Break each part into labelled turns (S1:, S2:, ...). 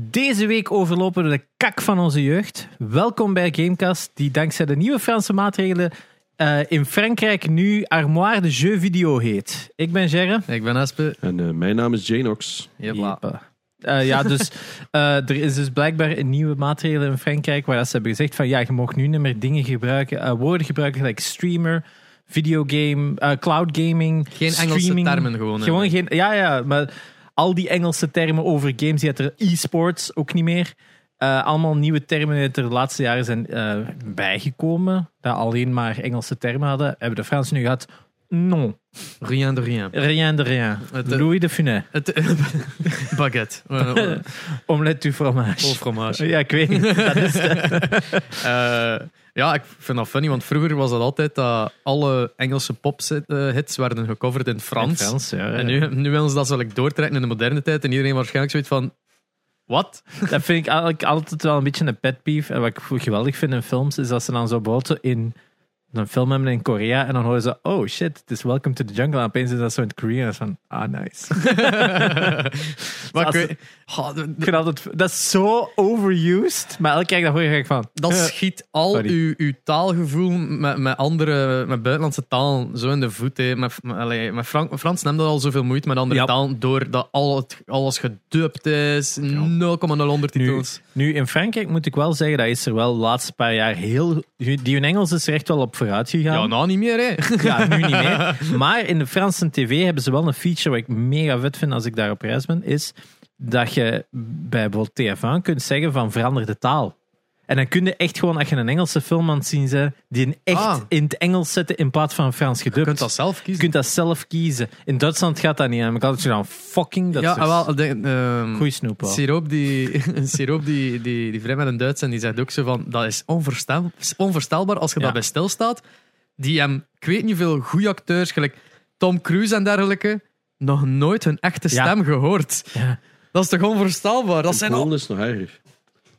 S1: Deze week overlopen we de kak van onze jeugd. Welkom bij Gamecast, die dankzij de nieuwe Franse maatregelen eh, in Frankrijk nu Armoire de Jeux Video heet. Ik ben Gerre.
S2: Ik ben Aspe.
S3: En eh, mijn naam is Janox.
S2: Jepla.
S1: Jepa. Eh, ja, dus eh, er is dus blijkbaar een nieuwe maatregel in Frankrijk waar dat ze hebben gezegd van ja, je mag nu niet meer dingen gebruiken, eh, woorden gebruiken gelijk streamer, videogame, eh, cloud gaming,
S2: Geen Engelse
S1: streaming.
S2: termen gewoon. hè.
S1: Gewoon geen, ja, ja, maar al die Engelse termen over games, die had er e-sports ook niet meer. Eh, allemaal nieuwe termen die er de laatste jaren zijn eh, bijgekomen, dat alleen maar Engelse termen hadden, hebben de Fransen nu gehad. Non,
S2: Rien de rien.
S1: rien de rien.
S2: Het, eh,
S1: Louis de Funès,
S2: Het, baguette. Eh, eh,
S1: omelette du fromage.
S2: Of Oh, fromage.
S1: Ja, ik weet niet. Dat is
S2: Eh, ja, ik vind dat funny, want vroeger was dat altijd dat alle Engelse pop-hits werden gecoverd in het Frans.
S1: ja.
S2: En nu, nu willen ze dat ik doortrekken in de moderne tijd en iedereen waarschijnlijk zoiets van... Wat?
S1: Dat vind ik eigenlijk altijd wel een beetje een pet peeve. En wat ik geweldig vind in films, is dat ze dan zo bijvoorbeeld in een film hebben in Korea en dan horen ze, oh shit, het is Welcome to the Jungle. En opeens is dat zo in het Koreaans van, ah nice. Ik
S2: maar ik
S1: Als-
S2: weet- Goh, d- d-
S1: vind altijd, dat is zo overused, maar elke keer dat ik dat hoor, ga ik van,
S2: dat
S1: eh,
S2: schiet al
S1: Sorry.
S2: uw, uw taalgevoel met, met andere, met buitenlandse taal zo in de voet. Hè. Met, met, allee, met Frank- met Frans neemt dat al zoveel moeite met andere
S1: Ja.
S2: talen, doordat al het, alles gedubt is, 0,0 ondertitels.
S1: Nu, in Frankrijk moet ik wel zeggen, dat is er wel de laatste paar jaar heel... Die in Engels is er echt wel op vooruit gegaan.
S2: Ja, nou niet meer, hè.
S1: Ja, nu niet meer. Maar in de Franse tv hebben ze wel een feature wat ik mega vet vind als ik daar op reis ben, is dat je bij bijvoorbeeld TF1 kunt zeggen van verander de taal. En dan kun je echt gewoon, als je een Engelse film aan het zien bent, die een echt
S2: Ah.
S1: in het Engels zetten in plaats van Frans gedubt.
S2: Je kunt dat zelf
S1: Je
S2: kiezen.
S1: kunt dat zelf kiezen. In Duitsland gaat dat niet. En ik had het dan fucking, dat
S2: ja,
S1: is dus
S2: ah, wel, de, ehm,
S1: goeie snoep wel.
S2: Siroop, die, een siroop die, die, die vrij met een Duits en die zegt ook zo van, dat is onvoorstel, is onvoorstelbaar als je
S1: Ja.
S2: daarbij stilstaat. Die hem, ik weet niet veel, goede acteurs, gelijk Tom Cruise en dergelijke, nog nooit hun echte
S1: Ja.
S2: stem gehoord.
S1: Ja.
S2: Dat is toch onvoorstelbaar? Dat zijn
S3: In
S2: al...
S3: Polen is het nog erger.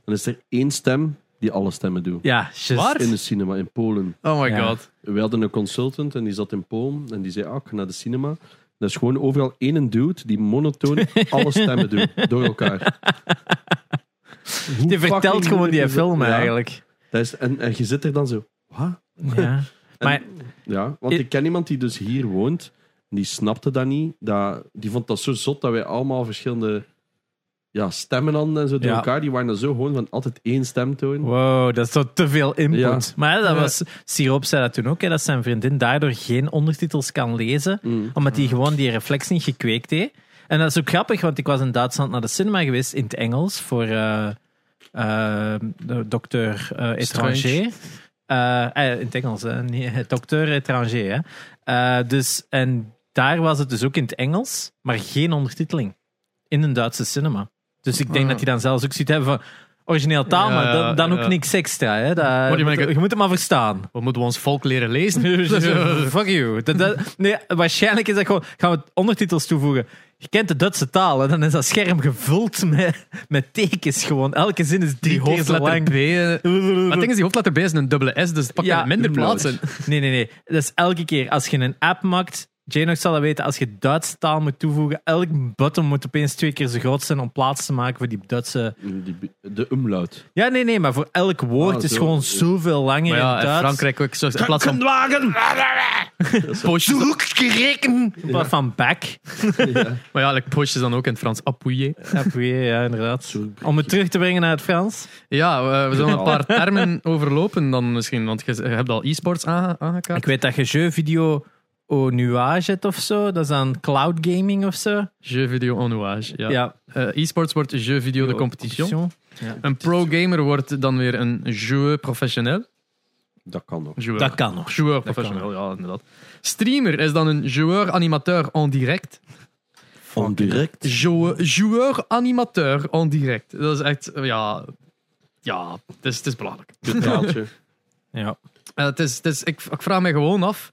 S3: Dan is er één stem die alle stemmen doet.
S1: Ja, just-
S2: Waar?
S3: In de cinema, in Polen.
S2: Oh my
S1: Ja.
S2: god.
S3: We hadden een consultant en die zat in Polen. En die zei, ah, ik ga naar de cinema. Dat is gewoon overal één dude die monotoon alle stemmen doet. Door elkaar. Hoe
S1: Die vertelt
S3: fucking
S1: gewoon die
S3: moeilijk is dat?
S1: film
S3: Ja,
S1: eigenlijk.
S3: dat is, en, en je zit er dan zo, wat?
S1: Ja. Maar
S3: Ja, want
S1: I-
S3: ik ken iemand die dus hier woont. Die snapte dat niet. Dat, die vond dat zo zot dat wij allemaal verschillende ja, stemmen hadden en zo door
S1: Ja. Oh.
S3: elkaar. Die waren er zo gewoon van altijd één stemtoon.
S1: Wow, dat is toch te veel input.
S3: Ja.
S1: Maar dat
S2: Ja.
S1: was, Siroop zei dat toen ook, hè, dat zijn vriendin daardoor geen ondertitels kan lezen,
S3: Mm.
S1: omdat hij gewoon die reflex niet gekweekt heeft. En dat is ook grappig, want ik was in Duitsland naar de cinema geweest in het Engels voor eh eh, de dokter eh, étranger. Eh, eh, in het Engels, hè, niet- dokter étranger. Hè. Eh, dus, en daar was het dus ook in het Engels, maar geen ondertiteling. In een Duitse cinema. Dus ik denk
S2: Ah.
S1: dat die dan zelfs ook ziet hebben van origineel taal,
S2: Ja,
S1: maar dan, dan ook
S2: ja.
S1: niks extra. Hè. Dat,
S2: die
S1: je, moet,
S2: ben ik-
S1: je moet het maar verstaan.
S2: We moeten ons volk leren lezen.
S1: Fuck you. Dat- dat- nee, waarschijnlijk is dat gewoon, gaan we ondertitels toevoegen. Je kent de Duitse taal, hè, dan is dat scherm gevuld met, met tekens gewoon. Elke zin is
S2: die
S1: drie keer zo
S2: hoofdletter
S1: lang.
S2: B... eh, Maar het ding is, die hoofdletter B is een dubbele S, dus het pakt
S1: Ja.
S2: daar minder plaats in.
S1: Nee, nee, nee. Dat is elke keer als je een app maakt. Janox zal dat weten. Als je Duitse taal moet toevoegen, elk button moet opeens twee keer zo groot zijn om plaats te maken voor die Duitse.
S3: Die, de umlaut.
S1: Ja, nee, nee, maar voor elk woord
S3: Ah,
S1: is
S3: zo.
S1: gewoon zoveel langer
S2: Maar
S1: in
S2: ja, in
S1: Duits.
S2: Frankrijk ook zo. In plaats van
S3: wagen!
S2: poosjes.
S1: In plaats van back.
S2: Maar ja, like poosjes dan ook in het Frans. Appuyer.
S1: Ja, weer, ja, inderdaad.
S3: Zo-
S1: Om het terug te brengen naar het Frans.
S2: Ja, we- we zullen
S3: Ja.
S2: een paar termen overlopen dan misschien, want je je hebt al e-sports aange- aangekaart.
S1: Ik weet dat je jeu video au nuage hebt of zo. Dat is aan cloud gaming of zo.
S2: Jeu video en nuage. Ja.
S1: Ja,
S2: Eh, e-sports wordt jeu video de competition. Een pro-gamer wordt dan weer een joueur professionnel.
S3: Dat kan nog.
S2: Joueur.
S1: Dat kan nog.
S2: Joueur
S1: kan.
S2: professionnel, ja, inderdaad. Streamer is dan een joueur-animateur en direct.
S3: Van direct.
S2: Joueur- Joueur-animateur en direct. Dat is echt, eh, ja... Ja, het is, het is belangrijk.
S3: Taaltje.
S1: Ja.
S2: Eh, het is, het is, ik, ik vraag me gewoon af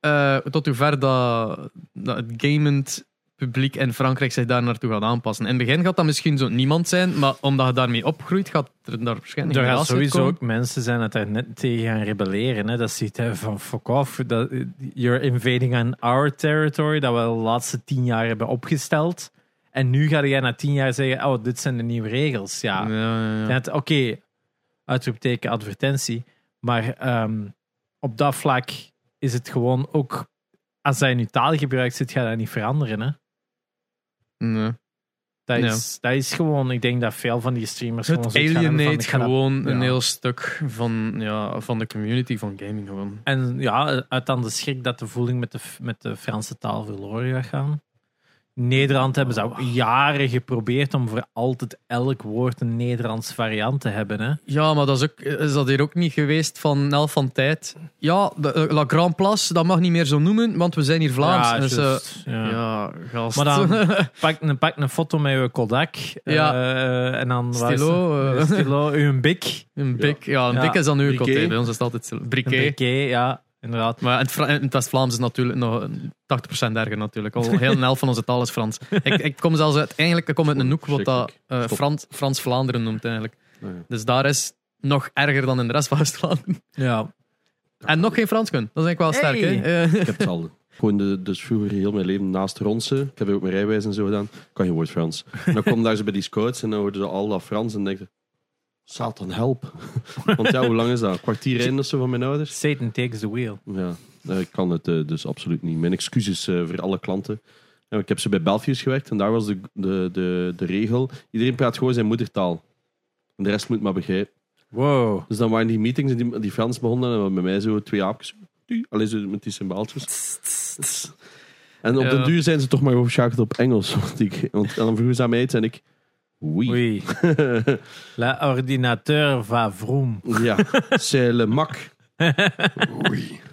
S2: eh, tot hoever dat, dat het gamend publiek in Frankrijk zich daar naartoe gaat aanpassen. In het begin gaat dat misschien zo niemand zijn, maar omdat je daarmee opgroeit, gaat er daar waarschijnlijk
S1: Er gaan
S2: generatie
S1: sowieso
S2: komen.
S1: ook mensen zijn dat daar net tegen gaan rebelleren. Hè. Dat ze zoiets hebben van fuck off, dat, you're invading on our territory, dat we de laatste tien jaar hebben opgesteld. En nu ga jij na tien jaar zeggen, oh, dit zijn de nieuwe regels. Ja,
S2: Ja, ja, ja.
S1: Net, Oké, uitroepteken, advertentie. Maar ehm, op dat vlak is het gewoon ook... Als hij nu taal gebruikt, zit je dat niet veranderen. Hè?
S2: Nee.
S1: Dat,
S2: Ja.
S1: is, dat is gewoon... Ik denk dat veel van die streamers gewoon
S2: Het
S1: zoiets gaan hebben van,
S2: alienate
S1: ik ga dat-
S2: gewoon een
S1: ja.
S2: heel stuk van, ja, van de community van gaming. Gewoon.
S1: En ja, uit aan de schrik dat de voeling met de, met de Franse taal verloren gaat gaan. In Nederland hebben ze al
S2: Oh.
S1: jaren geprobeerd om voor altijd elk woord een Nederlands variant te hebben. Hè?
S2: Ja, maar dat is, ook, is dat hier ook niet geweest van elf van tijd? Ja, de, eh, La Grand Place, dat mag niet meer zo noemen, want we zijn hier Vlaams.
S1: Ja,
S2: En ze-
S1: juist, ja.
S2: dus, eh, ja, gast.
S1: Maar dan pak, een- pak een foto met je Kodak.
S2: Ja.
S1: eh, en dan waar is
S2: Stilo,
S1: het?
S2: eh.
S1: Stilo, uw bik.
S2: een bik, ja, een
S1: Ja.
S2: bik is dan nu ook
S3: Briquet.
S2: altijd. Bij ons is het altijd zo-
S1: Een
S2: briquet.
S1: briquet, ja, inderdaad.
S2: Maar in het, Fra- in het West-Vlaams is natuurlijk nog een 80% erger natuurlijk. Al heel snel van onze taal is Frans. Ik, ik kom zelfs uit, eigenlijk ik kom uit een hoek wat dat eh,
S3: Stop.
S2: Frans- Frans-Vlaanderen noemt eigenlijk.
S3: Ah, ja.
S2: Dus daar is nog erger dan in de rest van West-Vlaanderen.
S1: Ja.
S2: En nog geen Frans kunnen. Dat is eigenlijk wel sterk.
S1: Hey.
S2: Hè? Eh,
S3: Ik heb het al. Gewoon de, dus vroeger heel mijn leven naast ronsen. Ik heb ook mijn rijwijs en zo gedaan. Kan geen woord Frans. En dan kwam daar ze bij die scouts en dan hoorden ze al dat Frans. En denk ik, Satan, help. Want ja, hoe lang is dat? Een kwartier in of zo van mijn ouders?
S1: Satan takes the wheel.
S3: Ja, eh, ik kan het eh, dus absoluut niet. Mijn excuses eh, voor alle klanten. Ja, ik heb ze bij Belfius gewerkt en daar was de, de, de, de regel: iedereen praat gewoon zijn moedertaal. En de rest moet maar begrijpen.
S1: Wow.
S3: Dus dan waren die meetings en die, die Frans begonnen en dan met mij zo twee aapjes. Die, Alleen zo met die symbaaltjes. En op
S2: Ja.
S3: den duur zijn ze toch maar overschakeld op Engels. Want, ik, want en dan vroegen ze aan mij iets en ik. Oui.
S1: Oei. La ordinateur va vroom.
S3: Ja, c'est le mak.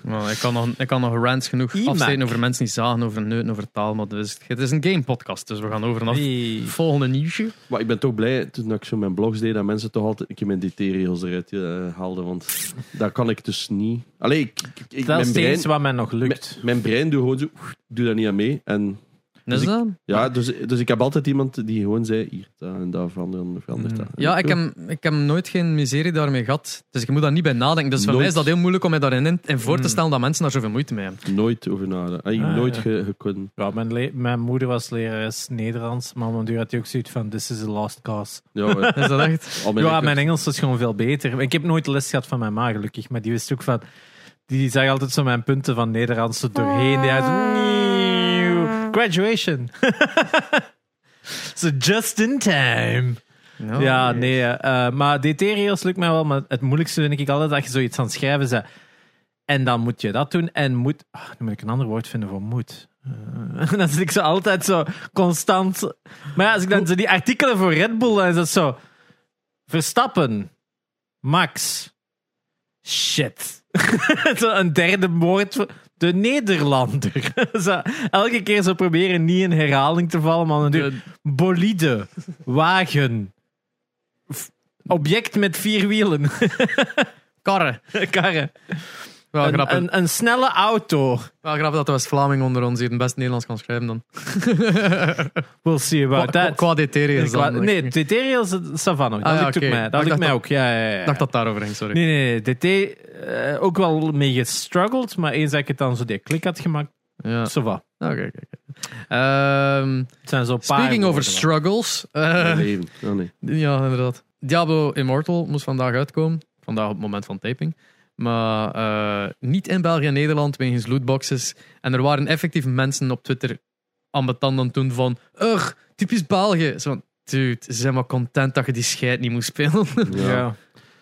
S2: nou, ik, kan nog, ik kan nog rants genoeg
S1: Imac.
S2: afsteken over mensen die zagen, over neuten, over taal. Maar dus, het is een game-podcast, dus we gaan over naar
S1: Oei.
S2: het volgende nieuwsje.
S3: Maar ik ben toch blij toen ik zo mijn blogs deed dat mensen toch altijd een keer mijn DT-regels eruit eh, haalden. Want daar kan ik dus niet. Allee, ik, ik- ik-
S1: Dat
S3: mijn,
S1: is het
S3: brein,
S1: enige wat mij nog
S3: mijn,
S1: lukt.
S3: mijn brein doet gewoon zo. oef, Doe daar niet aan mee. En
S2: Is
S3: ik-
S2: dat?
S3: ja, dus, dus ik heb altijd iemand die gewoon zei: hier dat en daar veranderen, verandert dat.
S2: Ja, ik heb, ik heb nooit geen miserie daarmee gehad. Dus ik moet daar niet bij nadenken. Dus voor
S3: Nooit.
S2: mij is dat heel moeilijk om mij daarin in, in voor te stellen dat mensen daar zoveel moeite mee hebben.
S3: nooit over nadenken. Allee,
S1: Ah,
S3: nooit
S1: ja.
S3: ge- gekund.
S1: Ja, mijn, le- mijn moeder was lerares Nederlands, maar om een duur had hij ook zoiets van: This is the last cause.
S3: Ja, maar-
S2: Is dat echt?
S3: al
S1: ja,
S3: lekker-
S1: mijn Engels was gewoon veel beter. Ik heb nooit les gehad van mijn ma, gelukkig. Maar die wist ook van... Die zag altijd zo mijn punten van Nederlands er doorheen. Die had... Nieuw. Graduation. so just in time.
S2: Ja,
S1: ja, nee. eh, eh, maar DT-regels lukt mij wel. Maar het moeilijkste vind ik altijd dat je zoiets aan het schrijven bent. En dan moet je dat doen. En moet... ah, nu moet ik een ander woord vinden voor moet. Eh, En dan zit ik zo altijd zo constant... Maar ja, als ik dan zo die artikelen voor Red Bull... Dan is dat zo... Verstappen. Max. Shit. zo een derde woord. voor- De Nederlander. zo, elke keer zo proberen niet in herhaling te vallen. Maar natuurlijk...
S2: De-
S1: Bolide. Wagen. F- Object met vier wielen.
S2: Karren.
S1: Karren.
S2: Wel
S1: een,
S2: Oh, grappig.
S1: een, een snelle auto.
S2: Wel grappig dat de West-Vlaming onder ons hier het best Nederlands kan schrijven dan.
S1: We'll see about
S2: Qua,
S1: that.
S2: qua DT-regels
S1: Qua-
S2: dan.
S1: nee,
S2: ik
S1: DT-rails, Savannah. Dat
S2: Ah, ja,
S1: lukt ook
S2: oké.
S1: mij.
S2: Maar
S1: Dat lukt
S2: ik dacht
S1: mij
S2: dat-
S1: ook, ja, ja, ja.
S2: dacht dat het daarover ging, sorry.
S1: Nee, nee, nee. DT eh, ook wel mee gestruggeld, maar eens dat ik het dan zo die klik had gemaakt,
S2: Ja.
S1: zo wat.
S2: Oké, oké, oké. Ehm,
S1: Het zijn zo paar
S2: speaking over
S1: woorden.
S2: struggles. eh,
S3: Mijn leven. Oh, nee.
S2: Ja, inderdaad. Diablo Immortal moest vandaag uitkomen. Vandaag op het moment van taping. Maar eh, niet in België en Nederland wegens lootboxes. En er waren effectief mensen op Twitter ambetant aan toen van... Ugh, typisch België. Zo van, dude, ze zijn maar content dat je die scheid niet moest spelen.
S3: Ja.
S1: Ja.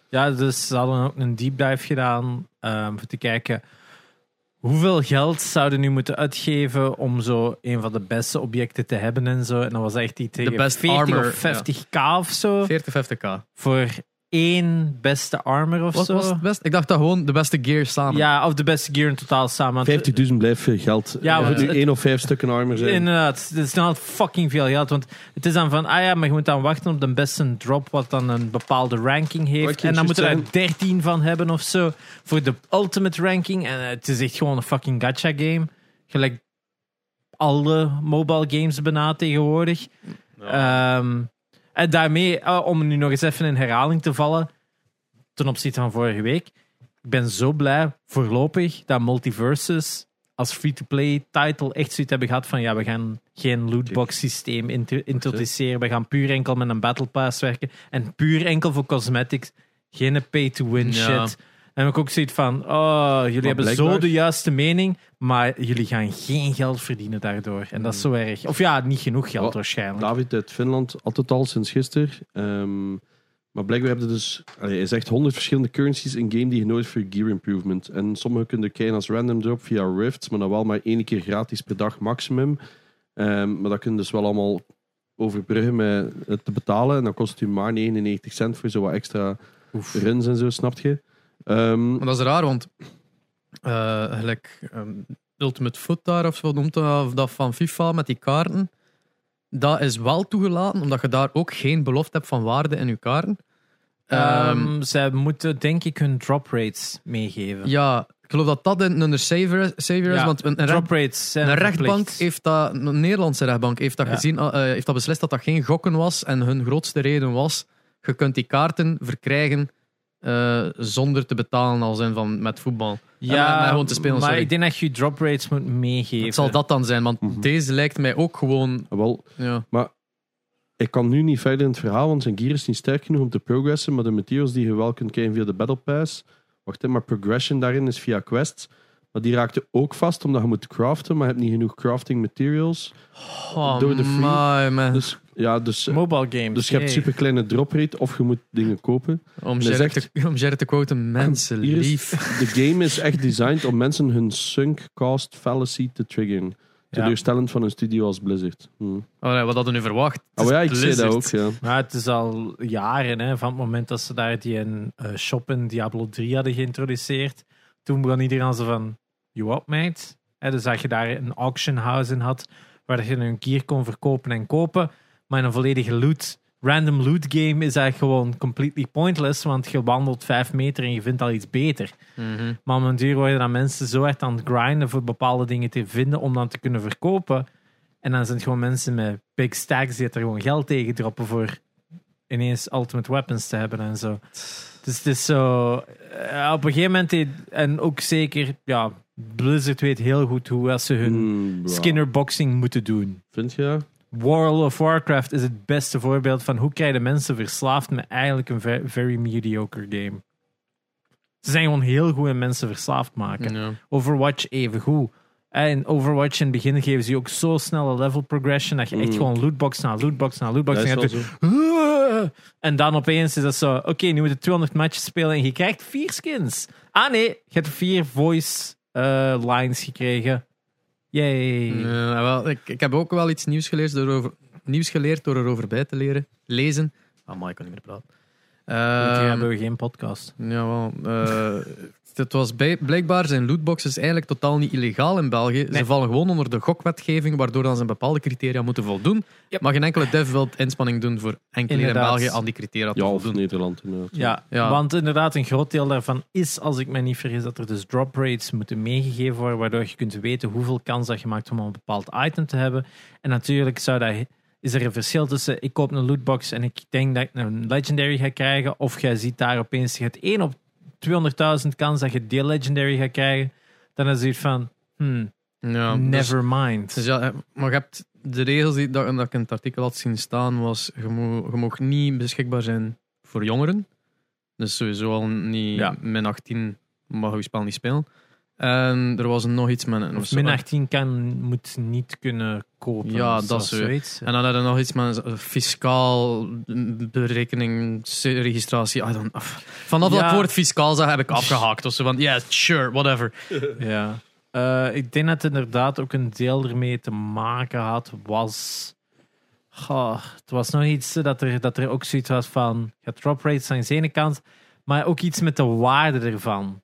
S1: ja, dus ze hadden ook een deep dive gedaan ehm, om te kijken hoeveel geld zouden nu moeten uitgeven om zo een van de beste objecten te hebben en zo. En dat was echt die tegen
S2: best
S1: 40
S2: armor,
S1: of 50k of zo
S2: 40, 50k.
S1: voor één beste armor of
S2: Wat
S1: zo.
S2: was het best? Ik dacht dat gewoon de beste gear samen.
S1: ja, of de beste gear in totaal samen. Want-
S3: 50.000 blijft veel geld.
S1: Ja,
S3: Ja,
S1: want
S3: nu
S1: het-
S3: één of vijf stukken armer zijn.
S1: Inderdaad, het is nou fucking veel geld. Want het is dan van, ah ja, maar je moet dan wachten op de beste drop, wat dan een bepaalde ranking
S3: Wat ik
S1: heeft. En dan
S3: juist
S1: moet je
S3: zeggen-
S1: er 13 van hebben of zo. Voor de ultimate ranking. En eh, het is echt gewoon een fucking gacha game. Gelijk alle mobile games bijna tegenwoordig. Ehm, en daarmee, ah, om nu nog eens even in herhaling te vallen, ten opzichte van vorige week. Ik ben zo blij voorlopig dat Multiversus als free-to-play title echt zoiets hebben gehad van ja, we gaan geen lootbox systeem int- introduceren. We gaan puur enkel met een battle pass werken en puur enkel voor cosmetics. Geen pay-to-win
S2: Ja.
S1: shit. En heb ik ook zoiets van, oh, jullie hebben zo
S3: blijkbaar-
S1: de juiste mening, maar jullie gaan geen geld verdienen daardoor. En dat is zo erg. Of ja, niet genoeg geld
S3: Wat-
S1: waarschijnlijk.
S3: David uit Finland had het al sinds gisteren. Ehm, maar blijkbaar hebben ze dus... Allee, hij zegt 100 verschillende currencies in game die je nooit voor gear improvement. En sommige kun je kijken als random drop via rifts, maar dan wel maar één keer gratis per dag maximum. Ehm, maar dat kun je dus wel allemaal overbruggen met het te betalen. En dan kost het je maar 99 cent voor zo wat extra runs en zo, snap je? Ehm,
S2: Maar dat is raar, want eh, gelijk ehm, Ultimate Foot daar of zo noemt dat, of dat van FIFA met die kaarten. Dat is wel toegelaten, omdat je daar ook geen belofte hebt van waarde in je kaarten.
S1: Ehm,
S2: Ehm,
S1: zij moeten denk ik hun drop rates meegeven.
S2: ja, ik geloof dat dat een een saver, saver is,
S1: Ja,
S2: want een, een,
S1: drop rates zijn
S2: een rechtbank
S1: verplicht.
S2: heeft dat, een Nederlandse rechtbank heeft dat
S1: Ja.
S2: gezien, eh, eh, heeft dat beslist dat dat geen gokken was en hun grootste reden was, je kunt die kaarten verkrijgen eh, zonder te betalen als in van met voetbal.
S1: ja,
S2: eh, maar gewoon te spelen,
S1: maar
S2: sorry.
S1: ik denk dat je je drop rates moet meegeven.
S2: Het zal dat dan zijn, want
S3: Mhm.
S2: deze lijkt mij ook gewoon.
S3: wel,
S2: Ja.
S3: Ik kan nu niet verder in het verhaal, want zijn gear is niet sterk genoeg om te progressen. Maar de materials die je wel kunt krijgen via de Battle Pass. Wacht, hè, maar progression daarin is via quests. Maar die raakte ook vast omdat je moet craften, maar je hebt niet genoeg crafting materials.
S2: Oh,
S3: Door de free.
S2: my, man.
S3: Dus ja, dus, eh,
S1: Mobile games.
S3: dus je hebt
S1: hey.
S3: super kleine drop rate of je moet dingen kopen.
S2: om,
S3: dat
S2: Gerrit
S3: is
S2: te, om Gerrit te quoten, mensen
S3: Ah, Hier is-
S2: lief.
S3: De game is echt designed om mensen hun sunk cost fallacy te triggeren. Teleurstellend van een studio als Blizzard. Hm.
S2: Allee, wat hadden we nu verwacht? Het
S3: Oh
S2: is
S3: ja, ik zei dat
S2: Blizzard.
S3: ook. Ja.
S1: Maar het is al jaren, hè, van het moment dat ze daar die een, eh, shop in Diablo 3 hadden geïntroduceerd. Toen begon iedereen zo van, you up mate? Hè, dus dat je daar een auction house in had, waar dat je een gear kon verkopen en kopen. Maar in een volledige loot, random loot game is eigenlijk gewoon completely pointless, want je wandelt vijf meter en je vindt al iets beter.
S2: Mhm.
S1: Maar op een duur worden dan mensen zo hard aan het grinden voor bepaalde dingen te vinden om dan te kunnen verkopen. En dan zijn het gewoon mensen met big stacks die het er gewoon geld tegen droppen voor ineens ultimate weapons te hebben en zo. Dus het is zo... eh, op een gegeven moment, die- en ook zeker, ja, Blizzard weet heel goed hoe als ze hun
S3: Hm, bah.
S1: skinnerboxing moeten doen.
S3: Vind
S2: Oh,
S3: je? dat?
S1: World of Warcraft is het beste voorbeeld van hoe krijg je mensen verslaafd met eigenlijk een ve- very mediocre game. Ze zijn gewoon heel goed in mensen verslaafd maken.
S3: Mm.
S2: Ja.
S1: Overwatch evengoed. En Overwatch in het begin geven ze je ook zo snel een level progression dat je echt
S3: Mm.
S1: gewoon lootbox na lootbox na lootbox.
S3: Dat
S1: en,
S3: is
S1: je
S3: wel
S1: hebt
S3: zo.
S1: er- en dan opeens is dat zo, oké, nu moet je 200 matches spelen en je krijgt vier skins. Ah nee, je hebt vier voice eh, lines gekregen. Yay.
S3: Mm.
S2: Ja, ah, wel, ik, ik heb ook wel iets nieuws geleerd, door over, nieuws geleerd door erover bij te leren. Lezen. Ah, maar ik kan niet meer praten.
S1: Want
S2: Ehm,
S1: Hier hebben we geen podcast.
S2: Jawel. eh het was bij- blijkbaar zijn lootboxes eigenlijk totaal niet illegaal in België.
S1: Nee.
S2: Ze vallen gewoon onder de gokwetgeving, waardoor dan ze bepaalde criteria moeten voldoen.
S1: Yep.
S2: Maar geen enkele dev wil inspanning doen voor enkel hier in
S1: Inderdaad.
S2: België aan die criteria te
S3: Ja, of
S2: voldoen.
S3: Nederland. inderdaad.
S1: Ja,
S2: Ja.
S1: want inderdaad, een groot deel daarvan is, als ik me niet vergis, dat er dus drop rates moeten meegegeven worden, waardoor je kunt weten hoeveel kans dat je maakt om een bepaald item te hebben. En natuurlijk zou dat, is er een verschil tussen ik koop een lootbox en ik denk dat ik een legendary ga krijgen, of jij ziet daar opeens, je hebt 1 op 200.000 kans dat je die legendary gaat krijgen, dan is het zoiets van, hmm,
S2: Ja, dus-
S1: never mind.
S2: dus ja, eh, maar je hebt de regels die dat, dat ik in het artikel had zien staan, was je mo- je mocht niet beschikbaar zijn voor jongeren. Dus sowieso al niet
S1: Ja.
S2: min 18 mag je spel niet spelen. En er was nog iets met een...
S1: of
S2: zo-
S1: min 18 kan, moet niet kunnen kopen.
S2: Ja,
S1: of zo,
S2: dat is weer-
S1: zoiets.
S2: En dan hadden we nog iets met een fiscaal berekening, registratie. I don't, af- vanaf
S1: Ja.
S2: dat woord fiscaal zag, heb ik afgehaakt. Of zo van, yeah, sure, whatever.
S1: Ja. Eh, ik denk dat het inderdaad ook een deel ermee te maken had, was... Goh, het was nog iets eh, dat er, dat er ook zoiets was van... Ja, drop rates aan de ene kant, maar ook iets met de waarde ervan.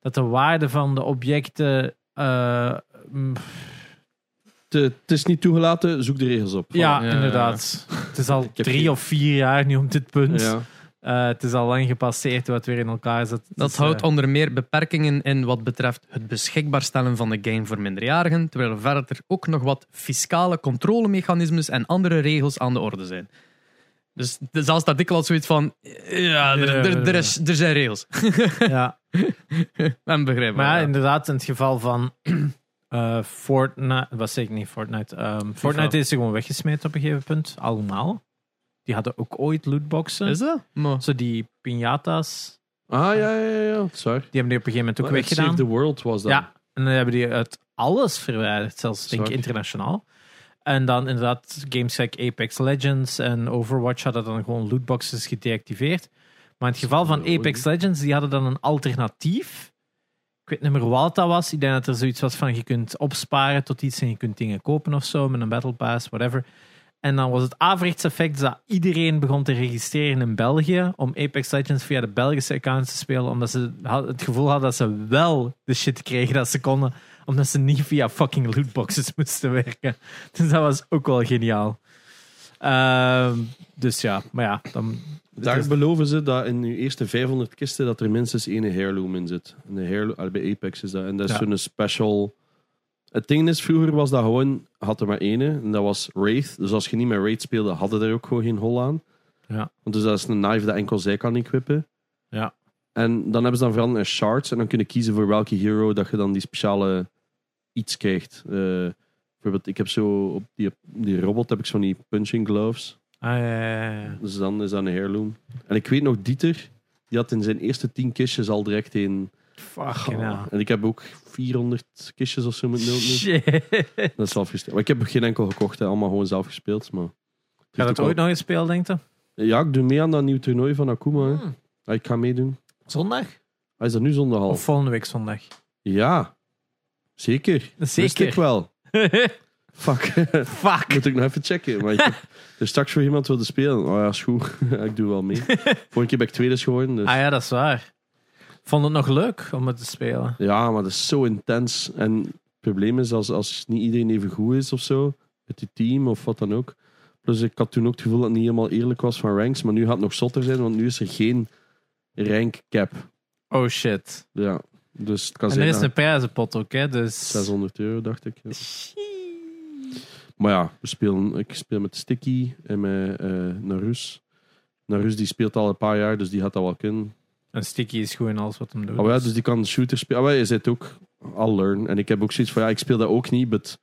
S1: Dat de waarde van de objecten... eh, mm,
S3: Het, eh, het is niet toegelaten, zoek de regels op.
S1: ja,
S2: ja.
S1: inderdaad. Het is al
S3: Ik heb
S1: drie
S3: geen-
S1: of vier jaar nu op dit punt.
S3: Ja.
S1: Eh, het is al lang gepasseerd wat weer in elkaar zit. Het
S2: Dat
S1: is,
S2: houdt
S1: eh,
S2: onder meer beperkingen in wat betreft het beschikbaar stellen van de game voor minderjarigen, terwijl er verder ook nog wat fiscale controlemechanismes en andere regels aan de orde zijn. Dus dus zelfs dat artikel had zoiets van, ja, er, er, er, is, er zijn regels.
S1: ja.
S2: En begrijpbaar.
S1: Maar ja,
S2: ja.
S1: inderdaad, in het geval van eh, Fortnite, wat zeg ik niet, Fortnite. Ehm, Fortnite is er gewoon weggesmeten op een gegeven punt, allemaal. Die hadden ook ooit lootboxen.
S2: Is dat? Maar,
S1: Zo die piñatas,
S3: Ah, ja, ja, ja. ja. Sorry.
S1: die hebben die op een gegeven moment ook
S3: Wat, Save
S1: weggedaan.
S3: the World was dat.
S1: Ja, en dan hebben die uit alles verwijderd, zelfs denk ik
S3: Zwaar.
S1: internationaal. En dan inderdaad, games like Apex Legends en Overwatch hadden dan gewoon lootboxes gedeactiveerd. Maar in het geval van
S3: Zo,
S1: Apex Legends, die hadden dan een alternatief. Ik weet niet meer wat dat was. Ik denk dat er zoiets was van je kunt opsparen tot iets en je kunt dingen kopen of zo met een battle pass, whatever. En dan was het averechts effect dat iedereen begon te registreren in België om Apex Legends via de Belgische accounts te spelen, omdat ze ha- het gevoel hadden dat ze wel de shit kregen dat ze konden, omdat ze niet via fucking lootboxes moesten werken. Dus dat was ook wel geniaal. Ehm, dus ja, maar ja, dan,
S3: Daar beloven ze dat in je eerste 500 kisten dat er minstens één heirloom in zit. En de heirloom, ah, bij Apex is dat. En dat is
S1: Ja.
S3: zo'n special... Het ding is, vroeger was dat gewoon... Had er maar één. En dat was Wraith. Dus als je niet met Wraith speelde, hadden er ook gewoon geen hol aan.
S1: Ja.
S3: Want dus dat is een knife dat enkel zij kan equippen.
S1: Ja.
S3: En dan hebben ze dan veranderd naar shards. En dan kun je kiezen voor welke hero dat je dan die speciale iets krijgt. Eh, bijvoorbeeld, ik heb zo... Op die, die robot heb ik zo'n die punching gloves.
S1: ah, ja, ja, ja, ja.
S3: Dus dan is dat een heirloom. En ik weet nog, Dieter, die had in zijn eerste 10 kistjes al direct een.
S1: Fucking hell.
S3: En ik heb ook 400 kistjes of zo met nul. nu.
S1: Shit.
S3: Dat is zelf gespeeld. Maar ik heb geen enkel gekocht, hè. allemaal gewoon zelf gespeeld. Maar...
S1: Gaat dat ooit nog eens spelen, denk je?
S3: Ja, ik doe mee aan dat nieuw toernooi van Akuma. hè.
S1: Hmm.
S3: Ah, Ik ga meedoen.
S1: Zondag?
S3: Hij is dat nu zondag al?
S1: Of volgende week zondag?
S3: Ja, zeker. Wist ik
S1: Zeker.
S3: wel. Fuck.
S1: Fuck.
S3: Moet ik nog even checken. Maar ik heb er straks voor iemand wilde spelen. Oh ja, is goed. ik doe wel mee. Vorige keer ben ik tweede geworden. Dus.
S1: Ah ja, dat is waar. Vond het nog leuk om het te spelen.
S3: Ja, maar dat is zo intens. En het probleem is, als, als niet iedereen even goed is of zo, met je team of wat dan ook. Plus, ik had toen ook het gevoel dat het niet helemaal eerlijk was van ranks, maar nu gaat het nog zotter zijn, want nu is er geen rank cap.
S1: Oh shit.
S3: Ja, dus het kan
S1: En er
S3: zijn
S1: is
S3: dat
S1: een prijzenpot ook, hè? Dus.
S3: 600 euro, dacht ik. ja. Maar ja, we spelen, ik speel met Sticky en met eh Narus. Narus die speelt al een paar jaar, dus die gaat dat wel kunnen.
S1: Een sticky is goed in alles wat hem doet.
S3: Ah, maar ja, dus die kan shooter spelen. Ah, maar je zit ook al learn. En ik heb ook zoiets van, ja, ik speel dat ook niet, but...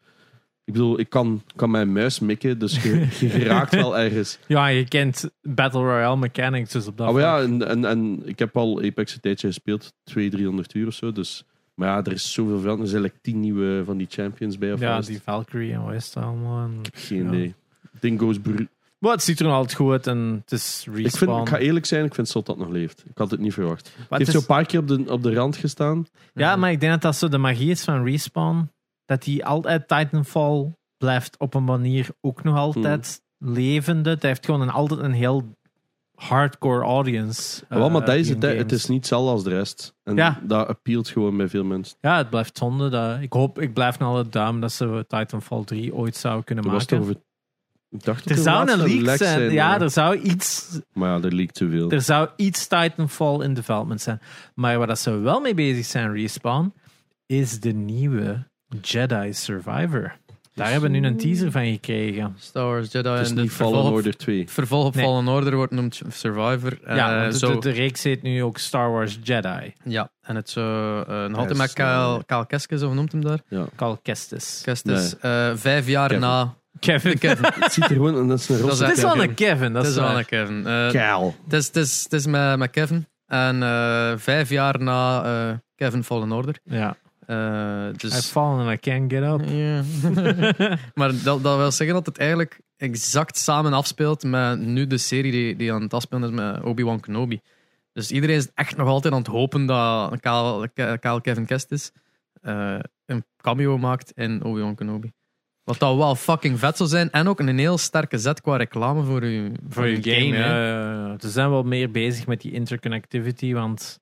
S3: Ik bedoel, ik kan, kan mijn muis mikken, dus je, je raakt wel ergens.
S1: Ja, je kent Battle Royale mechanics, dus op dat
S3: Ah, maar ja,
S1: vlak.
S3: en, en, en ik heb al Apex een tijdje gespeeld, 200, 300 uur of zo, dus... Maar ja, er is zoveel van. Er zijn like tien nieuwe van die champions bij, of
S1: Ja,
S3: wat is
S1: die
S3: het?
S1: Valkyrie en West allemaal. En...
S3: Geen
S1: ja.
S3: idee. Het ding goes bru-
S1: Maar het ziet er nog altijd goed uit en het is respawn.
S3: Ik, vind, ik ga eerlijk zijn, ik vind zot dat nog leeft. Ik had het niet verwacht. Die
S1: Maar het
S3: heeft
S1: is-
S3: zo'n paar keer op de, op de rand gestaan.
S1: Ja, maar ik denk dat dat zo de magie is van Respawn. Dat die altijd Titanfall blijft op een manier ook nog altijd
S3: Mhm.
S1: levende. Het heeft gewoon een, altijd een heel hardcore audience. eh,
S3: Ah, wel, maar dat is
S1: in
S3: het, hè. het
S1: games.
S3: is niet hetzelfde als de rest. En
S1: Ja.
S3: dat appealt gewoon bij veel mensen.
S1: Ja, het blijft zonde. Dat, ik hoop, ik blijf naar alle duim dat ze Titanfall 3 ooit zouden kunnen
S3: Er was
S1: maken.
S3: toch over... Ik dacht dat
S1: er zou
S3: laatst
S1: een leak
S3: lek
S1: zijn. ja,
S3: maar-
S1: er zou iets
S3: Maar ja, er leak te veel.
S1: Er zou iets Titanfall in development zijn. Maar waar dat ze wel mee bezig zijn, Respawn, is de nieuwe Jedi Survivor. Daar hebben we nu een teaser van gekregen.
S2: Star Wars Jedi
S3: Het is
S2: en de
S3: niet Fallen
S2: vervolg-
S3: Order 2.
S2: Het vervolg op
S1: Nee.
S2: Fallen Order wordt noemd Survivor.
S1: ja,
S2: Eh,
S1: want de,
S2: zo,
S1: de, de reeks heet nu ook Star Wars Jedi.
S2: ja, en het zo... eh, een
S3: Ja,
S2: altijd met
S3: Star-
S2: Kaal, Kaal Keskes, zo noemt hem daar.
S1: Cal Kestis.
S2: Keskes. eh, vijf jaar
S3: Kevin.
S2: na...
S1: dus, Kevin.
S2: Kevin.
S3: Het ziet er gewoon... En dat is een
S2: Dat is
S3: rosse
S1: Het is wel
S2: Kevin.
S1: een Kevin, dat is
S2: Het is wel een
S1: waar.
S2: Kevin. Eh,
S3: kuil.
S2: Het is- het is- het is met, met Kevin. En eh, vijf jaar na eh, Kevin Fallen Order.
S1: Ja.
S2: Eh,
S1: I've
S2: dus...
S1: fallen and I can't get up.
S2: Ja. maar dat, dat wil zeggen dat het eigenlijk exact samen afspeelt met nu de serie die, die aan het afspelen is met Obi-Wan Kenobi. Dus iedereen is echt nog altijd aan het hopen dat Kaal, Ke- Kaal Kevin Kest is eh, een cameo maakt in Obi-Wan Kenobi. Wat dat wel fucking vet zou zijn. En ook een heel sterke zet qua reclame voor uw,
S1: voor je
S2: uw
S1: game.
S2: hè.
S1: eh, ze zijn wel meer bezig met die interconnectivity, want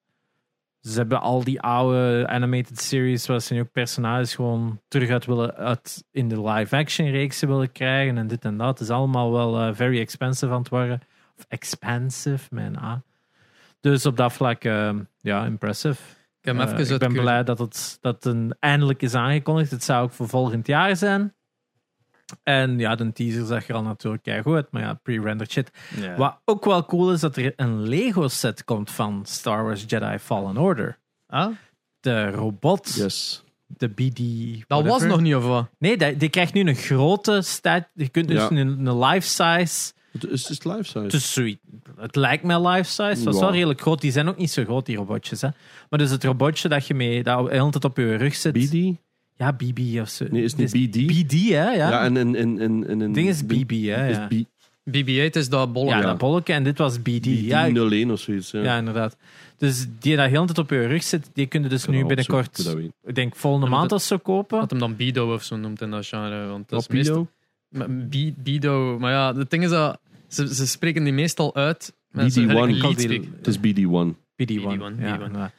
S1: ze hebben al die oude animated series waar ze nu ook personages gewoon terug uit willen uit in de live-action reeksen willen krijgen en dit en dat. Het is allemaal wel eh, very expensive aan het worden. Of expensive, mijn A. Dus op dat vlak, eh, ja, impressive.
S2: Ik heb hem
S1: Eh,
S2: even
S1: ik
S2: uit
S1: ben
S2: cur-
S1: blij dat het, dat een eindelijk is aangekondigd. Het zou ook voor volgend jaar zijn. En ja, de teaser zag er al natuurlijk goed uit, maar ja, pre-rendered shit.
S2: Ja.
S1: Wat ook wel cool is, dat er een Lego set komt van Star Wars Jedi Fallen Order.
S2: Ah?
S1: De robot
S3: Yes.
S1: de BD.
S2: Dat was
S1: whatever.
S2: nog niet of wat?
S1: Nee, die, die krijgt nu een grote staat. Je kunt dus
S3: Ja.
S1: een, een life-size.
S3: Het is, het live size.
S1: Het is zoiets- Het lijkt mij life-size. Het was wel
S3: Ja.
S1: redelijk groot. Die zijn ook niet zo groot, die robotjes. Hè. Maar dus het robotje dat je mee. dat altijd op je rug zit.
S3: BD? Nee,
S1: Ja, BB of zo.
S3: is het niet
S1: Het is
S3: BD?
S1: BD, hè? Ja,
S3: Ja, en en en en en en-
S1: het ding is BB, hè?
S3: is
S1: Ja,
S3: B-
S2: BB-8 is dat bolle.
S1: ja,
S3: ja.
S1: dat bolletje. En dit was BD.
S3: BD
S1: ja, ik-
S3: 01 of zoiets. Ja,
S1: ja, inderdaad. Dus die dat heel de tijd op je rug zit, die kunnen dus
S3: Ik kan
S1: nu
S3: dat opzoeken,
S1: binnenkort,
S3: hoe dat weet.
S1: ik denk volgende
S2: Ja, maar
S1: maand
S2: dat-
S1: of zo kopen.
S2: Wat hem dan Bido of zo noemt in dat genre. Want dat is
S3: Wat,
S2: meestal-
S3: Bido?
S2: Maar Bi- Bido, maar ja, het ding is dat ze, ze spreken die meestal uit.
S3: BD1.
S1: Call die-
S2: speak.
S3: Het is BD1.
S1: BD1.
S2: BD1,
S1: Ja,
S2: BD1.
S1: inderdaad.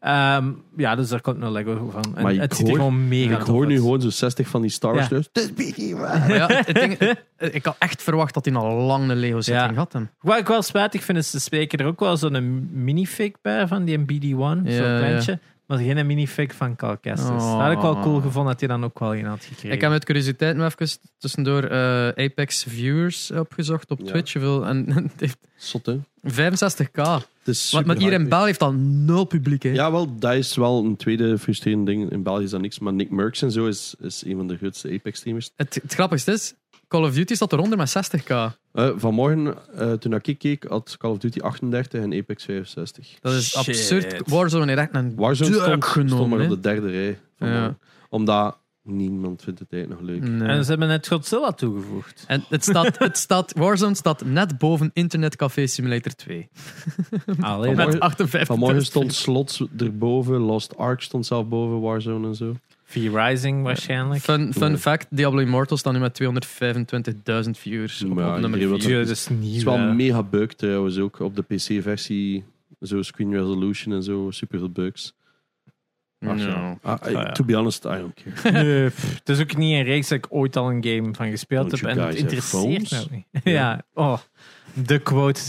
S1: Ehm, ja, dus daar komt een Lego van. En
S3: Maar ik
S1: het ziet er
S3: hoor-
S1: gewoon mega
S3: Ik
S1: tof
S3: hoor nu
S1: uit.
S3: gewoon zo'n 60 van die Star Wars.
S1: Ja.
S3: leus. Het is BD1.
S2: Maar ja, het ding, ik had echt verwacht dat hij al lang een Lego setting
S1: Ja.
S2: had. Hem.
S1: Wat ik wel spijtig vind, is ze spreken er ook wel zo'n minifig bij van die BD1,
S2: Ja,
S1: zo'n
S2: ja.
S1: kleintje. Maar geen minifig van Cal Kestis. Dat had ik wel cool gevonden dat hij dan ook wel in had gekregen.
S2: Ik heb met curiositeit nog even tussendoor eh, Apex Viewers opgezocht op
S3: Ja.
S2: Twitch. Hoeveel- En, het heeft
S3: Zot, hè?
S2: 65k.
S3: Het is
S2: Maar, maar hier in
S3: superhype.
S2: België heeft dat nul publiek. Hè.
S3: Ja, wel, dat is wel een tweede frustrerende ding. In België is dat niks. Maar Nick Merckx en zo is, is een van de grootste Apex-teamers.
S2: Het, het grappigste is, Call of Duty staat eronder met 60k.
S3: Eh, vanmorgen, eh, toen ik keek, had Call of Duty 38 en Apex 65.
S2: Dat is
S1: Shit.
S2: absurd. Warzone heeft echt een
S3: Warzone
S2: duik
S3: stond, stond
S2: genomen,
S3: maar op
S2: hè.
S3: de derde rij. vanmorgen. Omdat niemand vindt het eigenlijk nog leuk.
S2: Nee.
S1: En ze hebben net Godzilla toegevoegd.
S2: En het staat, het staat, Warzone staat net boven Internet Café Simulator 2.
S1: Allee,
S3: Vanmorgen-
S1: dat-
S2: Met 58.
S3: Vanmorgen stond Slots erboven, Lost Ark stond zelf boven Warzone en zo.
S1: V-Rising waarschijnlijk.
S2: Fun, fun fact: Diablo Immortal staat nu met 225.000 viewers. Op,
S3: Maar ja,
S2: op nummer
S3: iedereen wil
S1: Ja,
S2: 4.
S1: dat is eh,
S3: Het
S1: nieuw.
S3: is wel
S1: hè.
S3: mega bug trouwens ook op de PC-versie. Zo screen resolution en zo, super veel bugs. Ach, ja. Ah, I-
S1: Ah, ja.
S3: To be honest, I don't care.
S1: Nee, pff, het is ook niet een reeks dat ik ooit al een game van gespeeld
S3: Don't
S1: heb.
S3: you
S1: En het
S3: guys have
S1: interesseert me
S3: phones?
S1: ook niet. ja, oh, de quote.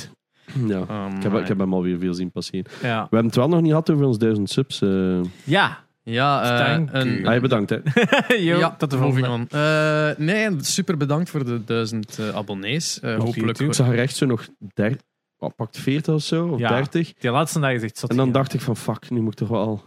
S3: ja.
S1: Oh,
S3: Ik heb, ik heb hem alweer veel zien passeren. We
S1: Ja,
S3: hebben het wel nog niet gehad over ons duizend subs. eh.
S1: ja.
S2: Ja, eh,
S1: Thank
S2: een-
S1: you.
S3: Ah, je bedankt, hè.
S1: Yo,
S2: ja,
S1: tot de
S2: moving
S1: volgende.
S2: on. Eh, nee, super bedankt voor de 1000 eh, abonnees. Eh,
S1: Op
S2: hopelijk.
S1: YouTube.
S3: Ik zag er echt zo nog der, wat, pakt 40 of zo, of
S1: Ja.
S3: 30.
S1: Die laatste dag is echt zot.
S3: En dan dacht ik van, fuck, nu moet ik toch wel...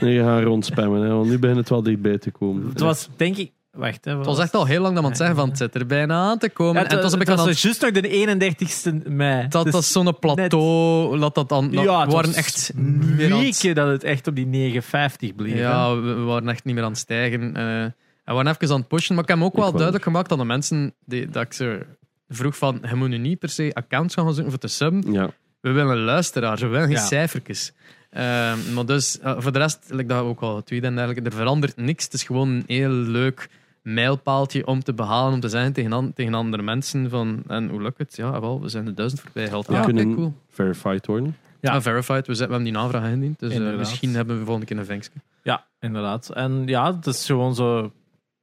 S3: nu gaan we rondspammen, hè, want nu begint het wel dichtbij te komen.
S1: Het was, denk ik... Wacht, hè.
S2: Het was echt al heel lang dat we aan het zeggen van het zit er bijna aan te komen. en het was een beetje aan het-
S1: juist nog de 31ste mei.
S2: dat
S1: Dus
S2: dat zo'n plateau, dat dat dan, dat
S1: ja,
S2: we
S1: het
S2: waren
S1: was
S2: echt niet meer aan het
S1: weken dat het echt op die 59 bleef. hè.
S2: Ja, we, we waren echt niet meer aan het stijgen. eh en we waren even aan het pushen. Maar ik heb me ook wel
S3: wou
S2: duidelijk gemaakt aan de mensen die, dat ik ze vroeg van, je moet nu niet per se accounts gaan zoeken voor te sub.
S3: Ja.
S2: We willen luisteraars, we willen geen
S1: Ja.
S2: cijfertjes. Ehm, maar dus, eh, voor de rest, like dat we ook al tweet en dergelijke, er verandert niks. Het is gewoon een heel leuk mijlpaaltje om te behalen, om te zijn tegen, an- tegen andere mensen. Van, en hoe lukt het? Ja, wel, we zijn de duizend voorbij gehaald.
S3: We
S2: Ah, oké,
S3: kunnen
S2: cool.
S3: verified worden.
S1: Ja.
S2: Ah, verified, we, zijn, we hebben die navraag ingediend. Dus eh,
S1: Inderdaad.
S2: misschien hebben we volgende keer een vinkje.
S1: Ja, inderdaad. En ja, het is gewoon zo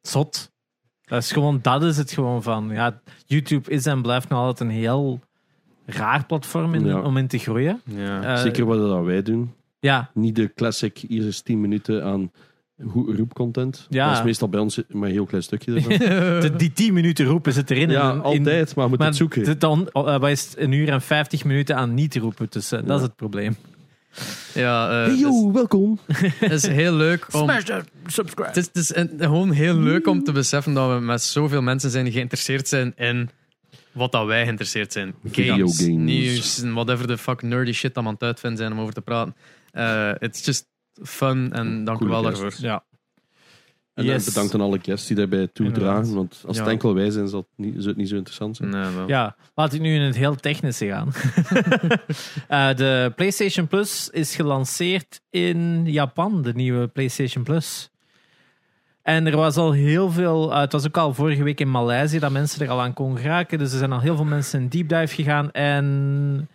S1: zot. Dat is gewoon, dat is het gewoon van. Ja, YouTube is en blijft nog altijd een heel raar platform in-
S3: Ja.
S1: om in te groeien.
S2: Ja.
S1: Eh,
S3: Zeker wat dat wij doen.
S1: Ja,
S3: Niet de classic, hier is 10 minuten aan hoe- roepcontent.
S1: Ja.
S3: Dat is meestal bij ons maar een heel klein stukje daarvan.
S1: de- die 10 minuten roepen zit erin.
S3: ja,
S1: En in-
S3: altijd, maar we moeten
S1: Maar
S3: het zoeken.
S1: dit dan, eh, wat is het, een uur en 50 minuten aan niet roepen tussen. Dat is het probleem.
S2: Ja, eh,
S3: Hey
S2: dus
S3: yo, welkom.
S2: het is heel leuk om.
S1: that
S2: Het
S1: subscribe.
S2: is, het is een- gewoon heel leuk om te beseffen dat we met zoveel mensen zijn die geïnteresseerd zijn in wat dat wij geïnteresseerd zijn. Games,
S3: Videogames.
S2: nieuws, en whatever the fuck nerdy shit dat we aan het uitvinden zijn om over te praten. Eh it's just fun en dank u
S3: Coole
S2: wel
S3: gast.
S2: daarvoor.
S1: Ja,
S3: En
S1: Yes.
S3: eh, bedankt aan alle guests die daarbij toedragen. Want als het
S2: Ja.
S3: enkel wij zijn, zal het niet, zou het niet zo interessant zijn.
S2: Nee, wel.
S1: ja, laat ik nu in het heel technische gaan. Eh, de PlayStation Plus is gelanceerd in Japan, de nieuwe PlayStation Plus. En er was al heel veel. eh, het was ook al vorige week in Maleisië dat mensen er al aan konden geraken. Dus er zijn al heel veel mensen in deep dive gegaan. En.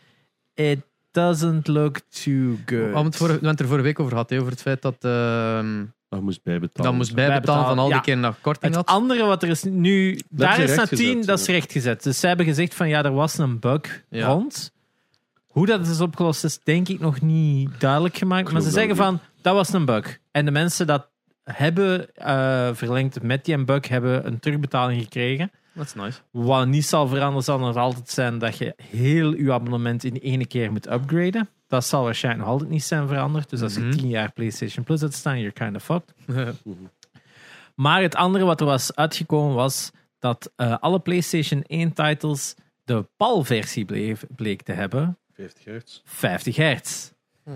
S1: It doesn't look too good.
S2: We hebben het vorige- we hebben het er vorige week over gehad, hè, over het feit dat ehm
S3: Dat moest bijbetalen.
S2: dat moest bijbetalen van al die
S1: Ja.
S2: keer naar
S1: Het
S2: korting had.
S1: andere wat er is nu. daar
S3: ze
S1: is na
S3: rechtgezet,
S1: 10, dat is
S3: ja.
S1: rechtgezet. Dus zij hebben gezegd van ja, er was een bug
S2: Ja.
S1: rond. Hoe dat is opgelost is, denk ik nog niet duidelijk gemaakt. Maar
S3: geloof
S1: ze
S3: dat
S1: zeggen
S3: ook
S1: van dat was een bug. En de mensen dat hebben eh, verlengd met die bug hebben een terugbetaling gekregen.
S2: That's nice.
S1: Wat niet zal veranderen, zal nog altijd zijn dat je heel je abonnement in één keer moet upgraden. Dat zal waarschijnlijk nog altijd niet zijn veranderd. Dus als je
S2: Mhm.
S1: 10 jaar PlayStation Plus hebt staan, you're kind of fucked. Maar het andere wat er was uitgekomen was dat eh, alle PlayStation 1-titles de PAL-versie bleef- bleek te hebben.
S3: 50 hertz.
S1: 50 hertz.
S2: Hmm.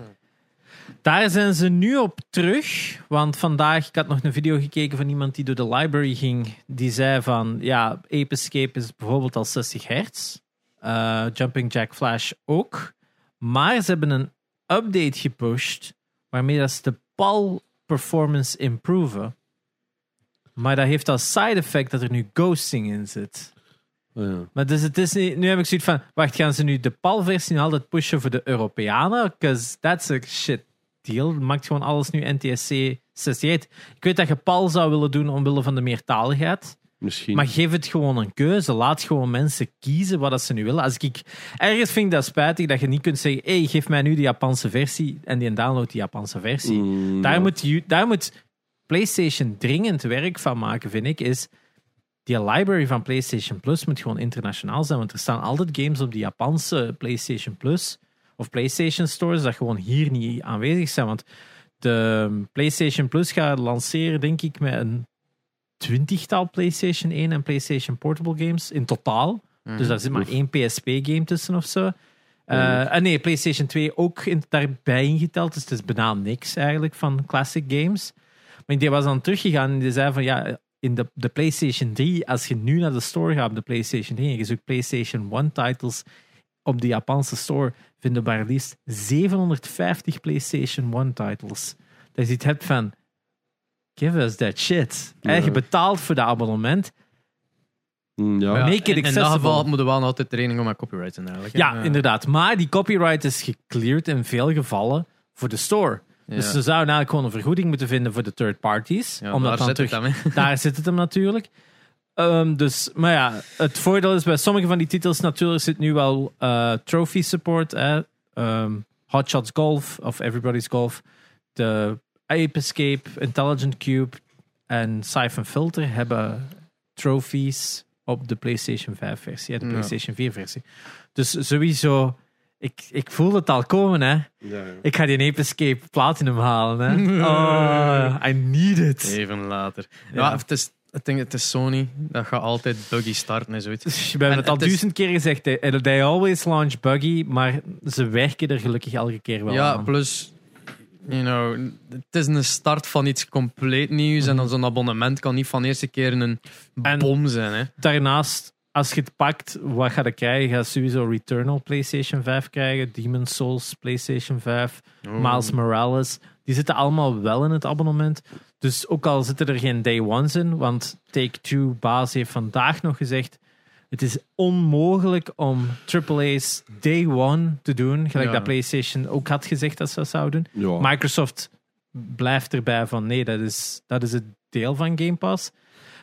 S1: Daar zijn ze nu op terug, want vandaag, ik had nog een video gekeken van iemand die door de library ging, die zei van, ja, Ape Escape is bijvoorbeeld al 60 hertz, Eh, Jumping Jack Flash ook, maar ze hebben een update gepusht, waarmee dat ze de PAL performance improven. Maar dat heeft als side effect dat er nu ghosting in zit.
S3: Oh, ja.
S1: Maar dus het is niet, nu heb ik zoiets van, wacht, gaan ze nu de PAL-versie nog altijd pushen voor de Europeanen? Because that's a shit deal. Maakt gewoon alles nu NTSC 68. Ik weet dat je PAL zou willen doen omwille van de meertaligheid.
S3: Misschien.
S1: Maar geef het gewoon een keuze. Laat gewoon mensen kiezen wat dat ze nu willen. Als ik, ergens vind ik dat spijtig dat je niet kunt zeggen, hey, geef mij nu de Japanse versie en die download die Japanse versie.
S3: Mm,
S1: Daar,
S3: ja.
S1: moet, ju- daar moet PlayStation dringend werk van maken, vind ik. Is die library van PlayStation Plus moet gewoon internationaal zijn. Want er staan altijd games op die Japanse PlayStation Plus of PlayStation Stores dat gewoon hier niet aanwezig zijn. Want de PlayStation Plus gaat lanceren, denk ik, met een twintigtal PlayStation 1 en PlayStation Portable games in totaal. Dus daar zit maar
S3: Oef.
S1: één PSP-game tussen of zo. Eh, ah nee, PlayStation 2 ook in, daarbij ingeteld. Dus het is bijna niks eigenlijk van classic games. Maar die was dan teruggegaan en die zei van ja, in de, de PlayStation 3, als je nu naar de store gaat op de PlayStation 3 en je zoekt PlayStation 1 titles op de Japanse store, vinden we maar liefst 750 PlayStation 1 titles. Dat je iets hebt van give us that shit. En je
S3: Ja.
S1: betaalt voor dat abonnement.
S3: Mm, ja.
S1: make it
S2: in, in dat
S1: accessible.
S2: geval moeten we wel altijd training om met copyright en dergelijke.
S1: Ja, inderdaad. Maar die copyright is gecleared in veel gevallen voor de store.
S2: Ja.
S1: Dus ze zouden eigenlijk gewoon een vergoeding moeten vinden voor de third parties.
S2: Ja,
S1: om dat
S2: daar
S1: dan
S2: zit
S1: terug...
S2: het dan, hè.
S1: Daar zit het hem natuurlijk. Ehm, dus, maar ja, het voordeel is bij sommige van die titels natuurlijk zit nu wel eh, trophy support. Hè? Ehm, Hot Shots Golf of Everybody's Golf. De Ape Escape, Intelligent Cube en Siphon Filter hebben trophies op de PlayStation 5 versie en de
S2: Ja.
S1: PlayStation 4 versie. Dus sowieso, ik, ik voel het al komen hè.
S3: Ja, ja.
S1: Ik ga die Ape Escape Platinum halen hè. Oh, I need it.
S2: Even later. Ja.
S1: Ja.
S2: het, is, ik denk, het is Sony. Dat gaat altijd buggy starten en zoiets.
S1: Dus We hebben
S2: En
S1: het al
S2: het is-
S1: duizend keer gezegd. hè. Eh, They always launch buggy, maar ze werken er gelukkig elke keer wel
S2: ja,
S1: aan.
S2: plus, you know, het is een start van iets compleet nieuws. En dan zo'n abonnement kan niet van de eerste keer een
S1: Mhm. En-
S2: bom zijn. Hè.
S1: Daarnaast, als je het pakt, wat ga je krijgen? Je gaat sowieso Returnal PlayStation 5 krijgen, Demon's Souls PlayStation 5, Miles Morales. Die zitten allemaal wel in het abonnement. Dus ook al zitten er geen day ones in, want Take-Two baas heeft vandaag nog gezegd het is onmogelijk om AAA's day one te doen, gelijk
S2: Ja.
S1: dat PlayStation ook had gezegd dat ze dat zouden doen.
S3: Ja.
S1: Microsoft blijft erbij van nee, dat is, dat is het deel van Game Pass.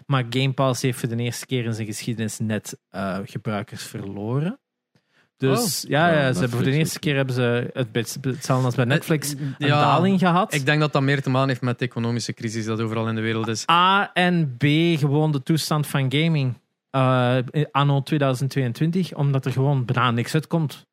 S1: Maar Game Pass heeft voor de eerste keer in zijn geschiedenis net eh, gebruikers verloren.
S2: Oh.
S1: Dus ja,
S3: Ja,
S1: ja, ze
S3: Netflix
S1: hebben voor de eerste
S3: ook.
S1: keer hebben ze het best- hetzelfde als bij Netflix een
S2: Eh, Ja,
S1: daling gehad.
S2: Ik denk dat dat meer te maken heeft met de economische crisis dat overal in de wereld is.
S1: A en B gewoon de toestand van gaming eh, anno 2022, omdat er gewoon bijna niks uitkomt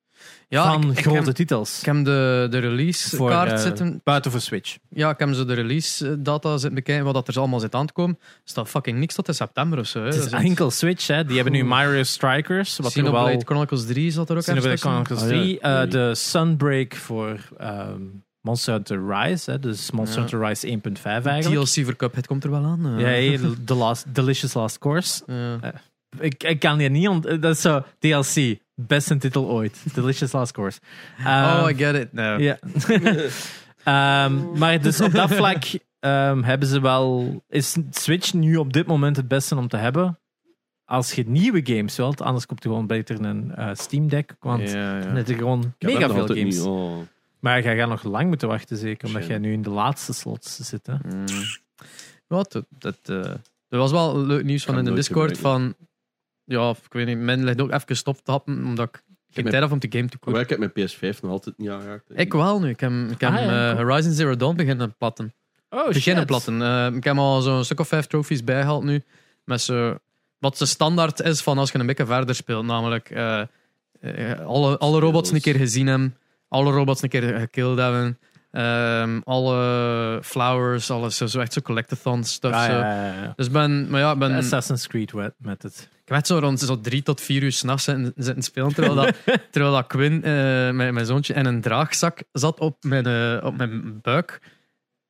S2: Ja,
S1: van
S2: ik, ik
S1: grote
S2: heb-
S1: titels.
S2: Ik heb de, de release
S1: Voor,
S2: kaart
S1: eh,
S2: zitten.
S1: Buiten voor Switch.
S2: Ja, ik heb zo de release eh, data zitten bekijken, wat dat er allemaal zit aan te komen. Er staat fucking niks tot in september of zo. Hè. Dus
S1: Het
S2: Dat
S1: is enkel Switch, hè. Die hebben nu Mario Strikers, wat er
S2: Xenoblade
S1: wel
S2: Chronicles 3 zat er ook
S1: Xenoblade
S2: ergens tussen.
S1: Chronicles
S3: Ah, ja.
S1: 3. eh,
S3: Oei.
S1: de Sunbreak voor ehm, Monster Hunter Rise. Hè, dus Monster
S2: Ja.
S1: Hunter Rise 1.5 eigenlijk.
S2: DLC voor Cuphead komt er wel aan. eh.
S1: Ja, hey, the last, Delicious Last Course.
S2: Ja.
S1: Ik, ik kan die niet ont... eh, Dat is zo, DLC. Beste titel ooit. Delicious Last Course. Ehm,
S2: oh, I get it. No.
S1: ja. Ehm, maar dus op dat vlak ehm, hebben ze wel... Is Switch nu op dit moment het beste om te hebben? Als je nieuwe games wilt. Anders komt er gewoon beter een eh, Steam Deck. Want
S2: Ja, ja.
S1: dan heb je gewoon
S3: Ik heb
S1: mega
S3: dat
S1: veel
S3: altijd
S1: games.
S3: niet. Oh.
S1: Maar jij gaat nog lang moeten wachten, zeker, omdat
S3: Shame.
S1: jij nu in de laatste slots zit. Hè?
S2: Mm. Wat? Dat, dat, eh, er was wel leuk nieuws van
S3: Kan
S2: in de
S3: nooit
S2: Discord van...
S3: gebruiken.
S2: Ja, ik weet niet, men ligt ook even gestopt te happen, omdat ik geen
S3: heb
S2: tijd had om de game te
S3: Maar
S2: kopen.
S3: ik heb mijn PS5 nog altijd niet aangeraakt.
S2: Ik wel nu. Ik heb, ik heb
S1: Ah, ja,
S2: eh,
S1: cool.
S2: Horizon Zero Dawn beginnen platten.
S1: Oh,
S2: beginnen platten. Eh, ik heb al zo'n stuk of vijf trofies bijgehaald nu. Met zo wat de standaard is van als je een beetje verder speelt. Namelijk eh, eh, alle, alle robots een keer gezien hebben, alle robots een keer gekilld hebben, ehm, alle flowers, alles zo, zo echt zo collectathon stuff.
S1: Ah,
S2: zo.
S1: ja, ja, ja.
S2: Dus ik ben, maar ja, ik ben,
S1: Assassin's Creed wet- met het.
S2: ik werd zo rond zo drie tot vier uur s'nachts zitten, zitten spelen. Terwijl, dat, terwijl dat Quinn, eh, mijn, mijn zoontje, in een draagzak zat op mijn, eh, op mijn buik.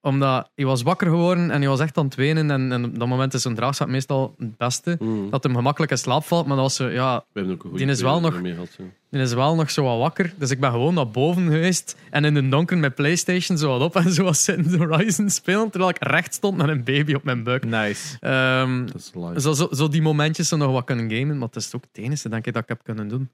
S2: Omdat hij was wakker geworden en hij was echt aan het wenen. En, en op dat moment is een draagzak meestal het beste.
S3: Mm.
S2: Dat hem gemakkelijk in slaap valt. Maar dat was zo, ja,
S3: We hebben ook een goede
S2: Die is wel
S3: tweede
S2: nog-
S3: meer gehad, zo.
S2: die is wel nog zo wat wakker. Dus ik ben gewoon naar boven geweest. En in de donker met Playstation zo wat op en zo wat zitten Horizon spelen. Terwijl ik recht stond met een baby op mijn buik.
S1: Nice.
S2: Ehm,
S3: Dat is live.
S2: zo, zo, zo die momentjes zo nog wat kunnen gamen, maar dat is ook het enige denk ik, dat ik heb kunnen doen.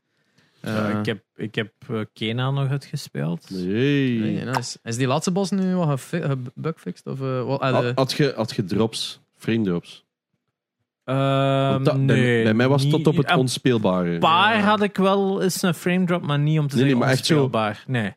S1: Eh,
S2: Eh,
S1: ik heb, ik heb eh, Kena nog uitgespeeld.
S3: Nee.
S2: nee, nice. Is die laatste boss nu wat gefi- gebugfixed? Of, eh, wat, eh, de-
S1: Ah,
S3: Had, had, je, had je drops, frame drops?
S1: Ehm,
S3: Want dat- bij-
S1: nee,
S3: bij, mij was het
S1: niet-
S3: tot op het
S1: een
S3: onspeelbare.
S1: paar had ik wel eens een frame drop, maar niet om te
S3: Nee, nee,
S1: zeggen
S3: maar echt zo-
S1: onspeelbaar. Nee.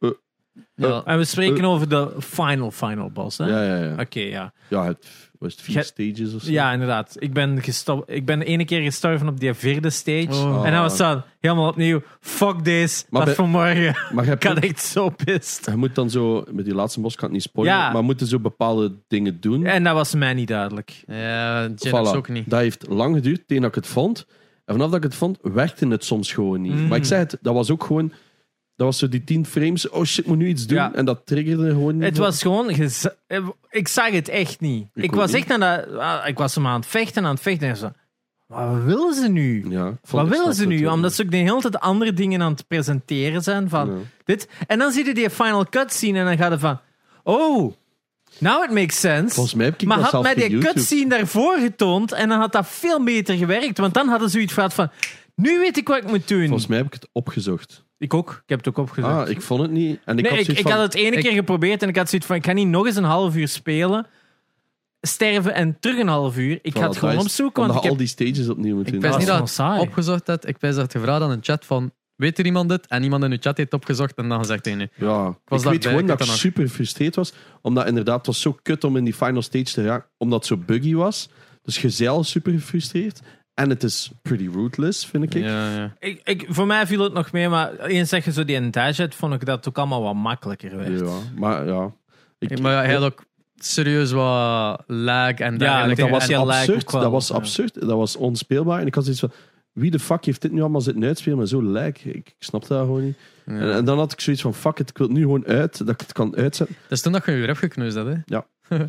S2: ja,
S1: En we spreken over de final, final boss, hè?
S3: Ja, ja, ja.
S1: Oké, ja.
S3: ja het, was het vier
S1: Ge-
S3: stages of zo?
S1: Ja, inderdaad. Ik ben, gesto- ik ben ene keer gestorven op die vierde stage.
S2: Oh.
S1: En dan was dat helemaal opnieuw. Fuck this, dat
S3: Maar bij-
S1: vanmorgen.
S3: Maar je,
S1: Ik had
S3: hebt-
S1: echt zo pist.
S3: je moet dan zo, met die laatste bos kan het niet spoilen,
S1: Ja.
S3: maar moeten zo bepaalde dingen doen.
S1: En dat was mij niet duidelijk.
S2: ja, Jin
S3: Voilà.
S2: is ook niet.
S3: Dat heeft lang geduurd tegen dat ik het vond. En vanaf dat ik het vond, werkte het soms gewoon niet.
S1: Mm.
S3: Maar ik zei het, dat was ook gewoon... Dat was zo die 10 frames. Oh shit, ik moet nu iets doen.
S1: Ja.
S3: En dat triggerde gewoon niet.
S1: Het was gewoon... gez- eh, Ik zag het echt niet. Ik,
S3: ook
S1: was
S3: niet.
S1: echt naar dat... ah, Ik was hem aan het vechten, aan het vechten. En ik zo, wat willen ze nu?
S3: Ja, ik vond-
S1: Wat
S3: ik
S1: willen
S3: snap
S1: ze
S3: het
S1: nu?
S3: wel.
S1: Omdat ze ook de hele tijd andere dingen aan het presenteren zijn. Van
S3: Ja.
S1: dit. En dan zie je die final cut scene en dan gaat het van... Oh, now it makes sense.
S3: Volgens mij heb ik
S1: maar
S3: dat
S1: had
S3: zelf
S1: mij
S3: via
S1: die
S3: YouTube.
S1: cutscene daarvoor getoond en dan had dat veel beter gewerkt. Want dan hadden ze zoiets gehad van... Nu weet ik wat ik moet doen.
S3: Volgens mij heb ik het opgezocht.
S1: Ik ook. Ik heb het ook opgezocht.
S3: Ah, ik vond het niet. En ik
S1: nee,
S3: had
S1: ik,
S3: zoiets
S1: ik
S3: van...
S1: had het ene
S2: ik-
S1: keer geprobeerd en ik had zoiets van... Ik ga niet nog eens een half uur spelen, sterven en terug een half uur. Ik
S3: voilà,
S1: ga het gewoon
S3: dat is-
S1: opzoeken,
S3: Omdat
S1: want ik
S3: je
S1: heb...
S3: al die stages opnieuw moet doen.
S2: ben
S1: Dat
S2: niet
S1: is
S2: dat-
S1: gewoon saai.
S2: Opgezocht dat, ik ben dat gevraagd aan een chat van, weet er iemand dit? En iemand in de chat heeft opgezocht en dan gezegd tegen nu.
S3: Ja, ik,
S2: was
S3: weet
S2: daarbij,
S3: gewoon
S2: ik
S3: dat
S2: had
S3: ik
S2: dat nog.
S3: super gefrustreerd was. Omdat inderdaad, het was zo kut om in die final stage te raken. Omdat het zo buggy was. Dus je zei al super gefrustreerd. En het is pretty rootless, vind ik.
S2: Ja, ja.
S1: Ik, ik, voor mij viel het nog mee, maar eens zeg je zo die een dash had, vond ik dat ook allemaal wat makkelijker werd.
S3: Ja, maar ja. Ik,
S2: Maar ja, hij had ook serieus wat lag en
S1: Ja,
S2: dergelijke.
S1: dat was
S2: En-
S1: ja lijkt
S3: absurd,
S1: ook wel,
S3: dat was
S1: ja.
S3: absurd. Dat was onspeelbaar. En ik had zoiets van... Wie de fuck heeft dit nu allemaal zitten uitspelen met zo lijk? Ik, ik snap dat gewoon niet. En, en dan had ik zoiets van, fuck it, ik wil het nu gewoon uit. Dat ik het kan uitzetten.
S2: Dat is Dus toen dat je je hebt gekneusd, had, hè?
S3: Good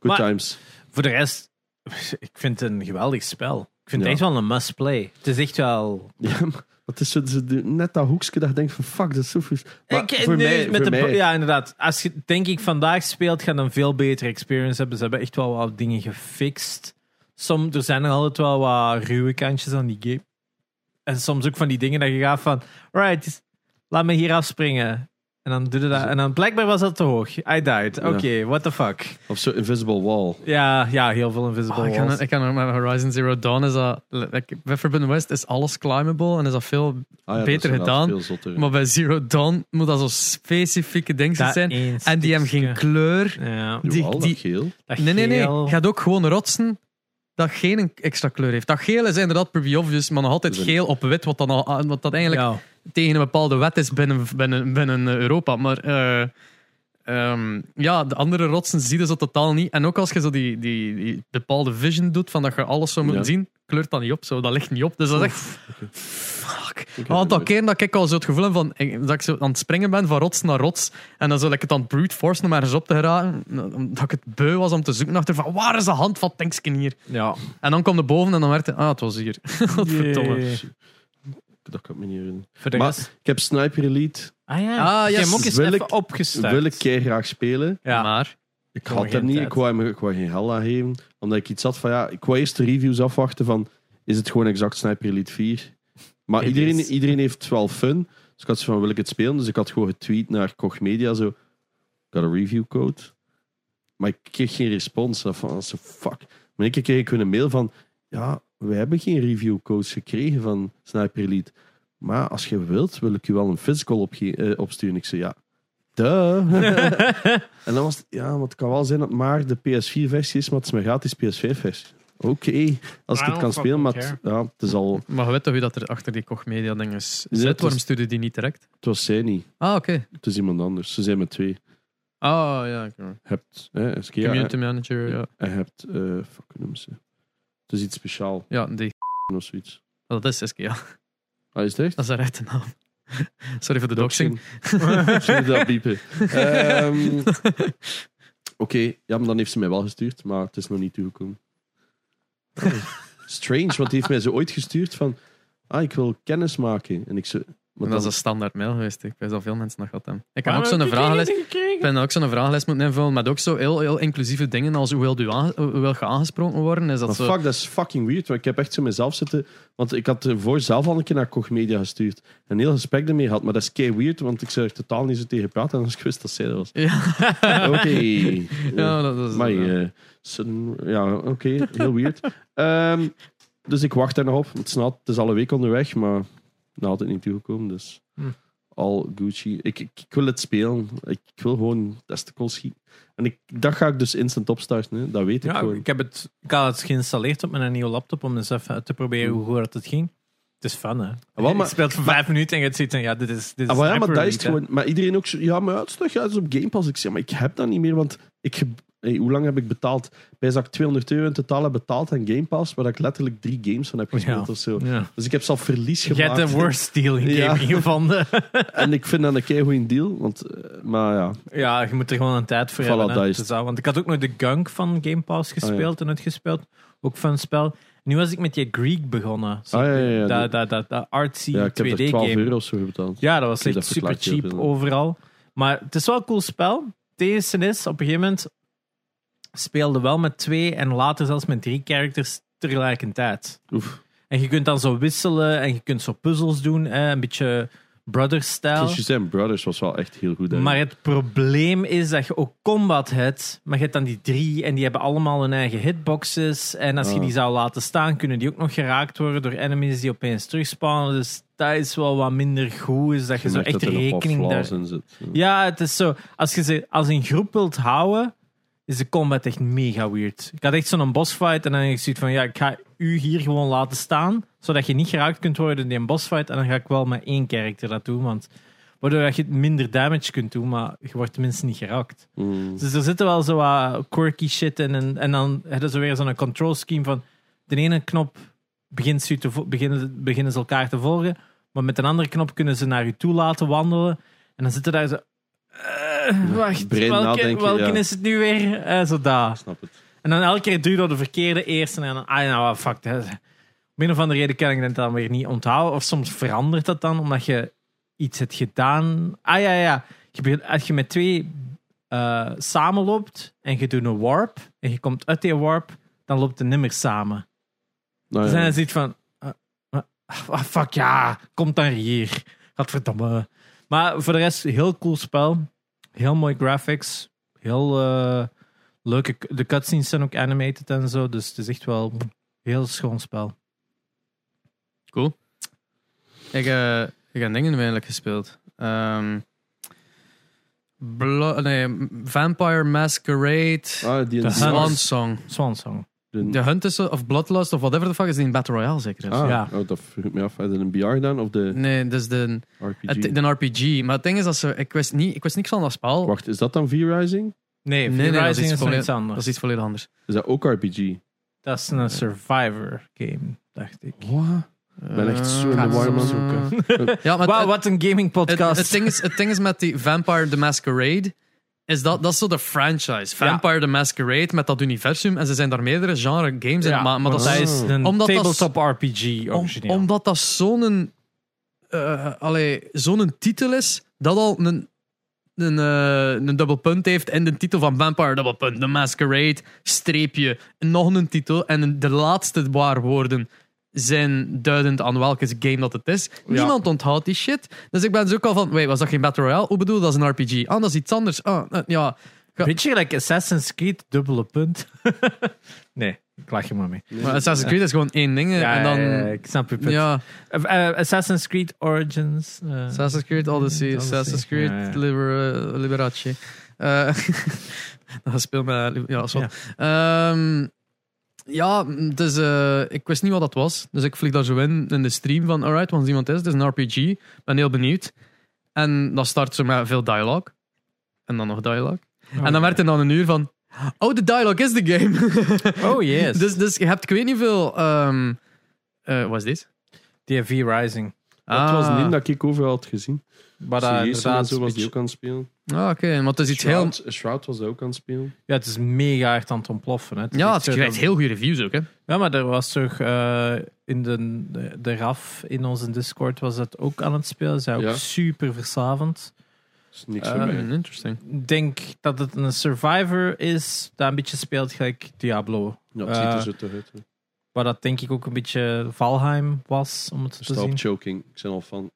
S1: Maar-
S3: times.
S1: Voor de rest, ik vind het een geweldig spel. Ik vind
S3: Ja.
S1: het echt wel een must-play. Het is echt wel...
S3: Ja, maar het is zo, zo die- net dat hoekje dat je denkt van fuck, dat is zo fris. Maar
S1: Ik-
S3: voor
S1: nee,
S3: mij,
S1: met
S3: voor
S1: de-
S3: mij
S1: Ja, inderdaad. Als je, denk ik, vandaag speelt, gaat een veel betere experience hebben. Ze hebben echt wel wat dingen gefixt. Som, er zijn nog altijd wel wat ruwe kantjes aan die game. En soms ook van die dingen dat je gaat van... Right, het is- laat me hier afspringen. En dan doe je dat. En dan blijkbaar was dat te hoog. I died. Oké, what the fuck.
S3: of zo Invisible Wall. Ah
S1: Ja, ja heel veel Invisible
S2: Oh, ik,
S1: Walls.
S2: kan, ik kan met Horizon Zero Dawn is dat. Like, bij Forbidden West is alles climbable en is dat veel.
S3: Ah ja, dat is
S2: Beter
S3: inderdaad
S2: gedaan,
S3: veel zotter.
S2: Maar bij Zero Dawn moet dat zo specifieke dingen
S1: Dat
S2: zijn.
S1: eens
S2: En die hebben geen
S1: stukje.
S2: kleur.
S1: Ja,
S3: Jawel,
S2: die-
S3: dat
S2: die-
S3: geel.
S1: dat
S2: Nee, nee, nee.
S1: geel.
S2: Je gaat ook gewoon rotsen dat geen extra kleur heeft. Dat geel is inderdaad pretty obvious, maar nog altijd
S3: Dus een-
S2: geel op wit, wat, dan al, wat dat eigenlijk
S1: Ja.
S2: tegen een bepaalde wet is binnen, binnen, binnen eh, Europa. Maar eh, ehm, ja, de andere rotsen zie je zo totaal niet. En ook als je zo die, die, die bepaalde vision doet, van dat je alles zou moeten
S3: Ja.
S2: zien, kleurt dat niet op. Zo. Dat ligt niet op. Dus dat is echt... Fuck.
S3: heb
S2: Een aantal
S3: het
S2: keer dat ik al zo het gevoel heb van, ik- dat ik zo aan het springen ben van rots naar rots. En dan zo ik het aan het brute force om ergens op te geraken. Omdat ik het beu was om te zoeken achter van, waar is de hand van Tankskin hier?
S1: ja.
S2: En dan kwam de boven en dan werd het, ah, het was hier. Godverdomme.
S1: Jee.
S3: Dat kan ik me niet herinneren.
S1: Voor de
S3: Maar-
S1: rest...
S3: Ik heb Sniper Elite.
S1: Ah ja,
S2: Ah,
S1: ik heb
S2: yes.
S1: hem ook eens
S3: Wil
S1: even
S3: ik-
S1: opgestart.
S3: Wil ik kei graag spelen.
S1: Ja.
S2: Maar...
S3: Ik
S1: Gewoon
S3: had dat
S1: geen
S3: niet.
S1: tijd.
S3: Ik wou, hem- ik wou geen hel aan geven. Omdat ik iets had van ja, ik wou eerst de reviews afwachten van is het gewoon exact Sniper Elite 4? Maar
S1: It
S3: iedereen,
S1: is.
S3: iedereen heeft wel fun. Dus ik had zo van wil ik het spelen? Dus ik had gewoon getweet naar Koch Media zo. Ik had een review code. Maar ik kreeg geen respons. Dat van, zo fuck. Maar ik kreeg ik hun een mail van ja, we hebben geen review codes gekregen van Sniper Elite. Maar als je wilt, wil ik u wel een physical opge- eh, opsturen. Ik zei ja, duh. En dan was het, ja, want het kan wel zijn dat maar de PS4-versie is, maar het is mijn gratis PS5-versie. Oké, als
S1: I
S3: ik het
S1: don't
S3: kan spelen, maar
S1: fucking
S3: het, ja, het is al...
S2: Maar je weet toch hoe dat er achter die Koch Media ding is?
S3: Ja, het
S2: Zet, waarom
S3: is-
S2: stuurde die niet direct?
S3: Het was zij niet.
S2: Ah, oké.
S3: Het is iemand anders. Ze zijn met twee.
S2: Ah, ja. ik hoor.
S3: Hebt, hè, Skea,
S2: Community manager, ja.
S3: en hebt... eh fuck, hoe noemen ze? Het is iets speciaals
S2: Ja, die. Oh,
S3: of zoiets.
S2: Dat is SK, ja.
S3: Ah, is het echt?
S2: Dat is haar echte naam. Sorry voor de doxing.
S3: Zullen we dat piepen? Ehm, Oké, ja, maar dan heeft ze mij wel gestuurd, maar het is nog niet toegekomen. Oh, strange, want die heeft mij zo ooit gestuurd van... Ah, ik wil kennis maken. En ik zo... Maar
S2: Maar dat is
S3: dan-
S2: een standaard mail geweest. Ik weet dat veel mensen nog gehad hebben. Ik heb
S3: Ah,
S1: Waarom
S2: ook
S1: heb
S2: zo'n
S1: ik Ah, die
S2: vragenlijst.
S1: niet gekregen?
S2: Ik ben ook zo'n vragenlijst moeten invullen, maar ook zo heel, heel inclusieve dingen als hoe wil, u aange- hoe wil je aangesproken worden? Is dat
S3: Maar
S2: zo?
S3: fuck, dat is fucking weird. Want ik heb echt zo mezelf zitten... Want ik had ervoor zelf al een keer naar Koch Media gestuurd. Een heel gesprek ermee gehad. Maar dat is kei weird, want ik zou er totaal niet zo tegen praten. Anders ik wist dat zij dat was.
S2: Ja,
S3: Oké.
S2: ja dat, dat is
S3: Maar
S2: ja.
S3: eh, sudden- ja, oké, heel weird. Ehm, dus ik wacht daar nog op. Het is, na- het is al een week onderweg, maar nog altijd niet toegekomen. Dus
S1: Hm.
S3: al Gucci. Ik, ik, ik wil het spelen. Ik, ik wil gewoon testicles schieten. En ik, dat ga ik dus instant opstarten. Hè. Dat weet ik
S1: Ja,
S3: gewoon.
S1: ik, heb het, ik had het geïnstalleerd op mijn nieuwe laptop om eens even te proberen hoe goed dat het ging. Het is fun, hè?
S3: Ah, wel, maar-
S1: je speelt voor vijf minuten en je ziet en ja, dit is. Dit is
S3: Ah, maar ja, maar dat is
S1: hyperrelate,
S3: het
S1: hè.
S3: gewoon. Maar iedereen ook zo. Ja, maar ja, het is toch ja, het is op Game Pass. Ik zeg, maar ik heb dat niet meer, want ik. heb- hey, hoe lang heb ik betaald? Bij zak 200 euro in totaal heb betaald aan Game Pass, waar ik letterlijk drie games van heb gespeeld
S1: Ja.
S3: of zo.
S1: Ja.
S3: Dus ik heb zelf verlies
S1: Je
S3: gemaakt.
S1: hebt de worst deal in
S3: Ja.
S1: gaming gevonden.
S3: En ik vind dat een kei goede deal. Want, eh, maar ja,
S1: Ja, je moet er gewoon een tijd voor
S3: Voilà,
S1: hebben. hè.
S3: dat is Oh,
S1: Het
S3: het.
S1: dat. want ik had ook nog de Gunk van Game Pass gespeeld en uitgespeeld. Ook van spel. Nu was ik met die Greek begonnen. Zo,
S3: Ah, ja, ja, ja.
S1: Dat, dat, dat, dat artsy
S3: ja ik heb er
S1: 2D
S3: 12
S1: game.
S3: euro's voor betaald.
S1: Ja, dat was
S3: Oké,
S1: echt
S3: dat
S1: super
S3: verklaart heel
S1: cheap
S3: veel.
S1: overal. Maar het is wel een cool spel. TSNS op een gegeven moment speelde wel met twee en later zelfs met drie characters tegelijkertijd.
S3: Oef,
S1: En je kunt dan zo wisselen en je kunt zo puzzels doen. Hè, een beetje brother-style.
S3: Kiss Your Brothers was wel echt heel goed. hè.
S1: Maar het probleem is dat je ook combat hebt, maar je hebt dan die drie en die hebben allemaal hun eigen hitboxes. En als je
S3: Ah.
S1: die zou laten staan, kunnen die ook nog geraakt worden door enemies die opeens terugspawnen. Dus dat is wel wat minder goed, is dat je,
S3: Je
S1: zo
S3: merkt
S1: echt
S3: dat er nog wat
S1: rekening daar...
S3: flaws in zit.
S1: Ja, het is zo. Als je ze als een groep wilt houden, is de combat echt mega weird. Ik had echt zo'n bossfight en dan heb ik zoiets van, ja, ik ga u hier gewoon laten staan, zodat je niet geraakt kunt worden in die bossfight. En dan ga ik wel met één character dat doen, want waardoor dat je minder damage kunt doen, maar je wordt tenminste niet geraakt.
S3: Mm.
S1: Dus er zitten wel zo wat quirky shit in. En, en dan hebben ze weer zo'n control scheme van de ene knop begint ze te vo- beginnen, beginnen ze elkaar te volgen, maar met een andere knop kunnen ze naar u toe laten wandelen. En dan zitten daar zo. eh, wacht,
S3: breed
S1: welke,
S3: nadenken,
S1: welke
S3: ja.
S1: is het nu weer? Eh, zo daar.
S3: Ik snap het.
S1: En dan elke keer duw je door de verkeerde eerste. En dan, ah nou, ah, fuck. Dat. Om een of andere reden kan ik dat dan weer niet onthouden. Of soms verandert dat dan, omdat je iets hebt gedaan. Ah ja, ja. Je begint- als je met twee eh, samenloopt en je doet een warp. En je komt uit die warp, dan loopt het nimmer samen.
S3: Nou,
S1: Dus
S3: ja.
S1: dan is het iets van... eh, eh, ah, fuck ja, kom dan hier. Gadverdamme. Maar voor de rest, heel cool spel. Heel mooi graphics. Heel eh, leuke... De cutscenes zijn ook animated en zo. Dus het is echt wel een heel schoon spel.
S2: Cool. Ik, eh, ik heb dingen eindelijk gespeeld. Ehm, Blo- nee, Vampire Masquerade.
S3: Ah,
S1: De
S3: die die-
S1: Hunt.
S2: Swan Song.
S1: Swansong.
S3: die-
S2: De Hunt is zo- of Bloodlust of whatever the fuck is die in Battle Royale zeker. is?
S3: Ah,
S1: Ja.
S3: oh, dat vroeg me af. Hadden een BR gedaan of de
S2: Nee, dat is de,
S3: RPG?
S2: het, de RPG. Maar het ding is dat ze, ik wist, niet, ik wist niks van dat spel.
S3: Wacht, is dat dan V-Rising?
S1: Nee,
S2: Nee, nee, dat is
S1: Rising
S2: iets
S1: is nog
S2: compleet-
S1: iets
S2: Dat
S1: anders.
S2: is iets volledig anders.
S3: Is dat ook RPG?
S1: Dat is een survivor game, dacht ik.
S3: Wat? ben echt zo in
S1: Eh, Ga
S3: de
S1: het
S3: war, man.
S1: eens opzoeken.
S2: Ja, maar het-
S1: Wauw, wat een gaming
S2: het,
S1: podcast.
S2: het, ding is, het ding is met die Vampire the Masquerade. Is dat, dat is zo de franchise. Vampire the Masquerade met dat universum. En ze zijn daar meerdere genre games in. Maar, maar dat,
S1: zij
S2: is,
S1: is een
S2: Omdat dat-
S1: tabletop RPG
S2: om-
S1: origineel.
S2: omdat dat zo'n eh, allee, zo'n titel is, dat al een, een, eh, een dubbel punt heeft en de titel van Vampire dubbel punt, The Masquerade, streepje, nog een titel en een- de laatste waar woorden zijn duidend aan welke game dat het is. Niemand onthoudt die shit. Dus ik ben dus ook al van, wait, was dat geen Battle Royale? Hoe bedoel, dat is een RPG. Ah, dat is iets anders. Ah, eh, ja. Ga-
S1: Weet je, like Assassin's Creed, dubbele punt. nee, ik lach je maar mee.
S2: Maar Assassin's Creed is gewoon één ding. eh,
S1: Ja,
S2: en dan,
S1: ja, ja, ik snap je punt.
S2: ja.
S1: Eh, eh, Assassin's Creed Origins. eh,
S2: Assassin's Creed Odyssey,
S1: Odyssey.
S2: Assassin's Creed
S1: Ja, ja.
S2: Liber- eh, Liberace. Eh, dat speel met... eh, Ja, zo.
S1: Ja.
S2: Ehm, Ja, mm, het is, eh, ik wist niet wat dat was. Dus ik vlieg daar zo in, in de stream van, alright, want iemand is, het is een RPG. Ik ben heel benieuwd. En dan start ze met veel dialoog. En dan nog dialoog. en dan werd er dan een uur van, oh, de dialoog is de game.
S1: Oh yes.
S2: dus, dus je hebt, ik weet niet veel... ehm eh, wat is dit?
S1: DFV Rising.
S3: Dat was niet
S2: Ah.
S3: dat ik overal had gezien.
S1: Maar
S3: Sierra
S1: dat
S3: en
S1: inderdaad.
S3: zo was die
S1: beetje-
S3: ook aan het spelen.
S2: Ah, oké. Want het is iets heel...
S3: Shroud, Shroud was ook aan het spelen.
S1: Ja, het is mega hard aan het ontploffen. Hè. Het is
S2: Ja,
S1: echt
S2: het
S1: zo
S2: krijgt
S1: dat-
S2: heel goede reviews ook, hè.
S1: Ja, maar er was toch eh, in de, de, de RAF in onze Discord was dat ook aan het spelen. Zij ook
S3: Ja.
S1: super verslavend.
S3: Dat is niks
S1: Eh,
S3: voor mij.
S2: Hmm, interesting.
S1: Ik denk dat het een survivor is dat een beetje speelt gelijk Diablo.
S3: Ja, het ziet er
S1: eh,
S3: zo toch uit. hè.
S1: Waar dat denk ik ook een beetje Valheim was, om het te
S3: Stop
S1: zien.
S3: choking. Ik ben al van.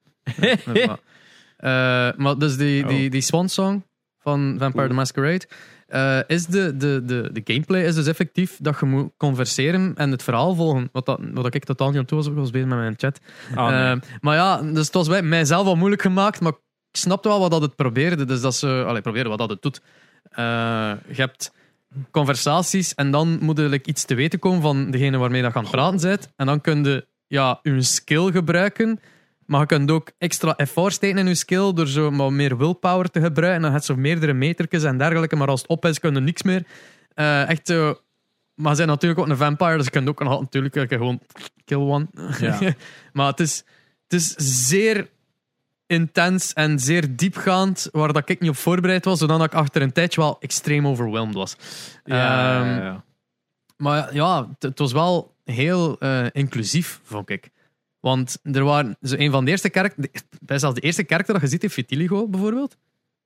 S2: Eh, maar dus die, die, die swansong van Vampire the Masquerade. eh, is de, de, de, de gameplay is dus effectief dat je moet converseren en het verhaal volgen. Wat, dat, wat ik totaal niet aan toe was, ik was bezig met mijn chat.
S1: Ah, nee.
S2: Eh, maar ja, dus het was bij mijzelf al moeilijk gemaakt, maar ik snapte wel wat dat het probeerde. Dus dat ze, allee, probeerde wat dat het doet. Eh, je hebt conversaties en dan moet er like, iets te weten komen van degene waarmee dat je aan het praten bent. En dan kun je ja, je skill gebruiken, maar je kunt ook extra effort steken in je skill door zo maar meer willpower te gebruiken. En dan heb je zo meerdere metertjes en dergelijke, maar als het op is, kun je niks meer. Eh, echt zo... Maar ze zijn natuurlijk ook een vampire, dus je kunt ook nog natuurlijk eh, gewoon kill one.
S1: Ja.
S2: maar het is, het is zeer intens en zeer diepgaand, waar dat ik niet op voorbereid was, zodat ik achter een tijdje wel extreem overwhelmed was.
S1: Ja,
S2: Ehm,
S1: ja, ja, ja.
S2: Maar ja, het, het was wel heel eh, inclusief, vond ik. Want er waren zo een van de eerste kerken, zelfs de eerste kerk dat je ziet in Vitiligo bijvoorbeeld.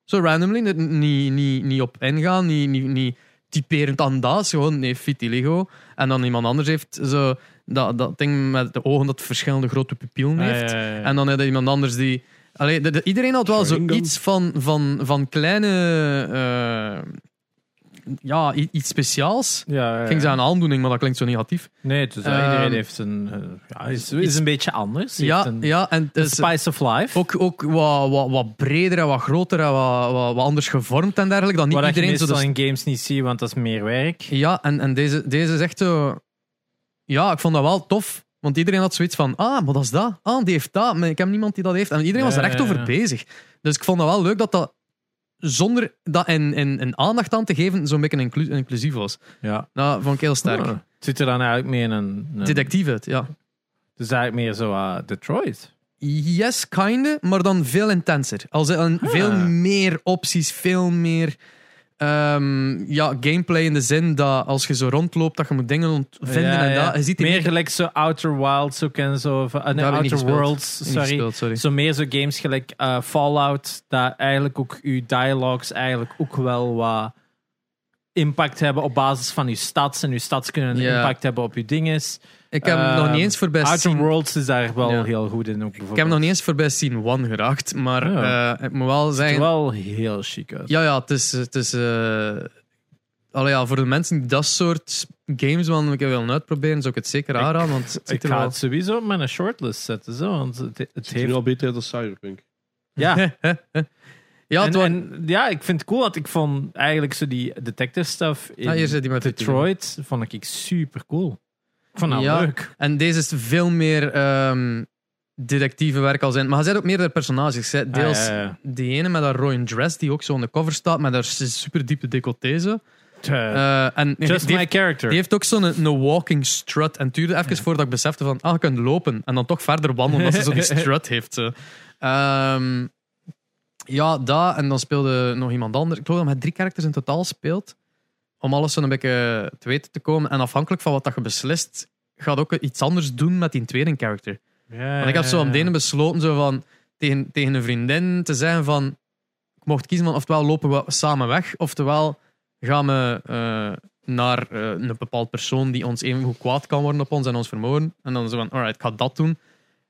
S2: Zo randomly, niet niet niet- niet op ingaan, niet niet niet typerend aan dat, gewoon nee, Vitiligo. En dan iemand anders heeft zo dat, dat ding met de ogen dat verschillende grote pupillen
S1: Ah,
S2: heeft.
S1: ja, ja, ja.
S2: En dan had je iemand anders die. Allee, de- de- iedereen had wel
S3: Sharingan.
S2: zoiets van, van, van kleine. eh, ja, i- iets speciaals.
S1: Ja, ja, ja.
S2: Ging ze aan aandoening, maar dat klinkt zo negatief.
S1: Nee, dus
S2: Ehm,
S1: iedereen heeft een... eh, ja, is, is een beetje anders. Heeft
S2: Ja,
S1: een,
S2: ja, en het
S1: een
S2: is
S1: spice of life.
S2: ook, ook wat, wat, wat breder en wat groter en wat, wat, wat anders gevormd en dergelijke. Dan niet
S1: wat
S2: iedereen
S1: je
S2: zo.
S1: meestal
S2: de-
S1: in games niet ziet, want dat is meer werk.
S2: Ja, en, en deze, deze is echt zo. Ja, ik vond dat wel tof. Want iedereen had zoiets van: ah, maar dat is dat. Ah, die heeft dat. Maar ik heb niemand die dat heeft. En iedereen was er
S1: Ja,
S2: echt
S1: ja,
S2: over
S1: ja.
S2: bezig. Dus ik vond dat wel leuk dat dat. Zonder dat in, in, in aandacht aan te geven, zo'n beetje inclu- inclusief was.
S1: Ja.
S2: Dat vond ik heel sterk.
S1: Ah. Het ziet er dan eigenlijk meer in een... een
S2: Detectief uit, ja.
S1: Het is eigenlijk meer zo ah, Detroit.
S2: Yes, kinda, maar dan veel intenser. Als in
S1: Ah.
S2: veel meer opties, veel meer ehm, ja, gameplay in de zin dat als je zo rondloopt, dat je moet dingen ontvinden
S1: Ja,
S2: en
S1: ja.
S2: dat. Je ziet die
S1: meer gelijk zo Outer Wilds ook en zo. van- ah, nee,
S2: Daar heb ik niet
S1: Outer
S2: gespeeld.
S1: Worlds,
S2: Niet
S1: sorry.
S2: gespeeld, sorry.
S1: Zo meer zo games gelijk eh, Fallout, dat eigenlijk ook uw dialogues eigenlijk ook wel wat impact hebben op basis van uw stads. En uw stads kunnen een
S2: Ja.
S1: impact hebben op uw dinges.
S2: Ik heb
S1: Ehm,
S2: nog niet eens voorbij
S1: Outer
S2: Scene...
S1: Worlds is daar wel
S2: Ja.
S1: heel goed in. Ook,
S2: Ik heb nog niet eens voorbij Scene 1 geraakt, maar
S1: Ja.
S2: eh, ik moet wel
S1: Het ziet
S2: zeggen...
S1: er wel heel chic uit.
S2: Ja, ja, het is... Het is eh, allee, ja, voor de mensen die dat soort games wel een keer willen uitproberen, zou ik het zeker aanraden, want het ziet
S1: Ik
S2: er
S1: ga
S2: wel...
S1: het sowieso op mijn shortlist zetten. Zo, want het, het
S3: Het ziet er
S1: heeft...
S3: wel beter uit dan Cyberpunk.
S1: Ja,
S2: Ja,
S1: en,
S2: het wa-
S1: en- ja, ik vind het cool, want ik vond eigenlijk zo die detective stuff in
S2: Ah, hier zit die met
S1: Detroit vond ik super cool. Ik vond dat
S2: Ja.
S1: leuk.
S2: En deze is veel meer ehm detectieve werk al zijn. Maar hij zet ook meerdere personages. hè. Deels
S1: Ah, ja, ja.
S2: die ene met haar rode dress, die ook zo undercover staat, met haar super diepe decolleté. zo.
S1: Tja,
S2: Eh, en die,
S1: Just
S2: die
S1: my
S2: heeft,
S1: character.
S2: die heeft ook zo'n een walking strut. En het duurde even voordat ik besefte van, ah, je kunt lopen. En dan toch verder wandelen, omdat ze zo die strut heeft. zo. Ehm, ja, dat. En dan speelde nog iemand anders. Ik geloof dat hij met drie karakters in totaal speelt. Om alles zo'n beetje te weten te komen. En afhankelijk van wat dat je beslist, gaat ook iets anders doen met die tweede character.
S1: Ja,
S2: Want ik had
S1: ja,
S2: zo aan
S1: ja.
S2: het einde besloten zo van, tegen, tegen een vriendin te zeggen van... Ik mocht kiezen van oftewel lopen we samen weg, oftewel gaan we eh, naar eh, een bepaald persoon die ons even goed kwaad kan worden op ons en ons vermoorden. En dan zo van, alright, ik ga dat doen.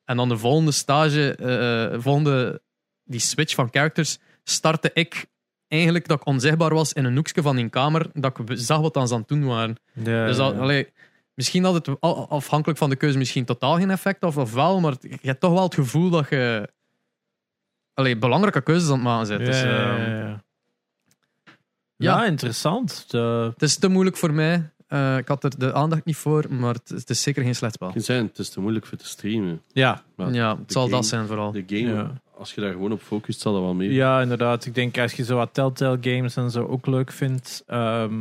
S2: En dan de volgende stage, eh, eh, volgende die switch van characters, startte ik eigenlijk dat ik onzichtbaar was in een hoekje van die kamer, dat ik zag wat aan ze aan het doen waren.
S1: Ja,
S2: Dus dat,
S1: ja.
S2: allee, misschien had het al- afhankelijk van de keuze misschien totaal geen effect, of, of wel, maar het- je hebt toch wel het gevoel dat je allee, belangrijke keuzes aan het maken
S1: Ja,
S2: bent. Dus,
S1: ja, ja,
S2: ehm,
S1: ja. Ja, interessant. De-
S2: het is te moeilijk voor mij. Eh, ik had er de aandacht niet voor, maar het, is- het is zeker geen slecht spel.
S3: Het zijn, het is te moeilijk voor te streamen.
S1: Ja.
S3: Ja,
S2: Ja, het zal
S3: game-
S2: dat zijn vooral.
S3: De game,
S1: Ja.
S3: als je daar gewoon op focust, zal dat wel mee.
S1: ja, inderdaad. Ik denk als je zo wat Telltale games en zo ook leuk vindt, ehm,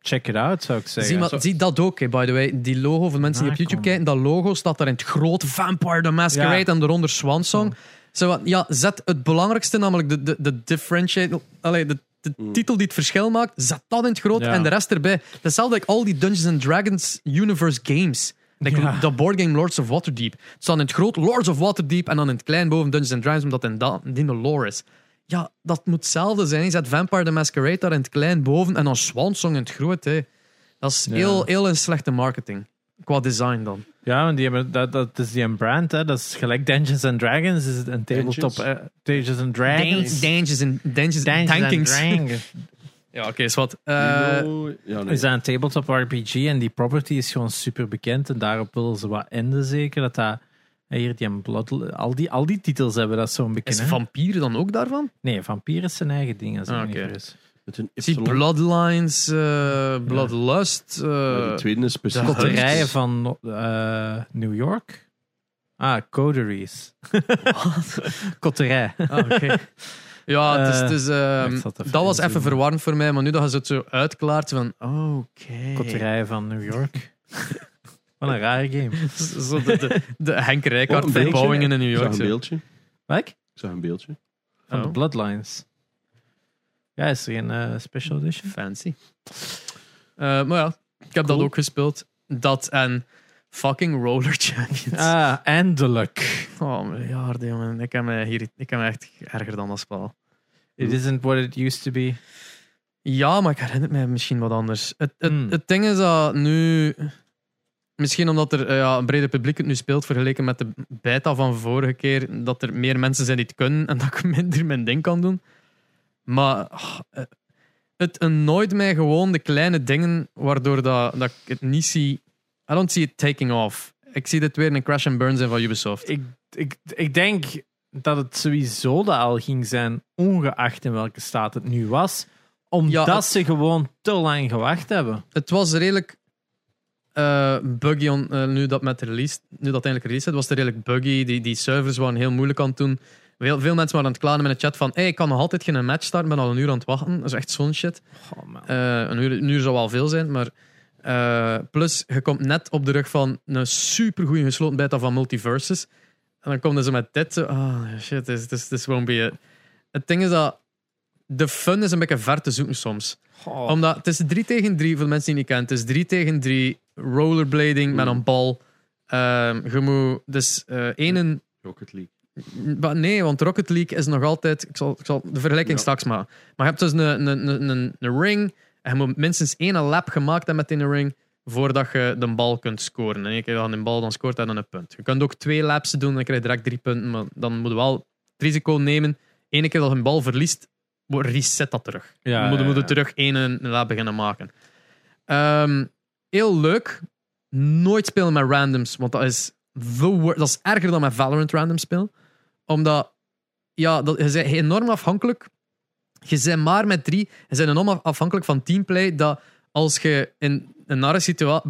S1: check it out zou ik zeggen.
S2: Zie, maar,
S1: Zo-
S2: zie dat ook, hè, by the way. Die logo, voor de mensen die op YouTube
S1: Nakomen.
S2: kijken, dat logo staat daar in het groot Vampire the Masquerade
S1: Ja.
S2: en daaronder Swansong. Zo wat, ja, zet het belangrijkste, namelijk de, de, de differentiate... Allee, de, de
S3: Mm.
S2: titel die het verschil maakt, zet dat in het groot
S1: Ja.
S2: en de rest erbij. Dat is Hetzelfde like al die Dungeons and Dragons universe games. Like
S1: Ja.
S2: Dat board game Lords of Waterdeep. Het staat in het groot Lords of Waterdeep en dan in het klein boven Dungeons and Dragons, omdat het in da- in de lore is. Ja, dat moet hetzelfde zijn. Je zet Vampire the Masquerade daar in het klein boven en dan Swansong in het groot. Hè. Dat is
S1: Ja.
S2: heel, heel een slechte marketing. Qua design dan.
S1: Ja, want die hebben, dat, dat is die een brand, hè. dat is gelijk Dungeons and Dragons, is het een tabletop. eh, Dungeons and Dragons.
S2: Dangers en Dangers en
S1: Dungeons and
S2: Tankings.
S1: Dragons.
S2: Ja, oké, is wat. eh,
S3: Ja, nee.
S1: Is dat een tabletop RPG en die property is gewoon super bekend en daarop willen ze wat enden zeker. Dat dat, hier die een blood, al, die, al die titels hebben dat zo'n
S2: Is
S1: bekende.
S2: vampieren dan ook daarvan?
S1: Nee, vampier is zijn eigen ding. Als ik
S2: Ah,
S1: me niet
S2: oké.
S1: vergis.
S3: Met een
S2: Ik zie
S3: Y.
S2: Bloodlines, eh, Bloodlust. eh,
S3: Ja, die tweede is
S1: De
S3: speciaal.
S1: koterijen van eh, New York. Ah, coteries. Koterij.
S2: Ah, oké. Ja, het is,
S1: Eh,
S2: het is, ehm,
S1: ik zat even
S2: dat was
S1: inzoomen.
S2: even verwarrend voor mij, maar nu dat je het zo uitklaart, van oh, oké.
S1: Koterijen van New York. Wat een rare game.
S2: Zo de, de, de Henk
S3: Oh,
S2: Rijkaard
S3: een beeldje.
S2: verbouwingen in New
S3: Ik
S2: York.
S3: zag
S2: zo.
S3: een beeldje.
S1: Wat?
S3: Ik zag een beeldje.
S1: Van de
S2: Oh.
S1: Bloodlines. Ja, is er een eh, special edition?
S2: Fancy. Eh, maar ja, ik heb dat
S3: Cool.
S2: ook gespeeld. Dat en fucking Roller Champions.
S1: Ah, eindelijk.
S2: Oh, miljarden, jongen. Ik heb, me hier, ik heb me echt erger dan dat spel.
S1: It isn't what it used to be.
S2: Ja, maar ik herinner mij misschien wat anders. Het, het,
S1: Hmm.
S2: het ding is dat nu... Misschien omdat er eh, ja, een breder publiek het nu speelt vergeleken met de beta van vorige keer, dat er meer mensen zijn die het kunnen en dat ik minder mijn ding kan doen. Maar ah, eh, het annoyt mij gewoon de kleine dingen waardoor dat, dat ik het niet zie. I don't see it taking off. Ik zie dit weer een crash and burn zijn van Ubisoft.
S1: Ik, ik, ik denk dat het sowieso dat al ging zijn, ongeacht in welke staat het nu was. Omdat
S2: Ja, het-
S1: ze gewoon te lang gewacht hebben.
S2: het was redelijk eh, buggy on, eh, nu dat met de release, nu dat eindelijk release is, was het redelijk buggy. Die, die servers waren heel moeilijk aan het doen. Veel, veel mensen waren aan het klagen in de chat van hey, ik kan nog altijd geen match starten, ben al een uur aan het wachten. Dat is echt zo'n shit.
S1: Oh man.
S2: Eh, een, uur, een uur zou wel veel zijn, maar. eh, plus, je komt net op de rug van een supergoeie gesloten beta van Multiverses. En dan komen ze met dit. zo, Ah, shit, het is- het is- het is gewoon bij Het ding is dat. De fun is een beetje ver te zoeken soms.
S1: Oh.
S2: Omdat het is 3 tegen 3, voor de mensen die het niet kennen. Het is 3 tegen 3, rollerblading met een bal. Ehm je moet dus eh één
S3: Rocket League.
S2: maar Nee, want Rocket League is nog altijd. Ik zal, ik zal de vergelijking
S3: Ja.
S2: straks maken. Maar je hebt dus een, een, een, een, een ring. En je moet minstens één lap gemaakt hebben met die ring. voordat je de bal kunt scoren. En één keer dan een bal dan scoort en dan een punt. Je kunt ook twee laps doen en dan krijg je direct drie punten. Maar dan moet je wel het risico nemen. Eén keer dat je een bal verliest, wordt- reset dat terug.
S1: Ja,
S2: je moet,
S1: ja,
S2: moet
S1: ja.
S2: het terug één en een lap beginnen maken. Ehm, heel leuk. Nooit spelen met randoms, want dat is, the wor- dat is erger dan met Valorant random spelen omdat ja, dat, je bent enorm afhankelijk. Je bent maar met drie. Je bent enorm af- afhankelijk van teamplay. Dat als je in een nare situa-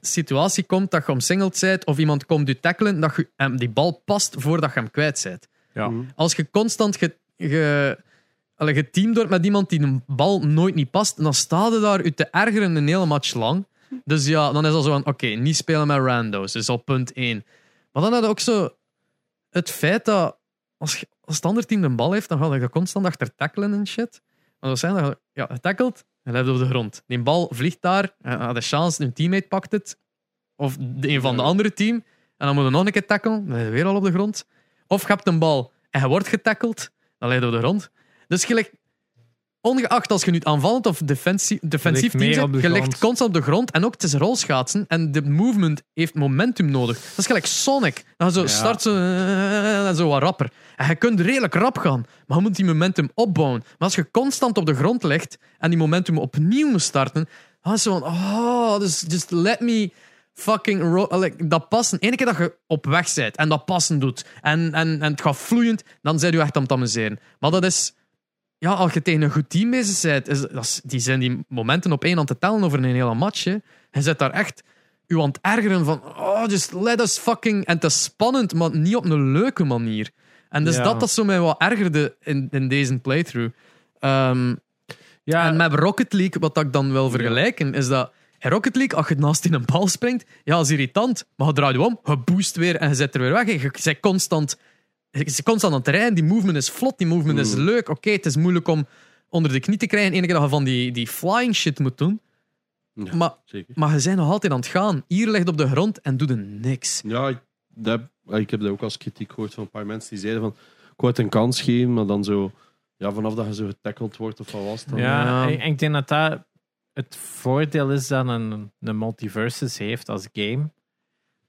S2: situatie komt, dat je omsingeld bent of iemand komt je tackelen, dat je hem die bal past voordat je hem kwijt bent.
S1: Ja.
S2: Als je constant ge, ge, allee, geteamd wordt met iemand die een bal nooit niet past, dan staat je daar u te ergeren een hele match lang. Dus ja, dan is dat zo van, oké, niet spelen met randos. Dat is al punt één. Maar dan had je ook zo het feit dat als, je- als het andere team de bal heeft, dan ga je constant achter tackelen en shit. Maar dat zijn dat je- ja, getackeld en hij blijft op de grond. Die bal vliegt daar, en had de chance, een teammate pakt het. Of de, een van de
S3: Ja.
S2: andere team. En dan moet je nog een keer tackelen, dan ben je weer al op de grond. Of je hebt een bal en je wordt getackeld, dan ligt je op de grond. Dus je ligt, ongeacht als je nu het aanvallend of defensie, defensief
S1: ligt
S2: team
S1: meer
S2: zit,
S1: op de
S2: je ligt
S1: grond.
S2: constant op de grond. En ook het is rolschaatsen en de movement heeft momentum nodig. Dat is gelijk Sonic. Dan zo
S1: Ja.
S2: start zo, eh, en zo wat rapper. En je kunt redelijk rap gaan, maar je moet die momentum opbouwen. Maar als je constant op de grond ligt en die momentum opnieuw moet starten, dan is het zo van, oh, dus just let me fucking ro- like, dat passen. Eén keer dat je op weg bent en dat passen doet en, en, en het gaat vloeiend, dan zijn je echt aan het amuseren. Maar dat is ja, als je tegen een goed team bezig bent, is, dat is- die zijn die momenten op één hand te tellen over een hele match. hè. Je zit daar echt u aan het ergeren van, oh, just let us fucking... En het is spannend, maar niet op een leuke manier. En dus
S1: Ja.
S2: dat dat zo mij wat ergerde in, in deze playthrough. Ehm,
S1: Ja,
S2: en met Rocket League, wat dat ik dan wil vergelijken, is dat in Rocket League, als je naast in een bal springt, ja, dat is irritant, maar je draait je om, je boost weer en je zet er weer weg. Je bent constant, je bent constant aan het rijden, die movement is vlot, die movement is
S3: Mm.
S2: leuk. Oké, het is moeilijk om onder de knie te krijgen, enige dat je van die, die flying shit moet doen,
S3: Ja,
S2: maar,
S3: zeker.
S2: maar je bent nog altijd aan het gaan. Hier ligt op de grond en doet er niks.
S3: Ja, ik, dat, ah, ik heb dat ook als kritiek gehoord van een paar mensen die zeiden van ik wou het een kans geven, maar dan zo ja, vanaf dat je zo getackeld wordt of wat was het dan. eh,
S1: Ja,
S2: Ja.
S1: ik, ik denk dat dat het voordeel is dat een, een multiversus heeft als game.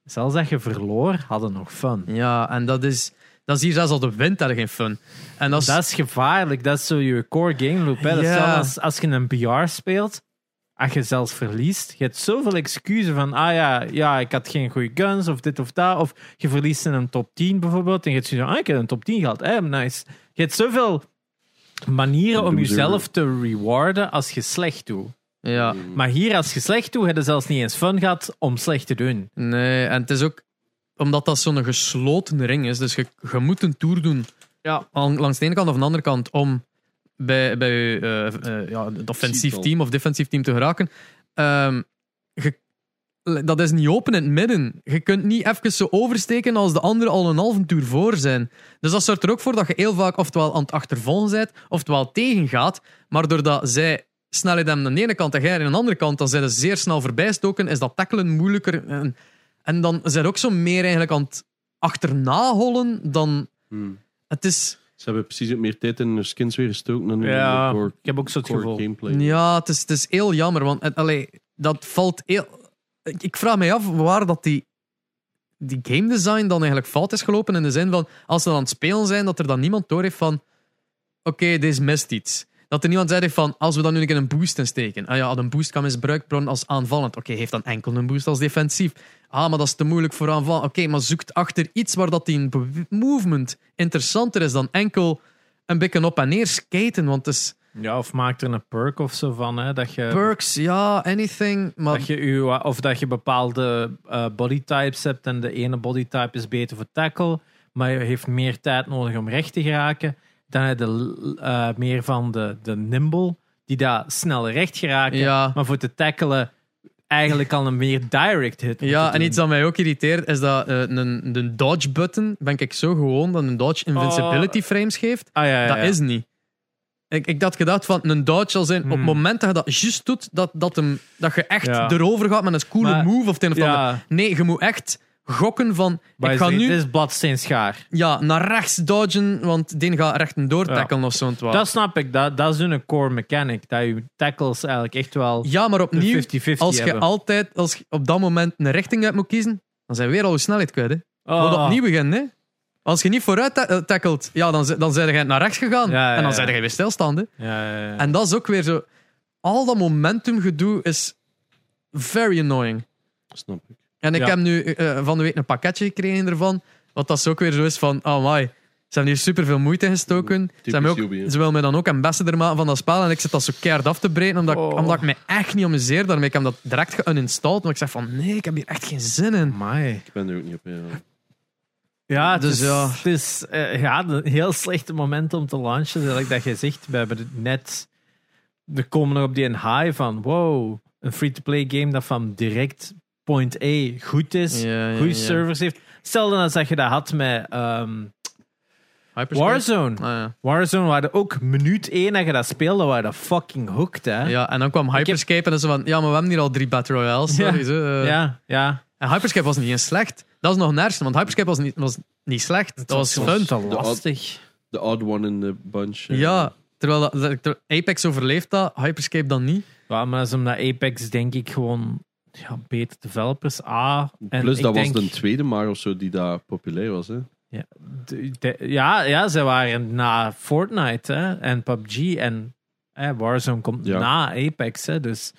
S1: Zelfs dat je verloor, hadden nog fun.
S2: Ja, en dat is, dat is hier zelfs al de wind daar geen fun. En dat is,
S1: Dat is gevaarlijk, dat is zo je core game loop. Hè. Dat is
S2: Ja.
S1: hetzelfde als, als je een BR speelt, als je zelfs verliest, je hebt zoveel excuses van, ah ja, ja, ik had geen goede guns, of dit of dat, of je verliest in een top 10 bijvoorbeeld, en je hebt zoiets van, ah, ik heb een top 10 gehad, hè, nice. Je hebt zoveel manieren om
S3: Loser.
S1: jezelf te rewarden als je slecht doet.
S2: ja.
S1: Maar hier, als je slecht doet, heb je zelfs niet eens fun gehad om slecht te doen.
S2: Nee, en het is ook omdat dat zo'n gesloten ring is. Dus je, je moet een tour doen.
S1: Ja.
S2: Lang- Langs de ene kant of de andere kant om bij, bij je, eh, eh, ja, het offensief
S3: Seatbelt.
S2: team of defensief team te geraken. Ehm, je- dat is niet open in het midden. Je kunt niet even zo oversteken als de anderen al een halve tour voor zijn. Dus dat zorgt er ook voor dat je heel vaak oftewel aan het achtervolgen bent, oftewel tegengaat. Maar doordat zij snelheid hebben aan de ene kant en jij aan de andere kant, dan zijn ze zeer snel voorbijstoken, is dat tackelen moeilijker. En, en dan zijn ze ook zo meer eigenlijk aan het achternahollen dan...
S3: Hmm.
S2: Het is...
S3: Ze hebben precies ook meer tijd in hun skins weer gestoken dan in
S1: Ja,
S3: de core,
S1: ik heb ook zo het
S3: core
S1: gevoel.
S3: gameplay.
S2: Ja, het is, het is heel jammer, want het- allee, dat valt heel... Ik ik vraag mij af waar dat die, die game design dan eigenlijk fout is gelopen. In de zin van, als ze dan aan het spelen zijn, dat er dan niemand door heeft van... Oké, deze mist iets. Dat er niemand zei heeft van, als we dan nu een keer een boost insteken. Ah ja, een boost kan misbruikt worden als aanvallend. Oké, heeft dan enkel een boost als defensief. Ah, maar dat is te moeilijk voor aanval. Oké, maar zoekt achter iets waar dat die bew- movement interessanter is dan enkel een beetje op en neer skaten. Want het is...
S1: Ja, of maak er een perk of zo van, hè, dat je...
S2: Perks, ja, anything. Maar
S1: Dat je uw, of dat je bepaalde eh bodytypes hebt en de ene bodytype is beter voor tackle, maar je heeft meer tijd nodig om recht te geraken. Dan heb je l- eh, meer van de, de nimble, die daar snel recht geraken,
S2: Ja.
S1: maar voor te tackelen eigenlijk al een meer direct hit. moeten
S2: ja, en
S1: doen.
S2: iets dat mij ook irriteert is dat eh, een, een dodge button, ben ik zo gewoon dat een dodge invincibility frames geeft.
S1: Ah, ja, ja,
S2: dat
S1: ja.
S2: is niet. Ik, ik had gedacht van een dodge zal zijn op het moment dat je dat juist doet, dat, dat, hem, dat je echt
S1: Hmm. Ja.
S2: erover gaat met een coole
S1: Maar-
S2: move of het een of het
S1: ja.
S2: ander. Nee, je moet echt gokken van
S1: Maar
S2: ik ga
S1: dit-
S2: nu
S1: Dit is bladsteen schaar.
S2: ja, naar rechts dodgen, want die gaat rechtendoor
S1: Ja.
S2: tackelen of zo'n twaalf.
S1: Dat snap ik, dat, dat is een core mechanic, dat je tackles eigenlijk echt wel...
S2: Ja, maar opnieuw,
S1: 50-50
S2: als je
S1: hebben.
S2: altijd als je op dat moment een richting uit moet kiezen, dan zijn we weer al je snelheid kwijt. Hè.
S1: Oh.
S2: Moet opnieuw beginnen, hè? Als je niet vooruit ta- eh, tackelt, ja, dan, z- dan zijn je naar rechts gegaan.
S1: Ja, ja,
S2: en dan
S1: ja.
S2: zijn je weer stilstaande.
S1: Ja, ja, ja.
S2: En dat is ook weer zo. Al dat momentumgedoe is very annoying.
S3: Snap ik.
S2: En ik
S1: Ja.
S2: heb nu eh, van de week een pakketje gekregen ervan. Wat dat is ook weer zo is van, oh my. Ze hebben hier superveel moeite in gestoken. Ze, hebben ook,
S3: Ubi, hè.
S2: ze willen mij dan ook ambassador maken van dat spel. En ik zit dat zo keihard af te breken, omdat, ik,
S1: Oh.
S2: omdat ik me echt niet amuseer daarmee. Ik heb dat direct geuninstalled, maar ik zeg van, nee, ik heb hier echt geen zin in.
S1: Amai.
S3: Ik ben er ook niet op. Ja.
S1: Ja, het
S2: Dus
S1: is,
S2: ja.
S1: het is eh, ja, een heel slechte moment om te launchen. Zoals dat je zegt, we hebben het net... We komen er op die high van, wow, een free-to-play game dat van direct point A goed is,
S2: Ja, ja,
S1: goede
S2: ja.
S1: servers heeft. Stel dan als dat je dat had met ehm,
S2: Hyperscape?
S1: Warzone.
S2: Ah, ja.
S1: Warzone waren ook minuut één dat je dat speelde, waren dat fucking hooked, hè.
S2: Ja, en dan kwam Hyperscape en dan zo van, ja, maar we hebben hier al drie Battle Royales.
S1: Ja.
S2: sorry, zo, eh.
S1: ja. ja.
S2: En Hyperscape was niet eens slecht. Dat is nog nergens, want Hyperscape was niet, was niet slecht. Dat was
S1: zo te
S2: fun.
S3: de ad-
S1: lastig.
S3: The odd one in the bunch. eh.
S2: Ja, terwijl dat- dat- ter- Apex overleeft dat, Hyperscape dan niet.
S1: Ja, maar dat is omdat Apex denk ik gewoon ja, beter developers. A. En
S3: Plus,
S1: ik
S3: dat was
S1: denk,
S3: de tweede maar of zo die daar populair was. Hè.
S1: Ja, de- de- ja, ja, ze waren na Fortnite hè, en PUBG en hè, Warzone komt
S3: Ja.
S1: na Apex. Hè, dus.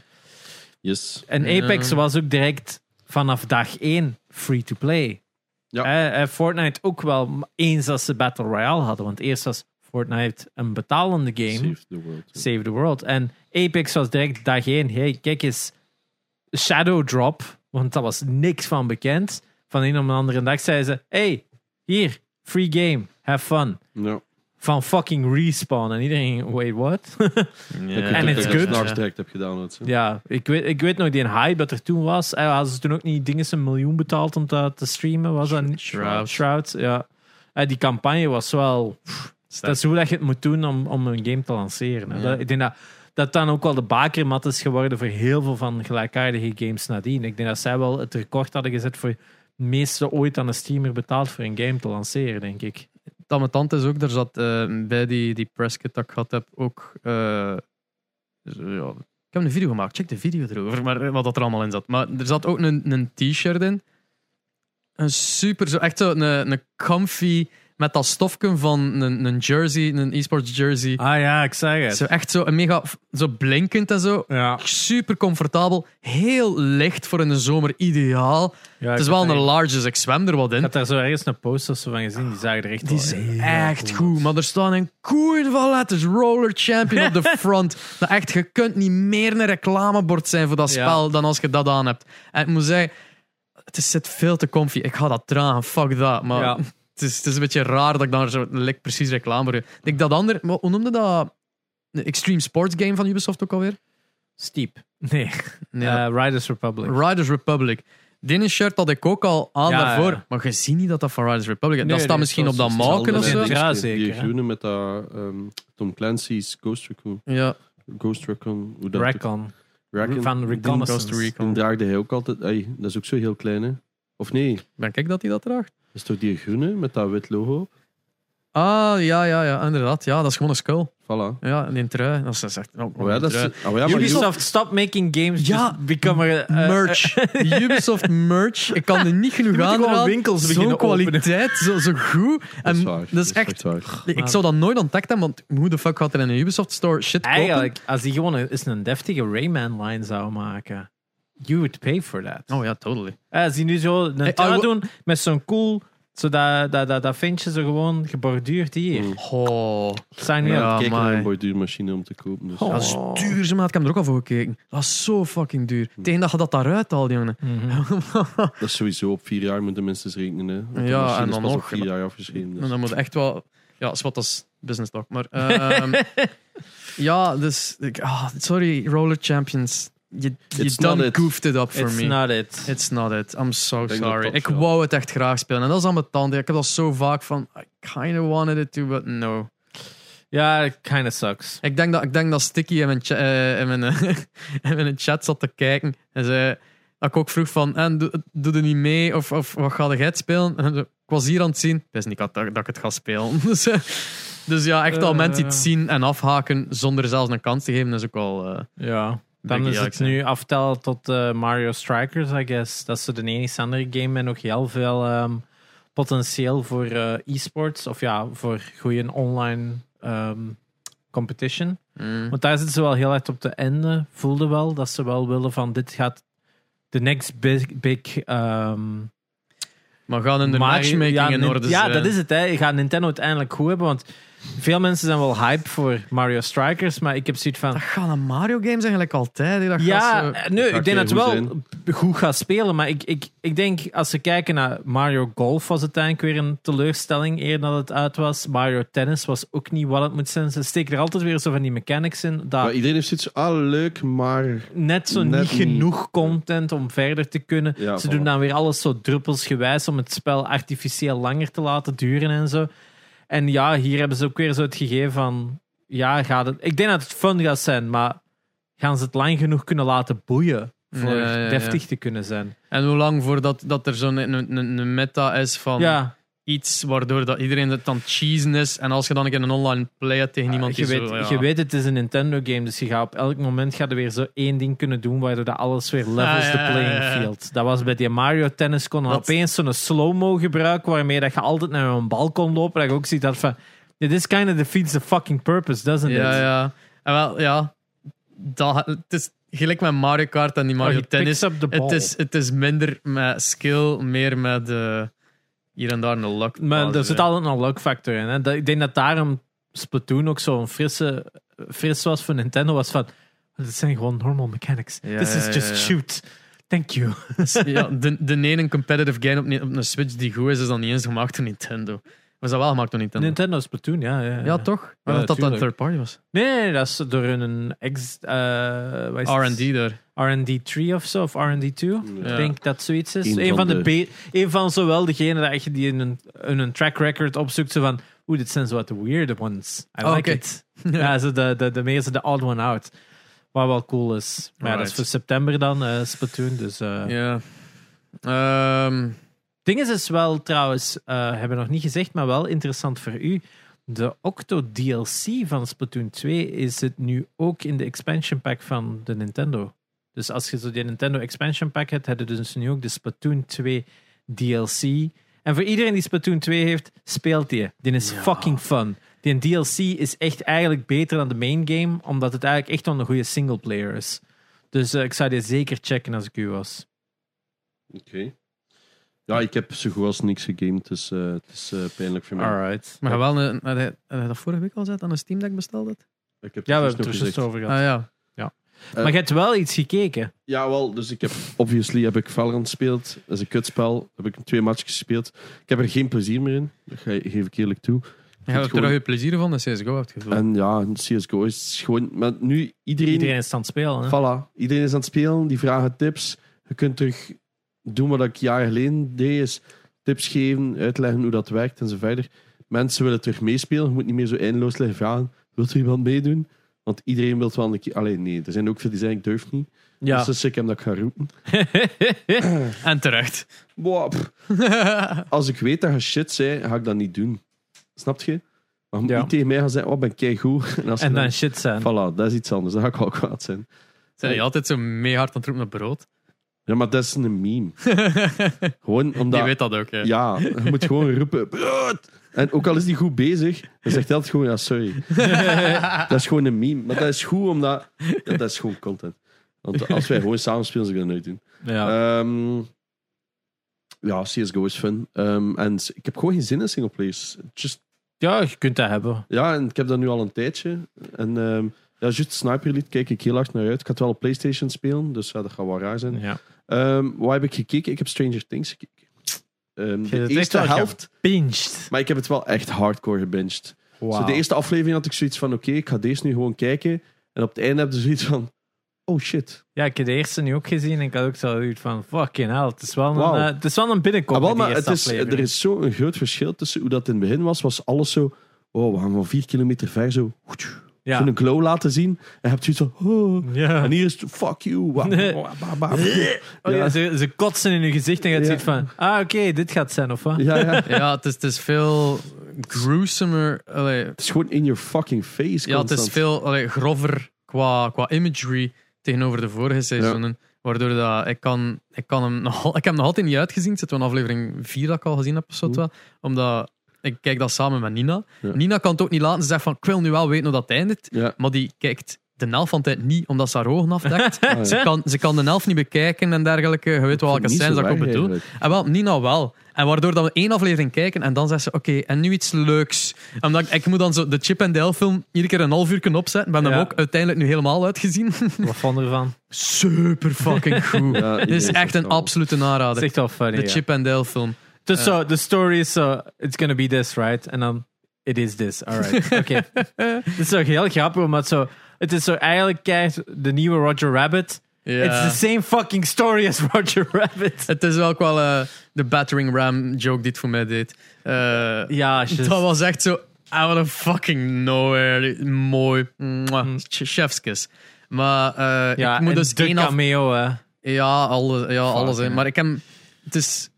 S3: Yes.
S1: En
S2: Ja.
S1: Apex was ook direct vanaf dag één free to play.
S3: Ja.
S1: Hè, hè, Fortnite ook wel, maar eens als ze Battle Royale hadden. Want eerst was Fortnite een betalende game.
S3: Save the world.
S1: Save the World. En Apex was direct dag één. Hey, kijk eens. Shadow Drop. Want daar was niks van bekend. Van een op een andere dag zeiden ze... Hey, hier. Free game. Have fun.
S3: Ja.
S1: Van fucking Respawn. En iedereen... ging, Wait, what?
S3: Ik
S1: En
S3: denk
S1: it's
S3: dat ik
S1: good.
S3: het s'nachts direct heb gedaan. Zo.
S1: ja, ik weet, ik weet nog die hype dat er toen was. Eh, Hadden ze toen ook niet dingen een miljoen betaald om dat te streamen? Was dat niet?
S2: Shroud.
S1: Shroud, ja. Eh, die campagne was wel... Dat is hoe dat je het moet doen om, om een game te lanceren. hè.
S2: Ja.
S1: Dat, ik denk dat dat dan ook wel de bakermat is geworden voor heel veel van gelijkaardige games nadien. Ik denk dat zij wel het record hadden gezet voor het meeste ooit aan een streamer betaald voor een game te lanceren, denk ik.
S2: Het ambetant is ook, daar zat eh, bij die, die presskit dat ik gehad heb ook. eh, dus, eh, ja, ik heb een video gemaakt, check de video erover, maar eh, wat dat er allemaal in zat. Maar er zat ook een, een t-shirt in. Een super, zo, echt zo, een, een comfy, met dat stofken van een, een jersey, een e-sports jersey.
S1: Ah ja, ik zeg
S2: Zo echt zo, een mega, zo blinkend en zo.
S1: Ja.
S2: Super comfortabel, heel licht voor in de zomer, ideaal. Het is wel een large, dus ik zwem er wat
S1: Ik
S2: in.
S1: had daar zo ergens een post of zo van gezien, die zagen er echt
S2: Die
S1: wel
S2: zijn
S1: heel
S2: echt goed, maar er staan een koeien van letters. Roller Champion op de front. Dat echt, je kunt niet meer een reclamebord zijn voor dat
S1: Ja.
S2: spel dan als je dat aan hebt. En ik moet zeggen, het is- zit veel te comfy. Ik ga dat dragen, fuck dat. Maar
S1: Ja.
S2: het, is, het is een beetje raar dat ik daar zo like, precies reclame voor heb. Ik denk dat ander, maar hoe noemde dat? De Extreme Sports Game van Ubisoft ook alweer?
S1: Steep. Nee,
S2: Nee,
S1: Eh, Riders Republic.
S2: Riders Republic. Die shirt had ik ook al aan
S1: Ja,
S2: daarvoor.
S1: ja.
S2: Maar je ziet niet dat dat van Riders Republic is.
S1: Nee,
S2: dat staat
S1: nee,
S2: misschien
S1: dat
S2: op
S1: is
S2: dat
S3: Hetzelfde
S2: maken
S1: hetzelfde
S2: of zo.
S3: met
S1: Ja,
S3: die- Die
S1: zeker, hè.
S3: groene met dat ehm, Tom Clancy's Ghost Recon.
S2: Ja,
S3: Ghost Recon. Hoe dat
S1: Recon.
S3: Recon.
S1: Van
S2: Costa
S1: Reconnaissance.
S2: Rica.
S3: Die draagde hij ook altijd. Ey, dat is ook zo heel klein, hè? Of nee, dat
S2: Ben ik dat hij dat draagt?
S3: is toch die groene met dat wit logo?
S2: Ah, ja, ja, ja, inderdaad. Ja, dat is gewoon een skull.
S3: Voilà.
S2: Ja, en die trui. Dat is dat is echt... Oh,
S3: Oh ja, dat is,
S2: trui.
S3: oh ja, maar Ubisoft-
S1: Ubisoft, stop making games.
S2: Ja,
S1: just become a, eh,
S2: merch. Ubisoft merch. Ik kan er niet genoeg
S1: moet
S2: aan
S1: gewoon
S2: raden.
S1: winkels
S2: Zo'n
S1: beginnen openen.
S2: kwaliteit, zo, zo goed.
S3: dat is
S2: En
S3: waar,
S2: dat is echt...
S3: waar.
S2: Ik zou dat nooit ontdekt hebben, want hoe de fuck gaat er in een Ubisoft store shit kopen?
S1: Eigenlijk, als die gewoon een, eens een deftige Rayman line zou maken, you would pay for that.
S2: Oh ja, totally.
S1: Eh, als die nu zo een
S2: Hey, eh,
S1: trui
S2: I wa-
S1: doen met zo'n cool, zo dat, dat, dat, dat vintje zo gewoon geborduurd hier.
S3: Mm.
S2: Oh,
S1: Sign me
S2: Ja.
S1: up.
S3: Kijk naar
S2: amai.
S3: een borduurmachine om te kopen. Dus.
S1: Oh.
S2: dat is duurzaam. Ik heb er ook al voor gekeken. Dat is zo fucking duur. Tegen dat je dat daaruit haalt, jongen.
S1: Mhm.
S3: Dat is sowieso op vier jaar moeten mensen eens rekenen. Hè. Want de
S2: Ja,
S3: machine
S2: en
S3: is
S2: dan
S3: pas op
S2: nog,
S3: vier
S2: maar-
S3: jaar afgeschreven.
S2: En
S3: Dus.
S2: dan moet je echt wel. Ja, zwart als business talk. Maar. ehm, ja, dus. ik- ah, sorry, Roller Champions. Je, je
S3: It's not
S2: done
S3: it.
S2: goofed it up for
S1: It's
S2: me.
S1: not it.
S2: It's not it. I'm so
S3: Ik denk
S2: sorry.
S3: dat dat
S2: Ik
S3: zo-
S2: wou het echt graag spelen. En dat is aan mijn tanden. Ik heb dat zo vaak van. I kind of wanted it to, but no.
S1: Ja, it kind of sucks.
S2: Ik denk dat, ik denk dat Sticky in mijn, cha- eh, in, mijn, eh, in mijn chat zat te kijken. En zei, dat ik ook vroeg van, en, doe, doe er niet mee? Of, of wat ga jij het spelen? En zo, ik was hier aan het zien. Het is niet dat, dat ik het ga spelen. Dus, eh, dus ja, echt al
S1: Eh.
S2: mensen iets zien en afhaken zonder zelfs een kans te geven, is ook al... eh,
S1: Ja. Dan
S2: Denk
S1: is het
S2: ik eigenlijk,
S1: nu aftellen tot eh, Mario Strikers, I guess. Dat is zo de enige andere game met nog heel veel ehm, potentieel voor eh, e-sports. Of ja, voor goede online ehm, competition.
S2: mm.
S1: Want daar zitten ze wel heel erg op de einde. Voelde wel dat ze wel willen van dit gaat de next big, big ehm,
S2: Maar gaan in de
S1: Mario-
S2: matchmaking
S1: ja,
S2: in
S1: Nin-
S2: orde
S1: Ja,
S2: zijn.
S1: dat is het. Hè. Gaat Nintendo uiteindelijk goed hebben? Want veel mensen zijn wel hype voor Mario Strikers, maar ik heb zoiets van...
S2: Dat gaan de Mario-games eigenlijk altijd. hè. Dat gaat
S1: Ja,
S2: zo-
S1: eh, nee,
S3: Gaat
S1: ik denk dat het
S3: heel
S1: wel
S3: goed
S1: goed gaat spelen. Maar ik, ik, ik denk, als we kijken naar Mario Golf, was het eigenlijk weer een teleurstelling eer dat het uit was. Mario Tennis was ook niet wat het moet zijn. Ze steken er altijd weer zo van die mechanics in.
S3: Maar
S1: Dat
S3: iedereen heeft zoiets ah leuk, maar...
S1: net zo
S3: net
S1: niet
S3: niet.
S1: genoeg content om verder te kunnen.
S3: Ja,
S1: Ze
S3: voilà.
S1: doen dan weer alles zo druppelsgewijs om het spel artificieel langer te laten duren en zo. En ja, hier hebben ze ook weer zo het gegeven van... Ja, gaat het... Ik denk dat het fun gaat zijn, maar gaan ze het lang genoeg kunnen laten boeien voor
S2: Ja, ja, ja.
S1: deftig te kunnen zijn?
S2: En hoe lang voordat dat er zo'n een, een, een meta is van...
S1: ja,
S2: iets waardoor dat iedereen het dan cheesen is. En als je dan een keer een online play hebt tegen iemand
S1: je,
S2: die
S1: weet,
S2: zo... ja.
S1: je weet, het is een Nintendo-game, dus je gaat op elk moment gaat er weer zo één ding kunnen doen waardoor dat alles weer levels
S2: Ah, ja,
S1: the
S2: ja,
S1: playing
S2: ja, ja.
S1: field. Dat was bij die Mario Tennis, kon dan
S2: Dat-
S1: opeens zo'n slow-mo gebruiken waarmee dat je altijd naar een bal kon lopen. Dat je ook ziet dat van, dit is kind of defeats the fucking purpose, doesn't
S2: Ja,
S1: it?
S2: ja. En wel, ja. Dat, het is gelijk met Mario Kart en die
S1: Oh,
S2: Mario
S1: he
S2: Tennis.
S1: picks up the
S2: Het
S1: ball.
S2: is, het is minder met skill, meer met eh, hier en daar een luck.
S1: Maar
S2: fase.
S1: er zit altijd een luck factor in. Hè? Dat, ik denk dat daarom Splatoon ook zo'n frisse, fris was voor Nintendo, was van, dit zijn gewoon normal mechanics.
S2: Ja,
S1: This is
S2: ja,
S1: just
S2: ja, ja.
S1: shoot. Thank you.
S2: ja, de, de ene competitive game op, ne- op een Switch die goed is, is dan niet eens gemaakt door Nintendo. Was dat wel gemaakt door Nintendo?
S1: Nintendo Splatoon, ja. Ja, ja.
S2: ja, toch? Maar dat dat dan
S1: tuurlijk.
S2: third party was.
S1: Nee, nee, nee, dat is door hun ex... eh, wat is het?
S2: R&D daar.
S1: R&D 3 of zo, of R&D 2.
S2: Ja.
S1: Ik denk dat zoiets is.
S3: Eén
S1: Een
S3: van
S1: van, de
S3: de-
S1: be- een van zowel degene dat echt die in een, in een track record opzoekt, zo van, oeh, dit zijn zo wat de weird ones. I
S2: Oh,
S1: like
S2: oké.
S1: it. Ja, zo de, de, de meeste, de odd one out. Wat wel cool is. Maar ja, dat is
S2: Alright.
S1: voor september dan, eh Splatoon. Dus, eh
S2: Ja. Ehm,
S1: Ding is, is wel trouwens, eh, hebben we nog niet gezegd, maar wel interessant voor u. De Octo DLC van Splatoon 2 is het nu ook in de expansion pack van de Nintendo. Dus als je zo die Nintendo expansion pack hebt, hebben je dus nu ook de Splatoon 2 DLC. En voor iedereen die Splatoon 2 heeft, speelt die. Die is fucking fun. Die DLC is echt eigenlijk beter dan de main game, omdat het eigenlijk echt wel een goede singleplayer is. Dus eh, ik zou die zeker checken als ik u was.
S3: Oké. Ja, ik heb zo goed als niks gegamed, dus eh, het is eh, pijnlijk voor mij.
S1: Alright.
S2: maar wel, een, had hij- had hij dat vorige week al zet aan een Steam Deck besteld? had?
S3: Ik heb
S1: Ja, we hebben
S3: dus
S1: het er
S3: nog
S1: juist
S3: gezegd.
S1: over gehad.
S2: Ah ja.
S3: Eh,
S1: maar je hebt wel iets gekeken.
S3: Ja, wel, dus ik heb, obviously heb ik Valorant gespeeld. Dat is een kutspel. Heb ik twee matches gespeeld. Ik heb er geen plezier meer in. Dat ge- geef ik eerlijk toe.
S2: Je hebt er
S3: gewoon-
S2: al je plezier van, dat CSGO hebt gevoeld.
S3: En ja, CSGO is gewoon... Maar nu, iedereen...
S1: Iedereen is aan het spelen. Hè?
S3: Voilà. Iedereen is aan het spelen, die vragen tips. Je kunt terug doen wat ik jaren geleden deed, is tips geven, uitleggen hoe dat werkt en zo verder. Mensen willen terug meespelen, je moet niet meer zo eindeloos liggen vragen, wilt er iemand meedoen? Want iedereen wil wel een keer... Alleen nee, er zijn ook veel die zeggen, ik durf niet.
S1: Ja.
S3: Dus dat is sick hem dat ik ga roepen.
S2: En terecht.
S3: Boah, pff. Als ik weet dat je shit zei, ga ik dat niet doen. Snap je? Maar je moet
S1: Ja.
S3: niet tegen mij gaan zeggen, oh, ben ik goed. En, als je
S1: en dan shit zijn.
S3: Voilà, dat is iets anders. Dan ga ik wel kwaad zijn.
S2: Zijn je altijd zo mee hard aan het roepen naar brood?
S3: Ja, maar dat is een meme. Gewoon omdat...
S2: Die weet dat ook, hè.
S3: Ja, je moet gewoon roepen. "Brood!" En ook al is die goed bezig, dan zegt hij altijd gewoon, ja, sorry. dat is gewoon een meme. Maar dat is goed, omdat... ja, dat is gewoon content. Want als wij gewoon samen spelen, zullen we dat nooit doen.
S1: Ja.
S3: Ehm, ja, CSGO is fun. Ehm, en s- ik heb gewoon geen zin in singleplayers. Just,
S1: ja, je kunt dat hebben.
S3: ja, en ik heb dat nu al een tijdje. En ehm ja, juist Sniper Elite kijk ik heel hard naar uit. Ik had wel op Playstation spelen, dus ja, dat gaat wel raar zijn.
S1: Ja.
S3: Ehm wat heb ik gekeken? Ik heb Stranger Things gekeken. Ehm,
S1: hebt
S3: de
S1: het echt
S3: eerste
S1: wel ge-
S3: helft...
S1: Pinched.
S3: Maar ik heb het wel echt hardcore gebinged. Zo de eerste aflevering had ik zoiets van: oké, ik ga deze nu gewoon kijken. En op het einde heb je zoiets van: oh shit.
S1: Ja, ik heb de eerste nu ook gezien en ik had ook zoiets van fucking hell. Het is wel een,
S3: Wauw.
S1: eh, het is wel een binnenkomen.
S3: Ah, wel, maar het is, er is zo'n groot verschil tussen hoe dat in het begin was. Was alles zo: oh, we gaan van vier kilometer ver zo.
S1: ja.
S3: zo'n glow laten zien. En heb je zoiets van: oh.
S1: Ja.
S3: En hier is het, fuck you. wa-
S1: Nee.
S3: wa- wa- wa-
S1: Oh, ja,
S3: Ja.
S1: ze, ze kotsen in je gezicht en je hebt
S3: Ja.
S1: zoiets van: ah, oké, dit gaat zijn of wat?
S3: Ja, ja.
S2: Ja, het is, het is veel gruesomer. allee,
S3: Het is gewoon in your fucking face.
S2: ja, het is
S3: constant.
S2: veel allee, grover qua, qua imagery tegenover de vorige seizoenen. Waardoor dat, ik, kan, ik, kan hem nog, al- ik heb hem nog altijd niet uitgezien. Het zit wel in aflevering 4 dat ik al gezien heb of zo. het wel. Omdat ik kijk dat samen met Nina.
S3: Mm. Ja.
S2: Nina kan het ook niet laten. Ze zegt van, ik wil nu wel weten hoe dat eindigt.
S3: Ja.
S2: Maar die kijkt de helft van de tijd niet, omdat ze haar ogen afdekt.
S3: Ah, ja.
S2: ze, kan, ze kan de helft niet bekijken en dergelijke. Je weet welke
S3: Niet zo
S2: scènes dat ik ook
S3: erg
S2: bedoel.
S3: eigenlijk.
S2: En wel, Nina wel. En waardoor dat we één aflevering kijken en dan zegt ze: Oké, en nu iets leuks. Omdat ik, ik moet dan zo de Chip en Dale film iedere keer een half uur kunnen opzetten. Ben
S1: Ja.
S2: hem ook uiteindelijk nu helemaal uitgezien.
S1: Wat vond je ervan?
S2: Super fucking goed.
S3: Ja,
S2: Dit is
S3: iedereen
S2: echt een
S3: wel.
S2: absolute
S1: Dat
S2: narader.
S1: is echt wel funny.
S2: de
S1: ja.
S2: Chip en Dale film.
S1: Dus
S2: Uh.
S1: zo, de story is zo, it's gonna be this, right? En dan, it is this, alright. Oké. Het is ook heel grappig, omdat zo, het is zo eigenlijk keihard de nieuwe Roger Rabbit.
S2: Ja.
S1: It's the same fucking story as Roger Rabbit.
S2: Het is wel ook wel eh, de Battering Ram joke die het voor mij deed. Eh,
S1: Ja, shit.
S2: Dat was echt zo out of fucking nowhere. Mooi. Mwah.
S1: Mm.
S2: Chef's kiss. Maar eh,
S1: ja,
S2: ik moet
S1: en
S2: dus
S1: de
S2: één af...
S1: cameo, hè.
S2: Ja, alles. Ja, alles hè.
S1: ja.
S2: Maar ik heb. Het is.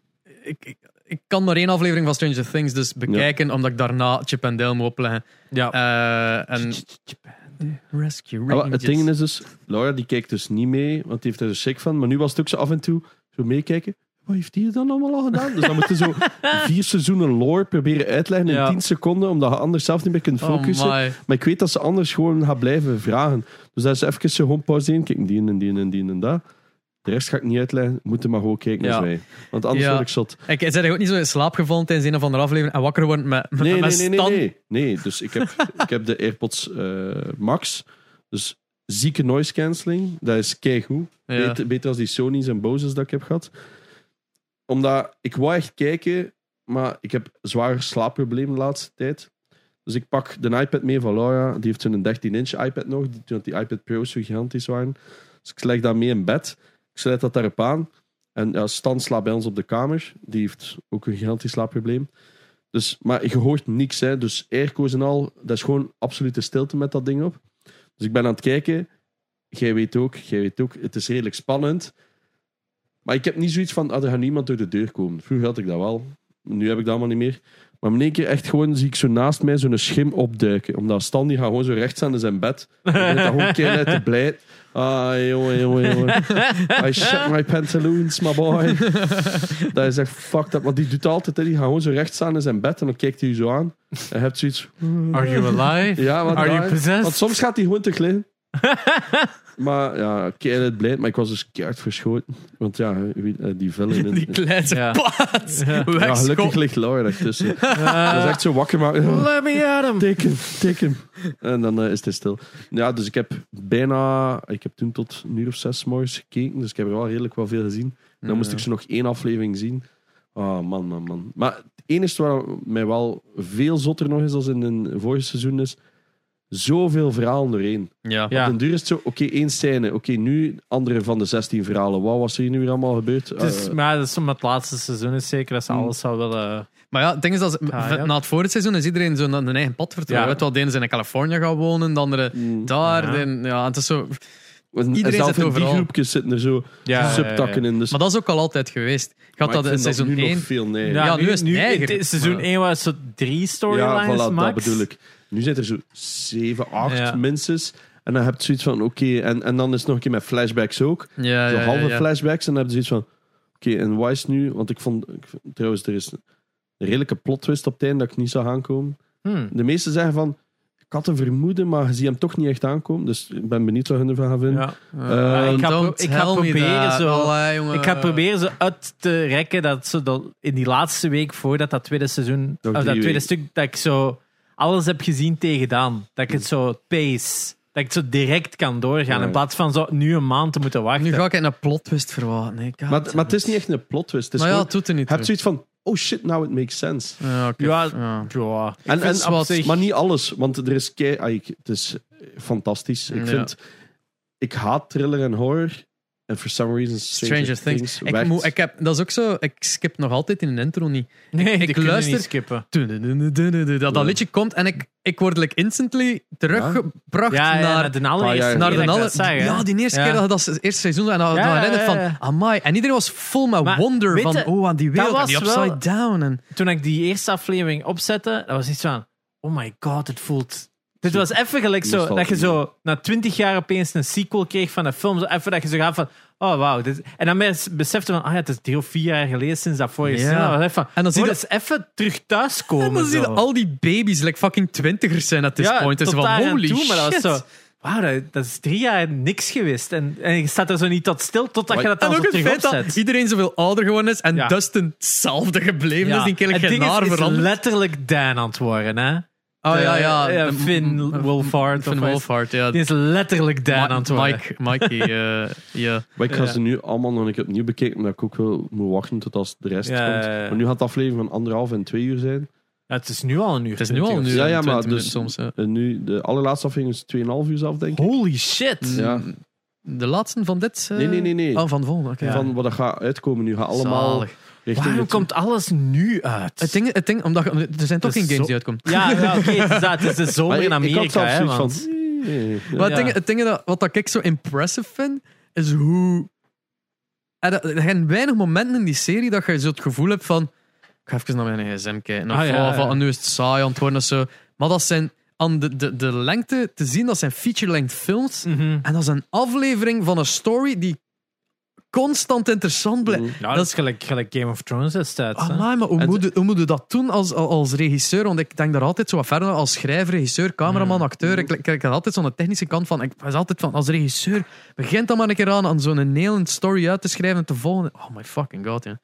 S2: Ik, ik, ik kan maar één aflevering van Stranger Things dus bekijken, omdat ik daarna Chip en Dale moet opleggen.
S1: Ja.
S2: Eh, en Rescue
S3: Ah, wel,
S2: Rangers.
S3: het ding is dus, Laura die kijkt dus niet mee, want die heeft er dus schrik van. Maar nu was het ook zo af en toe zo meekijken. Wat heeft die dan allemaal al gedaan? Dus dan moeten zo vier seizoenen lore proberen uitleggen in
S1: Ja.
S3: 10 seconden, omdat je anders zelf niet meer kunt
S2: Oh
S3: focussen.
S2: my.
S3: maar ik weet dat ze anders gewoon gaat blijven vragen. Dus dat is even zo gewoon pauzeren. Kijk, die en die en die en dat. De rest ga ik niet uitleggen. Moeten maar gewoon kijken
S2: Ja.
S3: naar mij. Want anders
S2: Ja.
S3: word ik zot.
S2: Ik ben eigenlijk ook niet zo in slaap gevallen tijdens een of andere aflevering en wakker worden met, met,
S3: Nee,
S2: met
S3: nee, nee, nee,
S2: Stan.
S3: nee. Nee, dus ik heb, ik heb de AirPods eh, Max. Dus zieke noise cancelling. Dat is keigoed.
S2: Ja.
S3: Beter, beter als die Sony's en Bose's dat ik heb gehad. Omdat ik wou echt kijken, maar ik heb zware slaapproblemen de laatste tijd. Dus ik pak de iPad mee van Laura. Die heeft zo'n 13-inch iPad nog. die- Toen die iPad Pro's zo gigantisch waren. Dus ik leg dat mee in bed. Ik sluit dat daarop aan. En ja, Stan slaapt bij ons op de kamer. Die heeft ook een gigantisch slaapprobleem. Dus, maar je hoort niks. Hè. Dus airco's en al, dat is gewoon absolute stilte met dat ding op. Dus ik ben aan het kijken. Jij weet ook, jij weet ook. Het is redelijk spannend. Maar ik heb niet zoiets van, ah, er gaat niemand door de deur komen. Vroeger had ik dat wel. Nu heb ik dat allemaal niet meer. Maar in één keer echt gewoon zie ik zo naast mij zo'n schim opduiken. Omdat Stan die gaat gewoon zo recht staan in zijn bed. En begint dat gewoon keihard te blij. Ah, jongen, jongen, jongen. I shut my pantaloons, my boy. Dat is echt fucked up. Want die doet altijd, hè. die gaat gewoon zo recht staan in zijn bed. En dan kijkt hij je zo aan. En je hebt zoiets...
S2: Are you alive?
S3: Ja, want,
S2: Are you
S3: daar-
S2: possessed?
S3: want soms gaat hij gewoon te glitten. maar ja, keihard blij. Maar ik was dus keihard verschoten. Want ja, hè, wie- eh, die villain... in-
S2: Die kleine
S1: Ja.
S2: paat.
S3: ja,
S2: Wegschop.
S3: gelukkig ligt Laura ertussen. Dat is echt zo wakker maken.
S1: Let me at him.
S3: Tik hem, tik hem. En dan eh, is het stil. Ja, dus ik heb bijna... Ik heb toen tot een uur of zes 's morgens gekeken. Dus ik heb er wel redelijk wel veel gezien. Dan moest ik ze nog één aflevering zien. Oh, man, man, man. Maar het enige wat mij wel veel zotter nog is als in een vorig seizoen is, zoveel verhalen doorheen.
S2: Ja.
S1: Ja.
S3: Op den duur is het zo, oké, één scène. Oké, nu andere van de 16 verhalen. Wauw, wat is er hier nu weer allemaal gebeurd?
S1: Het is,
S3: Eh,
S1: maar dat is omdat het laatste seizoen is zeker dat ze
S2: Mm.
S3: Hmm.
S1: alles zou willen.
S2: Maar ja, het ding is dat ze-
S1: Ah, ja.
S2: na het vorige seizoen is iedereen zo naar hun eigen pad vertrokken.
S1: Ja.
S2: Weet wel, de ene zijn in Californië gaan wonen, de andere
S3: mm.
S2: daar.
S1: Ja.
S2: de een- ja, het is zo...
S3: En- en
S2: iedereen
S3: zelf
S2: zit
S3: in die
S2: overal.
S3: groepjes zitten er zo
S1: Ja,
S3: subtakken in. Dus,
S2: Maar dat is ook al altijd geweest. Gaat
S3: Maar ik
S2: dat in
S3: vind
S2: seizoen
S3: nu nog
S2: 1?
S3: veel, nee.
S1: Ja,
S2: Ja, nu is het neiger.
S1: dit is seizoen
S2: Maar-
S1: 1 was zo drie
S3: Ja,
S1: storylines
S3: voilà,
S1: max.
S3: dat bedoel ik. Nu zijn er zo zeven, acht
S1: Ja.
S3: mensen. En dan heb je zoiets van, oké, en, en dan is het nog een keer met flashbacks ook.
S2: Ah, Ja,
S3: zo
S2: ja,
S3: halve
S2: ja, ja.
S3: flashbacks. En dan heb je zoiets van... Oké, en why is nu... Want ik vond... Ik, vond- trouwens, er is een redelijke plot twist op het einde dat ik niet zag aankomen.
S1: Hmm.
S3: De meesten zeggen van... Ik had een vermoeden, maar je ziet hem toch niet echt aankomen. Dus ik ben benieuwd wat hun ervan gaan vinden.
S1: Ja.
S3: Eh,
S1: ik ga pro-
S2: Don't
S1: ik ga
S2: tell me
S1: proberen
S2: that.
S1: zo-
S2: Allee, jongen.
S1: Ik ga proberen ze uit te rekken dat ze dat in die laatste week voordat dat tweede seizoen,
S3: Nog
S1: of dat
S3: drie
S1: tweede
S3: weken.
S1: stuk, dat ik zo alles heb gezien tegenaan. Dat ik het zo pace, dat ik het zo direct kan doorgaan
S3: Ja.
S1: in plaats van zo nu een maand te moeten wachten.
S2: Nu ga ik het een plot twist verwachten. Nee,
S3: Maar, maar het is niet echt een plot twist. Het is
S2: Maar ja,
S3: gewoon-
S2: het doet er niet
S3: je hebt
S2: toe.
S3: zoiets van... Oh shit, now it makes sense.
S2: Ja, oké.
S1: Ja,
S2: Ja.
S1: ja.
S3: En,
S2: vind
S3: en
S2: het
S3: op
S2: wat-
S3: zich- maar niet alles, want er is kei, ah, ik- het is fantastisch. Ik
S2: Ja.
S3: vind, ik haat thriller en horror. En for some reason, Stranger,
S2: Stranger Things. Ik
S3: werkt.
S2: moet, ik heb, dat is ook zo... Ik skip nog altijd in een intro niet.
S1: Nee, die kunnen
S2: luister-
S1: niet skippen.
S2: Dat, dat
S3: Ja.
S2: liedje komt en ik, ik word like instantly teruggebracht
S1: Ja, ja,
S2: naar,
S1: de allereerste
S3: ja, ja.
S1: keer
S2: naar
S1: dat
S2: de
S1: ik dat
S2: aller-
S1: zag, hè.
S2: Ja, die eerste
S1: Ja.
S2: keer dat je dat se- eerste seizoen en dan
S1: Ja,
S2: ja, herinnert
S1: ja, ja, ja.
S2: van amai. En iedereen was vol met
S1: Maar
S2: wonder
S1: weet
S2: van
S1: je,
S2: oh aan die wereld en
S1: was
S2: die upside
S1: wel-
S2: down en
S1: Toen ik die eerste aflevering opzette, dat was iets van, oh my god, het voelt... Dit was even gelijk zo,
S3: Nostalgie.
S1: dat je zo na twintig jaar opeens een sequel kreeg van een film. Zo even dat je zo gaat van, oh wauw. dit- En dan mes- besefte van, ah ja, het is drie of vier jaar geleden sinds dat vorige
S2: Ja.
S1: seizoen. Dat was echt van,
S2: En dan zie je
S1: oh, dat is even terug thuiskomen.
S2: en dan zie je
S1: zo.
S2: al die baby's like fucking twintigers zijn at this
S1: ja,
S2: point. Dus
S1: tot daar
S2: van
S1: aan
S2: holy
S1: toe, Maar dat was
S2: shit.
S1: zo, wauw, dat, dat is drie jaar niks geweest. En, en je staat er zo niet tot stil, totdat je
S3: Maar-
S1: dat dan
S2: en
S1: zo
S2: ook het
S1: terug
S2: feit
S1: opzet.
S2: dat iedereen zoveel ouder geworden is en
S1: Ja.
S2: Dustin hetzelfde gebleven is. dus Die
S1: Het
S2: keer geen
S1: ding
S2: haar
S1: is, is
S2: veranderd.
S1: letterlijk Dan aan het worden, hè?
S2: Oh ja, ja.
S1: Eh, ja,
S2: De-
S1: Finn
S2: m- m-
S1: Wolfhard
S2: Finn
S1: of wat is-
S2: Wolfhard, ja.
S1: Die is letterlijk Dan aan het
S2: Ma-
S1: worden.
S2: Mike, Mikey, eh, ja.
S3: Maar ik ga
S1: Ja.
S3: ze nu allemaal nog een keer opnieuw bekijken, omdat ik ook wel moet wachten tot als de rest
S1: Ja,
S3: komt.
S1: ja, ja.
S3: Maar nu gaat de aflevering van anderhalf en twee uur zijn.
S1: Ja, het is nu al een uur.
S2: Het is nu al een uur
S3: Ja, ja,
S2: en
S3: maar
S2: 20
S3: dus-
S2: minuten soms. ja.
S3: En nu, de allerlaatste aflevering is 2,5 uur zelf, denk ik.
S1: Holy shit.
S3: Ja.
S2: De laatste van dit? eh,
S3: Nee, nee, nee, nee.
S2: Oh, van de volgende. oké.
S1: Ja.
S3: Van wat er gaat uitkomen nu, gaat allemaal
S2: Zalig.
S3: richting...
S1: Waarom
S3: het-
S1: komt alles nu uit?
S2: Het ding, het ding omdat, er zijn toch
S1: Het is
S2: geen games
S1: zo-
S2: die uitkomen.
S1: Ja, ja, oké, het, is dat. Het is de zomer
S3: Maar ik-
S1: in
S3: ik had
S1: Amerika,
S3: zelfs
S1: hè?
S3: zoiets
S1: Want...
S3: van, eh, eh, eh.
S2: Maar het
S1: Ja.
S2: ding, het ding dat, wat dat ik zo impressive vind, is hoe... Er, er zijn weinig momenten in die serie dat je zo het gevoel hebt van... Ik ga even naar mijn gsm kijken. Of,
S1: Ah, ja,
S2: oh,
S1: ja.
S2: van, nu is het saai aan het worden of zo. Maar dat zijn... Aan de, de, de lengte
S3: Mm.
S2: te zien, dat zijn feature-length films.
S1: Mhm.
S2: En dat is een aflevering van een story die constant interessant blijft.
S3: Mm,
S1: Nou, dat is gelijk, gelijk Game of Thrones destijds. hè.
S2: Ah, Amai, maar hoe
S3: En-
S2: moet, je- hoe moet je dat doen als, als- als regisseur? Want ik denk daar altijd zo wat verder aan, als schrijver, regisseur, cameraman, acteur. Ik kijk daar altijd zo'n technische kant van. Ik was altijd van, als regisseur, begint dan maar een keer aan aan zo'n nailend story uit te schrijven en te volgen. Oh my fucking god, ja.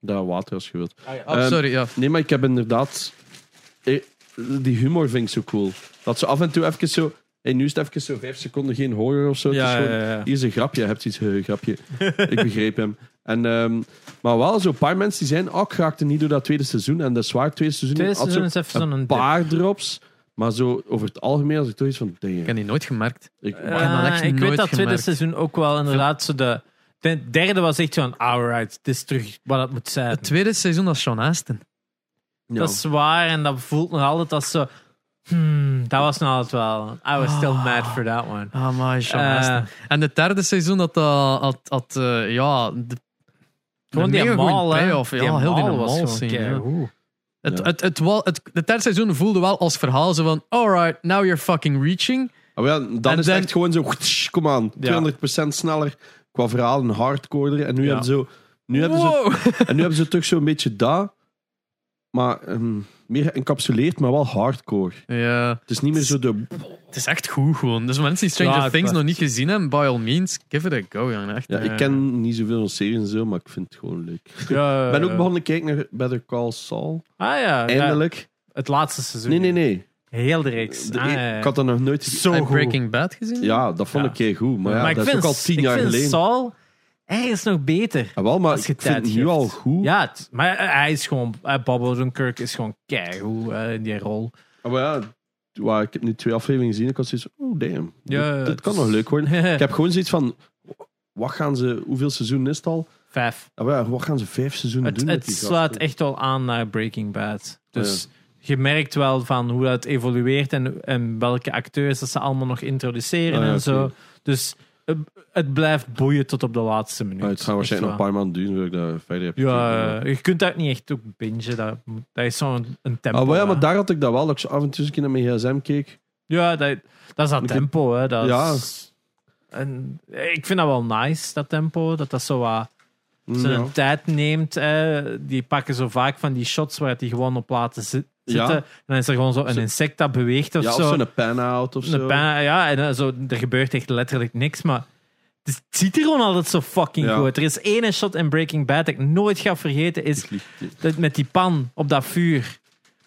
S3: Daar water als je wilt.
S2: Oh,
S3: Ehm,
S2: sorry, ja.
S3: Nee, maar ik heb inderdaad... ik- die humor vind ik zo cool. Dat ze af en toe even zo... Hey, nu is het even zo vijf seconden geen horror of zo. Het is
S1: Ja,
S3: gewoon-
S1: ja, ja.
S3: Hier is een grapje, je hebt iets, eh, grapje. ik begreep hem. En, ehm, maar wel zo'n paar mensen die zijn, oh, ik raakte niet door dat tweede seizoen. En dat is waar, het tweede seizoen
S1: Tweede
S3: had zo
S1: seizoen is even zo'n
S3: een
S1: dip.
S3: paar drops. Maar zo over het algemeen als ik toch iets van...
S2: Ik
S3: Damn,
S2: heb die nooit gemerkt.
S3: ik,
S1: Eh,
S2: heb dat echt
S1: ik
S2: nooit
S1: weet dat tweede
S2: gemerkt.
S1: seizoen ook wel inderdaad zo de... De derde was echt zo'n, alright, het is terug wat het moet zijn.
S2: Het tweede seizoen, dat is Sean Astin.
S3: ja.
S1: Dat is waar en dat voelt nog altijd als zo... Hmm, dat was nog altijd wel... I was still mad for that one.
S2: Ah, maar Sean
S1: Eh.
S2: Astin. En het derde seizoen, dat had, had, had eh, ja... De,
S1: Gewoon die
S2: mega goeie
S1: mall, hè.
S2: payoff. Ja, heel die
S1: mall was
S2: mall
S1: gewoon
S2: scene,
S1: kei-
S2: ja.
S1: oeh.
S2: Het,
S3: Ja.
S2: het, het, wel- het, het derde seizoen voelde wel als verhaal zo van... Alright, now you're fucking reaching.
S3: Ah, wel, dan
S2: En
S3: is
S2: dan-
S3: het echt gewoon zo, kom aan,
S1: Ja.
S3: 200% sneller qua verhaal en hardcorder. En nu
S1: Ja.
S3: hebben ze zo, nu hebben ze,
S2: Wow!
S3: en nu hebben ze toch zo'n beetje dat, maar ehm, meer geëncapsuleerd, maar wel hardcore.
S2: Ja,
S3: Het is niet meer zo de.
S2: het is echt goed gewoon. Dus mensen die Stranger
S1: Ja, het
S2: Things
S1: was-
S2: nog niet gezien hebben, by all means, give it a go. Jongen. Echt,
S3: Ja,
S2: eh,
S3: ik ken niet zoveel van series en zo, maar ik vind het gewoon leuk. Ik
S1: Ja,
S3: ben ook
S1: ja.
S3: begonnen kijken naar Better Call Saul.
S1: Eh. Ah ja, ja,
S3: Eindelijk.
S1: het laatste seizoen.
S3: Nee, nee, nee.
S1: Heel de reeks.
S3: De
S1: Ah,
S3: e-
S1: ja, ja.
S3: Ik had dat nog nooit gezien.
S1: Zo
S2: heb
S1: goed.
S2: Breaking Bad gezien?
S3: Ja, dat vond
S1: Ja.
S3: ik heel goed. Maar, ja,
S1: Maar ik
S3: dat
S1: vind,
S3: is ook al tien
S1: ik
S3: jaar
S1: vind
S3: geleden.
S1: Saul ergens nog beter.
S3: Ah, wel, maar
S1: als
S3: ik
S1: je
S3: vind
S1: tijd
S3: het nu
S1: geeft.
S3: al goed.
S1: Ja, het- maar hij is gewoon... eh, Bob Odenkirk is gewoon keigoed eh, in die rol.
S3: Ah, Maar ja, waar, ik heb nu twee afleveringen gezien. Ik had zoiets van, oh damn.
S1: Ja,
S3: dit, dit
S1: het
S3: kan
S1: is-
S3: nog leuk worden. Ik heb gewoon zoiets van, wat gaan ze, hoeveel seizoen is het al?
S1: Vijf.
S3: Ah, maar ja, wat gaan ze vijf seizoenen
S1: Het,
S3: doen
S1: het
S3: met die
S1: slaat
S3: gasten?
S1: echt wel aan naar Breaking Bad. Dus je merkt wel van hoe dat evolueert en, en welke acteurs dat ze allemaal nog introduceren
S3: Ah, ja,
S1: en zo.
S3: oké.
S1: Dus eh, het blijft boeien tot op de laatste minuut.
S3: Ah, het gaat waarschijnlijk
S1: Echt
S3: nog een paar maanden duren voordat ik dat verder heb
S1: waar.
S3: gekeken,
S1: Ja,
S3: maar-
S1: eh, je kunt dat niet echt ook bingen. Dat, moet- dat is zo'n een tempo.
S3: Ah, maar ja,
S1: hè.
S3: maar daar had ik dat wel. Dat ik zo af en toe eens een keer naar mijn gsm keek.
S1: Ja, dat, dat is dat
S3: Ik-
S1: tempo. Hè. Dat
S3: Ja.
S1: is- en, eh, ik vind dat wel nice, dat tempo. Dat dat zo wat zijn
S3: Mm, Ja.
S1: tijd neemt. hè. die pakken zo vaak van die shots waar die gewoon op laten zi-
S3: Ja.
S1: zitten. En dan is er gewoon zo een
S3: Zo-
S1: insect dat beweegt of
S3: Ja, of
S1: zo.
S3: zo'n pan-out of
S1: Een
S3: zo.
S1: bijna- ja, en dan zo, er gebeurt echt letterlijk niks, maar het, is- het ziet er gewoon altijd zo fucking
S3: Ja.
S1: goed. Er is één shot in Breaking Bad dat ik nooit ga vergeten, is
S3: Ik lieg niet.
S1: dat met die pan op dat vuur.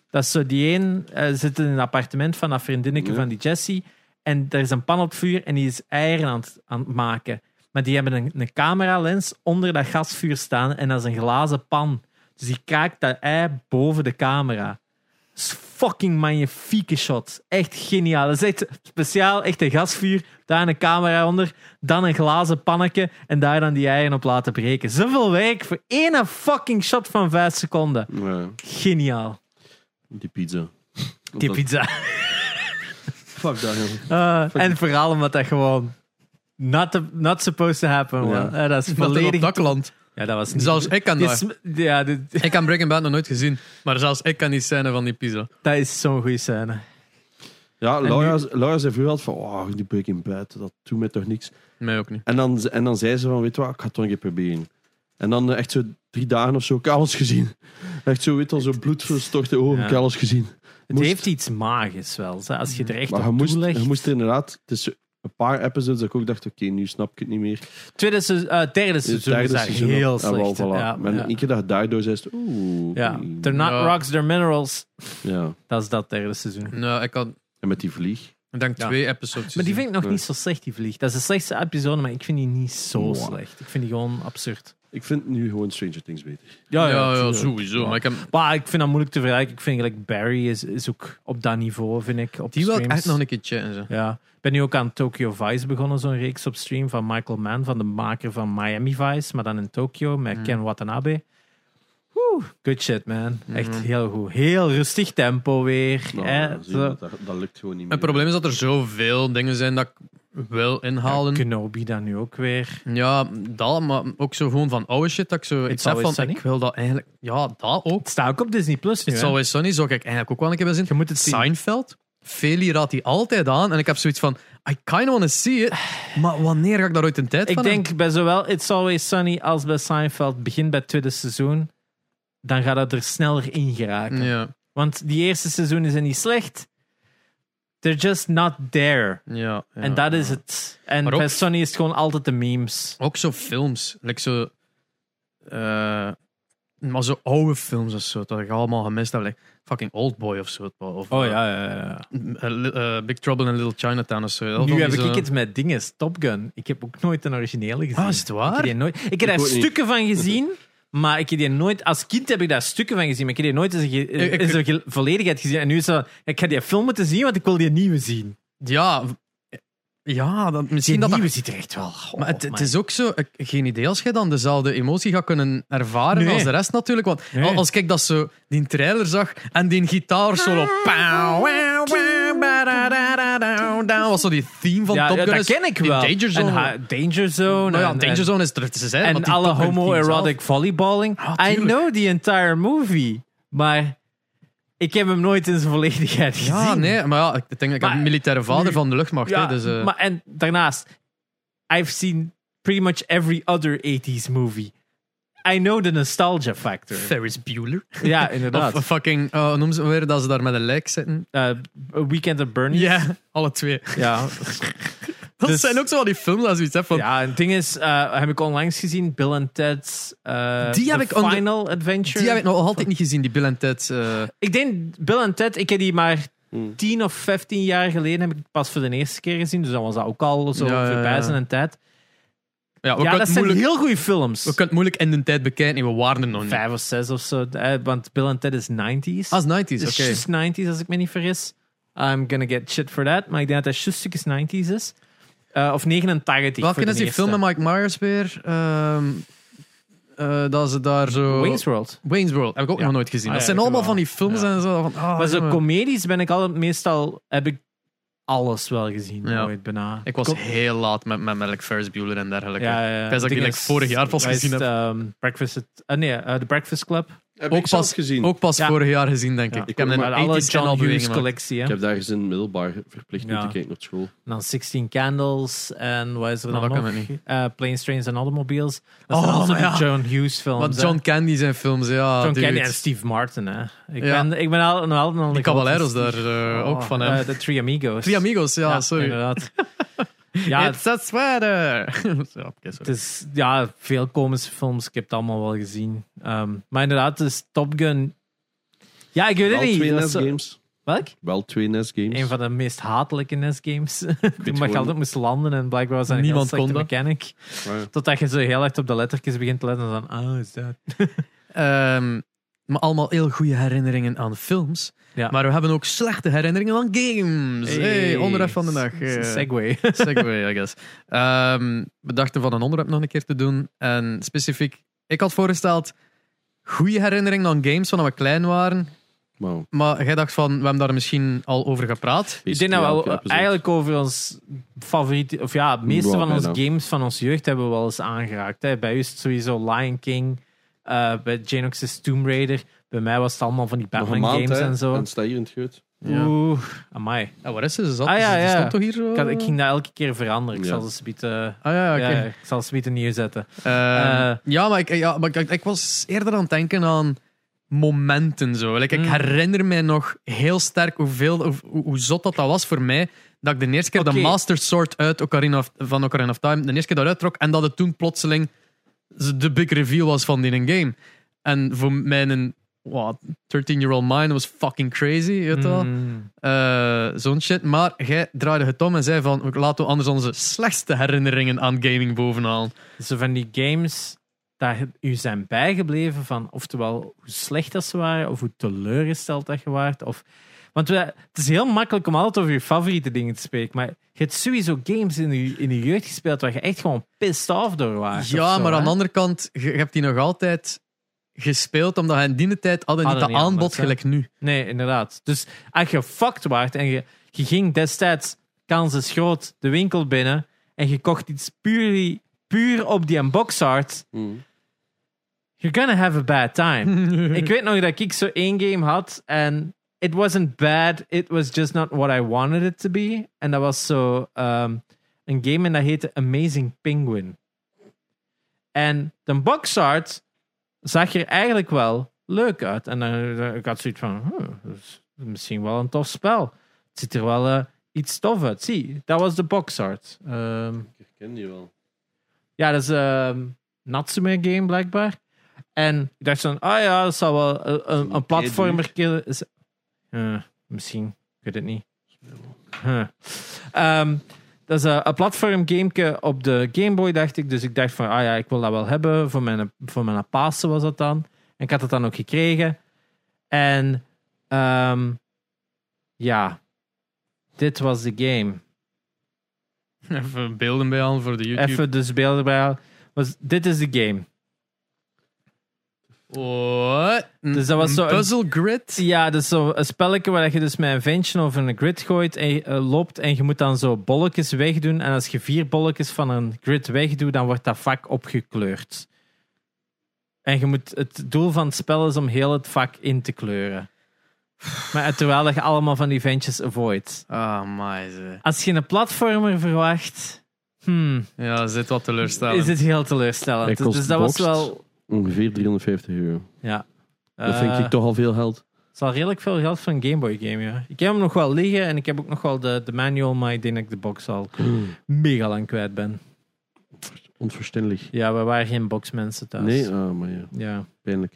S1: Dat is zo die één eh, zit in een appartement van dat vriendinnetje
S3: Ja.
S1: van die Jessie. En er is een pan op het vuur en die is eieren aan het, aan het maken. Maar die hebben een, een cameralens onder dat gasvuur staan en dat is een glazen pan. Dus die kraakt dat ei boven de camera. Dat is fucking magnifieke shot. Echt geniaal. Dat is echt speciaal, echt een gasvuur. Daar een camera onder, dan een glazen pannetje en daar dan die eieren op laten breken. Zoveel werk voor één fucking shot van vijf seconden.
S3: Ja,
S1: Geniaal.
S3: die pizza.
S1: Die pizza.
S3: Fuck dat, jongen.
S1: Eh, en vooral omdat dat gewoon not, the- not supposed to happen. man.
S3: Ja.
S1: Eh, dat is
S2: Dat er op
S1: volledig...
S2: dakland.
S1: Ja, dat was niet...
S2: Zelfs ik kan
S1: Die
S2: dat.
S1: sm- ja, dit-
S2: Ik heb Breaking Bad nog nooit gezien, maar zelfs ik kan die scène van die pizza.
S1: dat is zo'n goede scène.
S3: Ja,
S1: nu-
S3: Laura, Laura zei vroeger altijd van, oh, die Breaking Bad, dat doet mij toch niks.
S2: Mij ook niet.
S3: En dan, en dan zei ze van, weet je wat, ik ga het toch een keer proberen. En dan eh, echt zo drie dagen of zo, ik heb alles gezien. Echt zo, weet je wel, zo bloedverstorte ogen,
S1: Ja.
S3: ik heb alles gezien.
S1: Het
S3: Moest-
S1: heeft iets magisch wel. zo, Als je er echt
S3: Maar je
S1: op
S3: moest,
S1: toelegt.
S3: je moest er inderdaad, het is zo een paar episodes dat ik ook dacht, oké, nu snap ik het niet meer.
S1: Tweede seizoen, eh, derde
S3: Het
S1: seizoen is daar
S3: seizoen
S1: heel
S3: ook- ah, wel,
S1: slecht.
S3: voilà.
S1: Ja,
S3: maar
S1: ja.
S3: één keer dat je daardoor zegt, oeh.
S1: Ja.
S3: oei.
S1: They're not
S2: Ja.
S1: rocks, they're minerals.
S3: Ja.
S1: Dat is dat derde seizoen.
S2: Nou, ik had,
S3: En met die vlieg.
S2: ik denk,
S1: Ja.
S2: twee episodes
S1: Maar die
S2: gezien.
S1: vind ik nog
S3: Nee.
S1: niet zo slecht, die vlieg. Dat is de slechtste episode, maar ik vind die niet zo
S3: Mwah.
S1: slecht. Ik vind die gewoon absurd.
S3: Ik vind nu gewoon Stranger Things beter.
S2: Ja, ja,
S1: tuurlijk.
S2: sowieso. Maar ik heb,
S1: Maar ik vind dat moeilijk te vergelijken. Ik vind gelijk Barry is, is ook op dat niveau, vind ik. Op
S2: die wil ik
S1: streams.
S2: echt nog een keer checken. zo.
S1: Ja. Ik ben nu ook aan Tokyo Vice begonnen, zo'n reeks op stream van Michael Mann, van de maker van Miami Vice, maar dan in Tokyo
S2: Mm.
S1: met Ken Watanabe. Woe, good shit, man.
S2: Mm-hmm.
S1: Echt heel goed. Heel rustig tempo weer.
S3: Nou,
S1: hè.
S3: dan zie je
S1: Zo.
S3: dat, dat, dat lukt gewoon niet meer.
S2: Het probleem is dat er zoveel dingen zijn dat ik wil inhalen.
S1: Ja, Kenobi dan nu ook weer.
S2: Ja, dat, maar ook zo gewoon van oude shit. Dat ik zo iets heb
S1: always
S2: van,
S1: sunny.
S2: ik wil dat eigenlijk... Ja, dat ook.
S1: Het staat ook op Disney Plus nu.
S2: It's
S1: hè.
S2: always sunny zou ik eigenlijk ook wel een keer willen zien.
S1: Je moet het zien.
S2: Seinfeld? Feli raadt die altijd aan. En ik heb zoiets van, I kind of want to see it. Maar wanneer ga ik daar ooit een tijd
S1: Ik
S2: van
S1: denk bij zowel It's Always Sunny als bij Seinfeld, begin bij het tweede seizoen, dan gaat dat er sneller in geraken.
S2: hebben? Ja,
S1: Want die eerste seizoenen zijn niet slecht. They're just not there.
S2: ja. ja.
S1: en dat is het. En
S2: Maar ook-
S1: bij Sunny is het gewoon altijd de memes.
S2: Ook zo films. Like zo, eh, maar zo oude films of zo. Dat ik allemaal gemist heb. Like fucking Oldboy of zo. Of,
S1: Oh ja, ja, ja.
S2: eh, li- eh, Big Trouble in Little Chinatown of zo.
S1: Nu heb ik,
S2: zo...
S1: het met dingen. Top Gun. Ik heb ook nooit een originele gezien.
S2: Ah, is het
S1: Ik heb,
S2: waar?
S1: die nooit, ik heb daar
S3: ook niet.
S1: stukken van gezien, maar ik heb die nooit... Als kind heb ik daar stukken van gezien, maar ik heb die nooit in zijn ge-
S2: ik-
S1: in zijn ge- volledigheid gezien. En nu is zo... Ik ga die film moeten zien, want ik wil die nieuwe zien.
S2: Ja, v- ja dat,
S1: Die
S2: misschien dat...
S1: nieuwe
S2: dat-
S1: ziet er echt wel... oh Goh,
S2: maar het, het
S1: man.
S2: is ook zo, ik- geen idee als jij dan dezelfde emotie gaat kunnen ervaren
S1: Nee.
S2: als de rest natuurlijk. Want
S1: Nee.
S2: al- als ik dat zo, die trailer zag en die gitaarsolo. Pow, wow, wow, ba-da-da-da-da-da, Was zo die theme van
S1: ja,
S2: Top
S1: ja,
S2: Gun.
S1: dat
S2: is
S1: ken ik
S2: die
S1: wel.
S2: Danger Zone.
S1: En ha- Danger Zone.
S2: Nou ja,
S1: en-
S2: Danger Zone is terug te zijn.
S1: En,
S2: want die
S1: alle
S2: Top Gun team
S1: homoerotic volleyballing.
S2: Ah,
S1: I
S2: tuurlijk.
S1: know the entire movie, maar ik heb hem nooit in zijn volledigheid gezien.
S2: zelf. Ja, nee, maar ja, ik denk, ik heb
S1: Maar-
S2: een militaire vader
S1: nu-
S2: van de luchtmacht. hè, dus, eh,
S1: maar, en daarnaast, I've seen pretty much every other 80s movie. I know the nostalgia factor.
S2: Ferris Bueller.
S1: ja,
S2: Of
S1: inderdaad.
S2: eh, fucking, eh, hoe noemen ze hem weer dat ze daar met een lijk zitten?
S1: Eh, A Weekend at Bernie's.
S2: alle twee.
S1: Ja,
S2: Dat
S1: Dus-
S2: zijn ook zo wel die films als zoiets hè, van.
S1: ja, en het ding is, eh, heb ik onlangs gezien, Bill and Ted's eh,
S2: Die heb
S1: The
S2: ik onder-
S1: Final Adventure.
S2: Die heb ik nog altijd niet gezien, die Bill en Ted. eh,
S1: Ik denk Bill en Ted, ik heb die maar
S3: Hmm.
S1: 10 of 15 jaar geleden heb ik pas voor de eerste keer gezien. Dus dan was dat ook al zo
S2: Ja, ja, ja.
S1: voorbij zijn tijd.
S2: ja, we,
S1: Ja,
S2: kunnen
S1: dat
S2: het
S1: zijn
S2: moeilijk,
S1: heel goede
S2: we
S1: films.
S2: kunnen het moeilijk in de tijd bekijken. en We waren er nog niet.
S1: Vijf of zes of zo. eh, Want Bill en Ted is 90s.
S2: Als 90s, Ah, oké.
S1: Het is just 90s, als ik me niet vergis. I'm gonna get shit for that. Maar ik denk dat dat just stukjes 90s is. Eh, of 89.
S2: Welke
S1: voor de
S2: is die
S1: eerste.
S2: film met Mike Myers weer? Ehm, eh, dat ze daar zo.
S1: Wayne's World.
S2: Wayne's World heb ik ook
S1: Ja.
S2: nog nooit gezien.
S1: Ah,
S2: dat
S1: ja,
S2: zijn
S1: ik
S2: allemaal
S1: wel.
S2: van die films
S1: Ja.
S2: en zo. Van, ah,
S1: maar zo
S2: jongen.
S1: comedies ben ik altijd meestal... Heb ik alles wel gezien.
S2: Ja.
S1: Ooit bijna.
S2: ik was
S1: Kom-
S2: heel laat met, met, met like Ferris Bueller en dergelijke.
S1: Ja, ja, ja.
S2: Ik wist dat ik die
S1: Ding
S2: like,
S1: is-
S2: vorig jaar pas
S1: wij is
S2: gezien
S1: het,
S2: heb.
S1: ehm, Breakfast at, eh, nee, eh, The Breakfast Club.
S3: Heb
S2: Ook
S3: ik zelf
S2: pas-
S3: gezien.
S2: Ook pas
S1: Ja.
S2: vorig jaar gezien, denk
S1: Ja.
S2: ik.
S1: Ik
S2: Ik heb
S3: ook,
S2: een
S3: maar
S1: Maar alle
S2: 80s channel
S1: John Hughes
S2: beweging gemaakt.
S1: collectie.
S3: Ik
S1: Hè?
S3: heb daar gezien middelbaar verplicht
S1: Ja.
S3: om te kijken op school.
S1: En Dan 16 Candles en wat is er
S2: Nou,
S1: dan
S2: dat
S1: nog?
S2: kan ik niet.
S1: Eh, Planes, Trains and Automobiles. Dat
S2: Oh,
S1: zijn allemaal
S2: maar
S1: zo'n
S2: ja.
S1: John Hughes films.
S2: Want
S1: hè.
S2: John Candy zijn films, ja.
S1: John
S2: dude.
S1: Candy en Steve Martin. Hè. Ik,
S2: Ja.
S1: ben, ik ben al, nog altijd al
S2: Die Caballeros daar eh, ook van hem.
S1: eh, De Three Amigos.
S2: Drie amigos, ja, sorry.
S1: Inderdaad. ja,
S2: It's a sweater. ja, oké,
S1: het
S2: sorry.
S1: is ja, veel komische films. Ik heb het allemaal wel gezien. Ehm, maar inderdaad, dus Top Gun... Ja, ik weet
S3: Wel
S1: het niet.
S3: twee
S1: Dat is zo-
S3: NES-games.
S1: Welk?
S3: Wel twee E NES-games.
S1: Een van de meest hatelijke NES-games.
S3: weet
S1: Toen mag je
S3: gewoon-
S1: altijd moest landen en blijkbaar was dat een heel
S2: Niemand
S1: slechte
S2: kon dat.
S1: mechanic.
S3: Maar
S1: Totdat je zo heel erg op de lettertjes begint te letten en dan, ah, is dat...
S2: Ehm, maar allemaal heel goede herinneringen aan films.
S1: Ja.
S2: Maar we hebben ook slechte herinneringen aan games. Hey, onderwerp van de dag.
S1: s- s-
S2: Eh,
S1: Segway.
S2: Segway, I guess. Ehm, we dachten van een onderwerp nog een keer te doen. En specifiek, ik had voorgesteld goede herinneringen aan games van toen we klein waren.
S3: wow.
S2: Maar jij dacht van, we hebben daar misschien al over gepraat.
S1: Ik denk dat
S3: Elke
S1: we
S3: episode.
S1: eigenlijk over ons favoriete, of ja, het meeste
S3: Ja,
S1: van onze
S3: bijna.
S1: games van onze jeugd hebben we wel eens aangeraakt. Hè. Bij u is het sowieso Lion King, eh, bij Janox's Tomb Raider. Bij mij was het allemaal van die
S3: Nog een
S1: Batman
S3: maand,
S1: games
S3: hè,
S1: en zo.
S3: En sta hier in het geut.
S2: Ja.
S1: Oeh, amai.
S2: Ja, waar is ze? Ze zat,
S1: Ah, ja,
S2: ze- ze
S1: ja.
S2: stond toch hier zo?
S1: Ik, had- ik ging dat elke keer veranderen. Ik
S3: Ja.
S1: zal ze bieden.
S2: Ah ja, oké.
S1: Ja, ik zal ze bieden neerzetten.
S2: Ehm,
S1: Eh.
S2: ja, maar, ik, ja, maar ik, ik was eerder aan het denken aan momenten zo. Like, ik
S1: Mm.
S2: herinner mij nog heel sterk hoeveel, hoe, hoe- hoe zot dat, dat was voor mij. Dat ik de eerste keer
S1: Oké.
S2: de Master Sword uit Ocarina of, van Ocarina of Time, de eerste keer daaruit trok. En dat het toen plotseling de big reveal was van die een game. En voor mijn wat, 13-year-old mind was fucking crazy, weet je wel.
S1: Mm.
S2: Eh, Zo'n shit. Maar jij draaide het om en zei van, "We- laten we anders onze slechtste herinneringen aan gaming bovenhalen.
S1: Zo van die games dat je- u zijn bijgebleven van oftewel hoe slecht dat ze waren of hoe teleurgesteld dat je waart. Of, want we, het is heel makkelijk om altijd over je favoriete dingen te spreken, maar je hebt sowieso games in je, in je jeugd gespeeld waar je echt gewoon pissed off door was.
S2: Ja, maar aan de andere kant, je, je hebt die nog altijd gespeeld, omdat je in die tijd hadden niet
S1: Hadden
S2: dat
S1: niet
S2: aanbod
S1: anders, hè.
S2: gelijk nu.
S1: Nee, inderdaad. Dus als je fucked waart en je, je ging destijds, kans is groot, de winkel binnen en je kocht iets puur, puur op die box art,
S3: Mm.
S1: you're gonna have a bad time. ik weet nog dat ik zo één game had en it wasn't bad. It was just not what I wanted it to be. En dat was zo ehm, een game en dat heette Amazing Penguin. En de box art zag er eigenlijk wel leuk uit. En dan, ik had zoiets van, hmm, dat is misschien wel een tof spel. Het ziet er wel eh, iets tof uit. Zie, dat was de box art. Ehm,
S3: Ik herken die wel.
S1: ja, dat is een Natsume game blijkbaar. En ik dacht van, ah ja, dat zal wel eh, een, een platformer killen. Is- Eh, misschien, ik weet het niet. Huh. Ehm, dat is eh, een platform gameke op de Game Boy, dacht ik. Dus ik dacht van, ah ja, ik wil dat wel hebben. Voor mijn, voor mijn Pasen was dat dan. En ik had het dan ook gekregen. En ehm, ja, dit was de game.
S2: Even beelden bij aan voor de YouTube.
S1: Even dus beelden bij halen. Was, dit is de game.
S2: What?
S1: Dus dat was
S2: Een
S1: zo een-
S2: Puzzle grid?
S1: Ja, dat is zo een spelletje waar je dus met een ventje over een grid gooit en je, eh, loopt en je moet dan zo bolletjes wegdoen. En als je vier bolletjes van een grid wegdoet, dan wordt dat vak opgekleurd. En je moet, het doel van het spel is om heel het vak in te kleuren. Maar terwijl dat je allemaal van die ventjes avoidt.
S2: Ah, my. ze.
S1: Als je een platformer verwacht, hmm,
S2: Ja, dat is dit wat teleurstellend.
S1: is het heel teleurstellend.
S3: Hij
S1: Dus, dus dat was
S3: kost
S1: wel...
S3: Ongeveer 350 euro.
S1: Ja.
S3: Dat vind
S1: Eh,
S3: ik toch al veel geld.
S1: Het is al redelijk veel geld voor een Game Boy game, ja. Ik heb hem nog wel liggen en ik heb ook nog wel de, de manual, maar ik denk dat ik de box al mega lang kwijt ben.
S3: Onverstandelijk.
S1: Ja, we waren geen boxmensen thuis.
S3: Nee, ah, maar ja,
S1: Ja.
S3: pijnlijk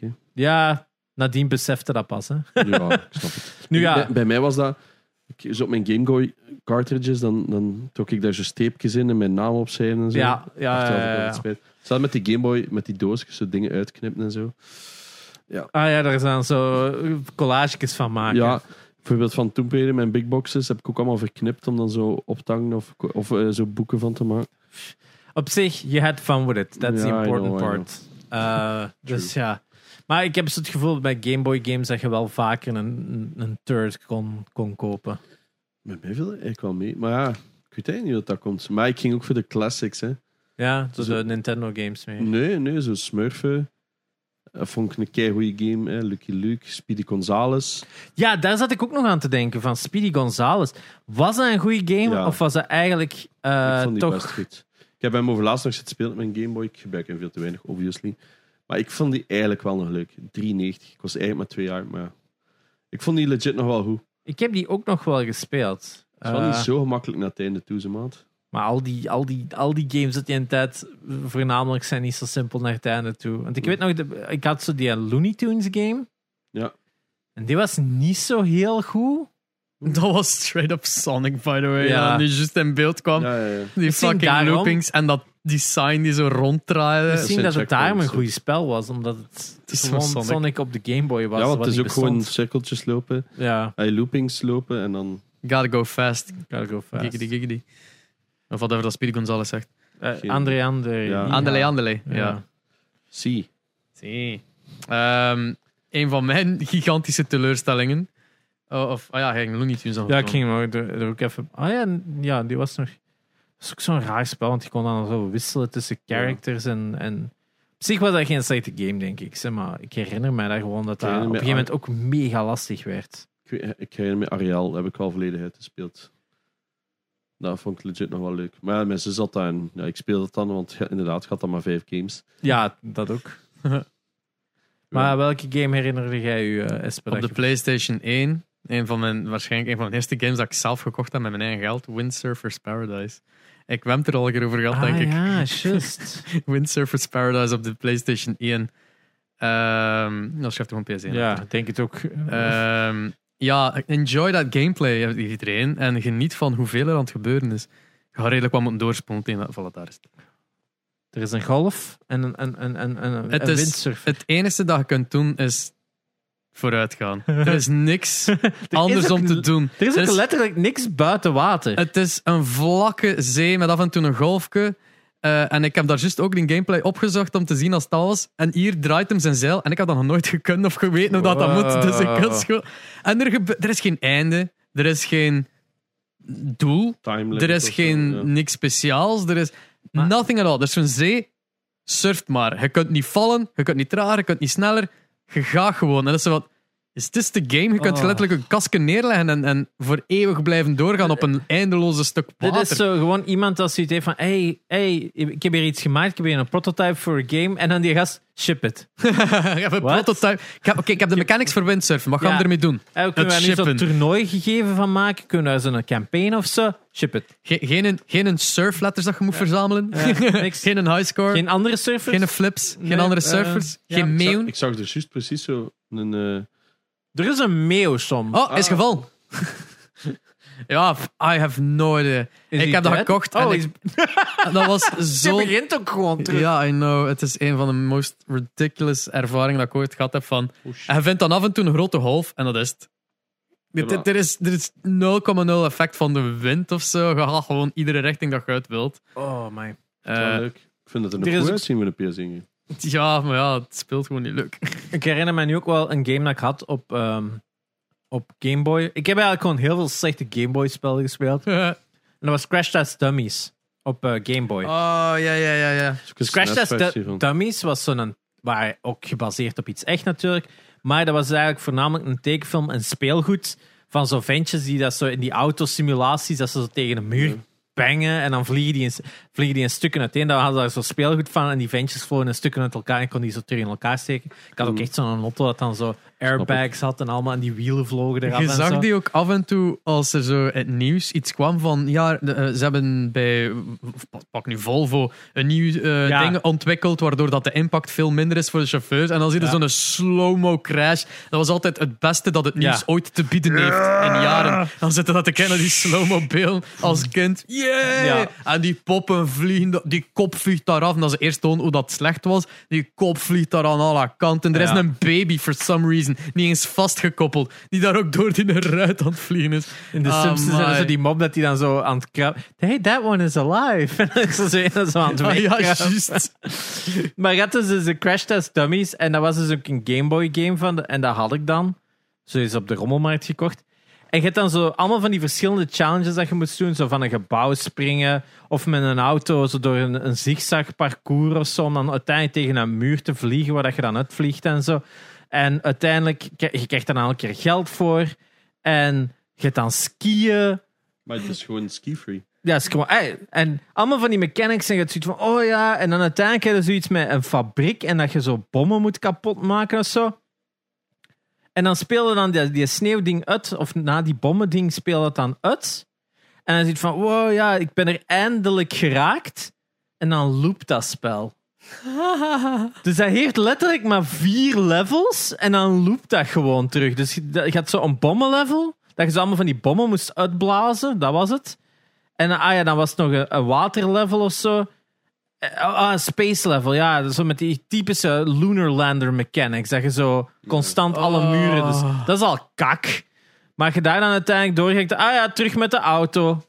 S3: hè.
S1: ja, nadien besefte dat pas, hè.
S3: Ja, ik snap het.
S1: Nu ja.
S3: bij, bij mij was dat, ik, zo op mijn Game Boy cartridges, dan, dan trok ik daar zo steepjes in en mijn naam opschrijven en zo.
S1: Ja, ja,
S3: Achteraf, ik had
S1: ja,
S3: het
S1: ja.
S3: spijt. Zelfs met die Game Boy, met die doosjes, zo dingen uitknippen en zo.
S1: Ah ja, daar zijn zo eh, collages van maken.
S3: Ja, bijvoorbeeld van Tomb Raider, mijn big boxes, heb ik ook allemaal verknipt om dan zo op te hangen of, of eh, zo boeken van te maken.
S1: Op zich, je had fun with it. That's the
S3: Ja, I
S1: important
S3: know, I
S1: part. Eh, dus ja. Maar ik heb zo het gevoel bij Game Boy games dat je wel vaker een, een, een turret kon, kon kopen.
S3: Met mij viel dat eigenlijk wel mee. Maar ja, ik weet eigenlijk niet wat dat komt. Maar ik ging ook voor de classics, hè.
S1: Ja, zo
S3: Zo-
S1: de Nintendo games mee.
S3: Nee, nee, zo Smurfen. Dat vond ik een keigoeie game, hè. Lucky Luke, Speedy Gonzales.
S1: Ja, daar zat ik ook nog aan te denken. Van Speedy Gonzales. Was dat een goede game?
S3: Ja.
S1: Of was dat eigenlijk eh,
S3: ik vond die best
S1: toch...
S3: goed. Ik heb hem over laatst nog zitten spelen met mijn Game Boy. Ik gebruik hem veel te weinig, obviously. Maar ik vond die eigenlijk wel nog leuk. 93. Ik was eigenlijk maar twee jaar, maar ja. ik vond die legit nog wel goed.
S1: Ik heb die ook nog wel gespeeld.
S3: Het is wel
S1: Eh,
S3: niet zo gemakkelijk naar het einde toe, ze maat.
S1: Maar al die, al, die, al die games dat je in tijd... Voornamelijk zijn niet zo simpel naar het einde toe. Want ik weet nog... de- ik had zo die Looney Tunes game.
S3: Ja.
S1: En die was niet zo heel goed.
S2: Dat was straight up Sonic, by the way.
S1: Ja.
S2: Ja. Die juist in beeld kwam.
S3: Ja, ja, ja.
S2: Die
S1: Misschien
S2: fucking
S1: daarom.
S2: loopings en dat design die zo ronddraaide.
S3: is
S1: Misschien
S3: een
S1: dat het daarom een
S3: checkpoint,
S1: goed spel was. Omdat het,
S2: is
S1: gewoon
S2: van
S1: Sonic.
S2: Sonic.
S1: op de Game Boy was.
S3: ja want
S1: wat
S3: het is
S1: niet
S3: ook gewoon
S1: bestond.
S3: cirkeltjes lopen.
S1: Ja,
S3: Hey, loopings lopen en dan...
S2: Gotta go fast.
S1: gotta go fast.
S2: Giggity, giggity. Of whatever dat Speedy Gonzales zegt.
S1: Eh,
S3: Geen-
S1: André, André.
S3: Ja.
S2: Andele, andele. Ja.
S3: Zie.
S1: Zie.
S2: Ehm, een van mijn gigantische teleurstellingen. Oh, of, ah ja, hij ging Looney Tunes aan
S1: Ja, ik ging hem ook, er, er ook even. Ah ja, n- ja, die was nog. Dat is ook zo'n raar spel, want je kon dan zo wisselen tussen characters en. en op zich was dat geen slechte game, denk ik. Zeg maar ik herinner mij daar gewoon dat dat op een
S3: herinner
S1: gegeven
S3: me-
S1: moment ook mega lastig werd.
S3: Ik, weet- ik herinner me Ariel, heb ik al verleden uitgespeeld. Dat vond ik legit nog wel leuk. Maar ja, mijn zus zat daar en ja, ik speelde het dan, want ja, inderdaad, gaat dan maar vijf games.
S1: Ja, dat ook. maar welke game herinnerde jij je, eh Esper?
S2: Op de PlayStation 1. Een van mijn, waarschijnlijk een van de eerste games dat ik zelf gekocht heb met mijn eigen geld. Windsurfers Paradise. Ik heb het er al een keer over gehad,
S1: ah,
S2: denk ik.
S1: ja, just.
S2: Windsurfers Paradise op de PlayStation 1. Ehm dat schrijft gewoon PS1.
S1: ja, Eh, ik denk het ook.
S2: Ehm, ja, enjoy dat gameplay, eh, iedereen. En geniet van hoeveel er aan het gebeuren is. Je gaat redelijk wat moeten doorspoelen tegen dat voilà, daar is het.
S1: er is een golf en een, een, een, een, een,
S2: Het
S1: een
S2: is-
S1: windsurfer.
S2: Het enige dat je kunt doen is vooruitgaan. Er is niks anders
S1: ook
S2: om te
S1: n-
S2: doen.
S1: Er is
S2: Er
S1: ook
S2: is-
S1: letterlijk niks buiten water.
S2: Het is een vlakke zee met af en toe een golfje. Eh, en ik heb daar juist ook die gameplay opgezocht om te zien als het al was. En hier draait hem zijn zeil. En ik had dat nog nooit gekund of geweten hoe dat, dat moet. Dus ik had schoon. En er, gebe- er is geen einde. Er is geen doel.
S3: Time
S2: Er
S3: limit
S2: is
S3: of zo,
S2: geen
S3: eh, ja.
S2: niks speciaals. Er is
S1: Maar-
S2: nothing at all. Er is zo'n zee. Surft maar. Je kunt niet vallen. Je kunt niet trager. Je kunt niet sneller. Je gaat gewoon. En dat is zo wat. Dus het is de game. Je kunt
S1: Oh.
S2: letterlijk een kasken neerleggen en, en voor eeuwig blijven doorgaan op een eindeloze stuk water.
S1: Eh, Dit is zo gewoon iemand als zoiets heeft van: hey, hey, ik heb hier iets gemaakt, ik heb hier een prototype voor een game. En dan die gast, ship it.
S2: ik heb een
S1: What?
S2: prototype. Ik heb, oké, ik heb de mechanics voor windsurfen. Wat gaan
S1: Ja.
S2: we ermee doen?
S1: Eh, we kunnen
S2: Het
S1: daar nu zo'n
S2: shippen.
S1: toernooi gegeven van maken? Kunnen we daar zo'n campaign of zo? Ship it.
S2: Ge- geen, geen surfletters dat je moet verzamelen.
S1: Ja, niks.
S2: geen een highscore. Geen,
S1: Geen andere surfers?
S2: flips.
S1: Nee,
S2: geen andere
S1: eh,
S2: surfers.
S1: ja.
S2: geen
S3: Ik zag-
S2: meeuw.
S3: Ik zag er juist precies zo een... eh,
S1: Er is een meeuwsom.
S2: Oh, is geval. ja, f- I have no idea.
S1: Is
S2: ik
S1: die
S2: heb dat
S1: dead?
S2: gekocht. en
S1: Oh,
S2: ik-
S1: is-
S2: dat was
S1: Ze
S2: zo.
S1: begint ook gewoon terug.
S2: Ja, I know. Het is een van de most ridiculous ervaringen dat ik ooit gehad heb. Van,
S3: oh shit.
S2: en je vindt dan af en toe een grote golf en dat is het. Dit-
S3: Ja, maar-
S2: dit- Er is, er is 0,0 effect van de wind of zo. Je gaat gewoon iedere richting dat je uit wilt.
S1: Oh my.
S2: Eh,
S3: Wel leuk. Ik vind het er nog
S1: er is
S3: goed
S1: ook-
S3: uitzien met een PS1. game.
S2: ja, maar ja, het speelt gewoon niet leuk.
S1: Ik herinner me nu ook wel een game dat ik had op, ehm, op Game Boy. Ik heb eigenlijk gewoon heel veel slechte Game Boy spellen gespeeld. En dat was Crash Test Dummies op eh, Game Boy.
S2: Oh, ja, ja, ja, ja.
S3: Het is ook een
S1: Crash Test
S3: SNES-versie
S1: Du-
S3: van.
S1: Dummies was zo'n. Waar ook gebaseerd op iets echt natuurlijk. Maar dat was eigenlijk voornamelijk een tekenfilm en speelgoed. Van zo'n ventjes die dat zo in die autosimulaties. dat ze zo tegen een muur bangen. en dan vliegen die in, s- vliegen die in stukken uiteen. Daar hadden ze daar zo speelgoed van. en die ventjes vlogen in stukken uit elkaar. en kon die zo terug in elkaar steken. Ik had ook echt zo'n auto dat dan zo airbags had en allemaal. en die wielen vlogen eraf.
S2: Je
S1: en zo.
S2: zag die ook af en toe als er zo in het nieuws iets kwam van ja, de, eh, ze hebben bij of pak nu Volvo een nieuw eh,
S1: Ja.
S2: ding ontwikkeld waardoor dat de impact veel minder is voor de chauffeurs. En dan zie je
S1: Ja.
S2: zo'n slow-mo crash. Dat was altijd het beste dat het
S1: Ja.
S2: nieuws ooit te bieden heeft in jaren. Dan zitten dat te kennen die slow-mo beelden als kind. Yeah!
S1: Ja.
S2: En die poppen vliegen, da- die kop vliegt daar af. En dat ze eerst tonen hoe dat slecht was. Die kop vliegt daar aan alle kanten. Er is
S1: Ja.
S2: een baby, for some reason, niet eens vastgekoppeld. Die daar ook door die ruit aan het vliegen is. Ah,
S1: In de Simpsons
S2: Amai.
S1: zijn zo die mob dat die dan zo aan het krabben. Hey, that one is alive. En dan is ze zo in- zo aan het
S2: Ah, ja,
S1: wegkrabben.
S2: juist.
S1: Maar je had dus, dus de Crash Test Dummies en dat was dus ook een Game Boy game van. de- en dat had ik dan. Zo is op de rommelmarkt gekocht. En je hebt dan zo allemaal van die verschillende challenges dat je moest doen. Zo van een gebouw springen of met een auto zo door een, een zigzag parcours of zo. Om dan uiteindelijk tegen een muur te vliegen waar dat je dan uitvliegt en zo. En uiteindelijk, k- je krijgt dan elke keer geld voor. En je hebt dan skiën.
S3: Maar het is gewoon ski-free.
S1: Ja, is gewoon, ey, en allemaal van die mechanics en je hebt zoiets van, oh ja, en dan uiteindelijk heb je zoiets met een fabriek en dat je zo bommen moet kapotmaken of zo. En dan speel je dan die, die sneeuwding uit, of na die bommending speel dat dan uit. En dan ziet van, wow ja, ik ben er eindelijk geraakt. En dan loopt dat spel. Dus dat heeft letterlijk maar vier levels en dan loopt dat gewoon terug. Dus je dat- je had zo'n bommenlevel, dat je zo allemaal van die bommen moest uitblazen, dat was het. En eh, ah ja, dan was het nog een, een waterlevel of zo. Eh, Ah, ah, een space level, ja. Zo met die typische Lunar Lander mechanics. Dat je zo constant alle
S2: Oh.
S1: muren... Dus, dat is al kak. Maar je daar dan uiteindelijk doorgaat, ah ja, terug met de auto. En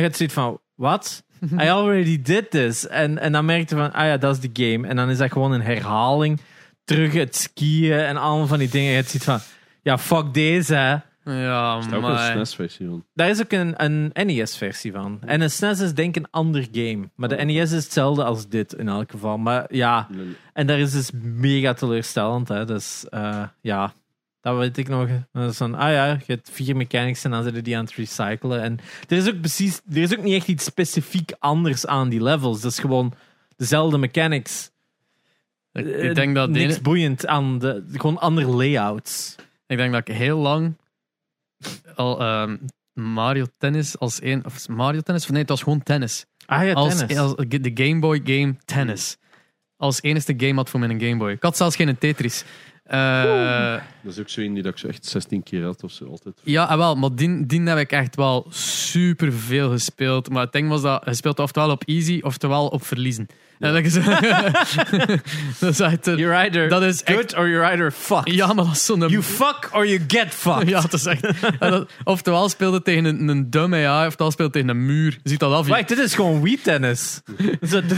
S1: je hebt zoiets van, wat? I already did this. En, en dan merkte van, ah ja, dat is de game. En dan is dat gewoon een herhaling. Terug het skiën en allemaal van die dingen. En je hebt zoiets van, ja, fuck deze, hè.
S2: Ja,
S3: Daar ook een
S2: maar.
S3: SNES-versie van.
S1: Daar is ook een, een NES-versie van. En een SNES E is denk ik een ander game. Maar de NES is hetzelfde als dit in elk geval. Maar ja, en daar is dus mega teleurstellend. Hè. Dus eh, ja, dat weet ik nog. Dat is van, ah ja, je hebt vier mechanics en dan zitten die aan het recyclen. En er is ook precies, er is ook niet echt iets specifiek anders aan die levels. Dat is gewoon dezelfde mechanics. Eh,
S2: Ik, ik denk dat de
S1: Niks
S2: ene-
S1: boeiend aan de, gewoon andere layouts.
S2: ik denk dat ik heel lang al ehm, Mario Tennis als één. Of is Mario Tennis? Of nee, het was gewoon tennis.
S1: Ah ja,
S2: als,
S1: tennis.
S2: als de Game Boy game Tennis. Als enigste game had voor mijn Game Boy. Ik had zelfs geen Tetris. Eh,
S3: Dat is ook zo een die dat ik zo echt 16 keer had of zo altijd.
S2: ja, ah wel, maar die, die heb ik echt wel super veel gespeeld. Maar het ding was dat je speelt oftewel op easy, oftewel op verliezen. En dat is, dat is echt, eh,
S1: You're either
S2: dat is echt
S1: good or you're either fucked.
S2: ja, maar dat is zo'n
S1: You fuck or you get fucked.
S2: Ja, het is echt. en dat- Oftewel speelde tegen een, een dum AI, oftewel speelde tegen een muur. Je ziet dat af. hier.
S1: Wacht, dit is gewoon Wii tennis. Zo-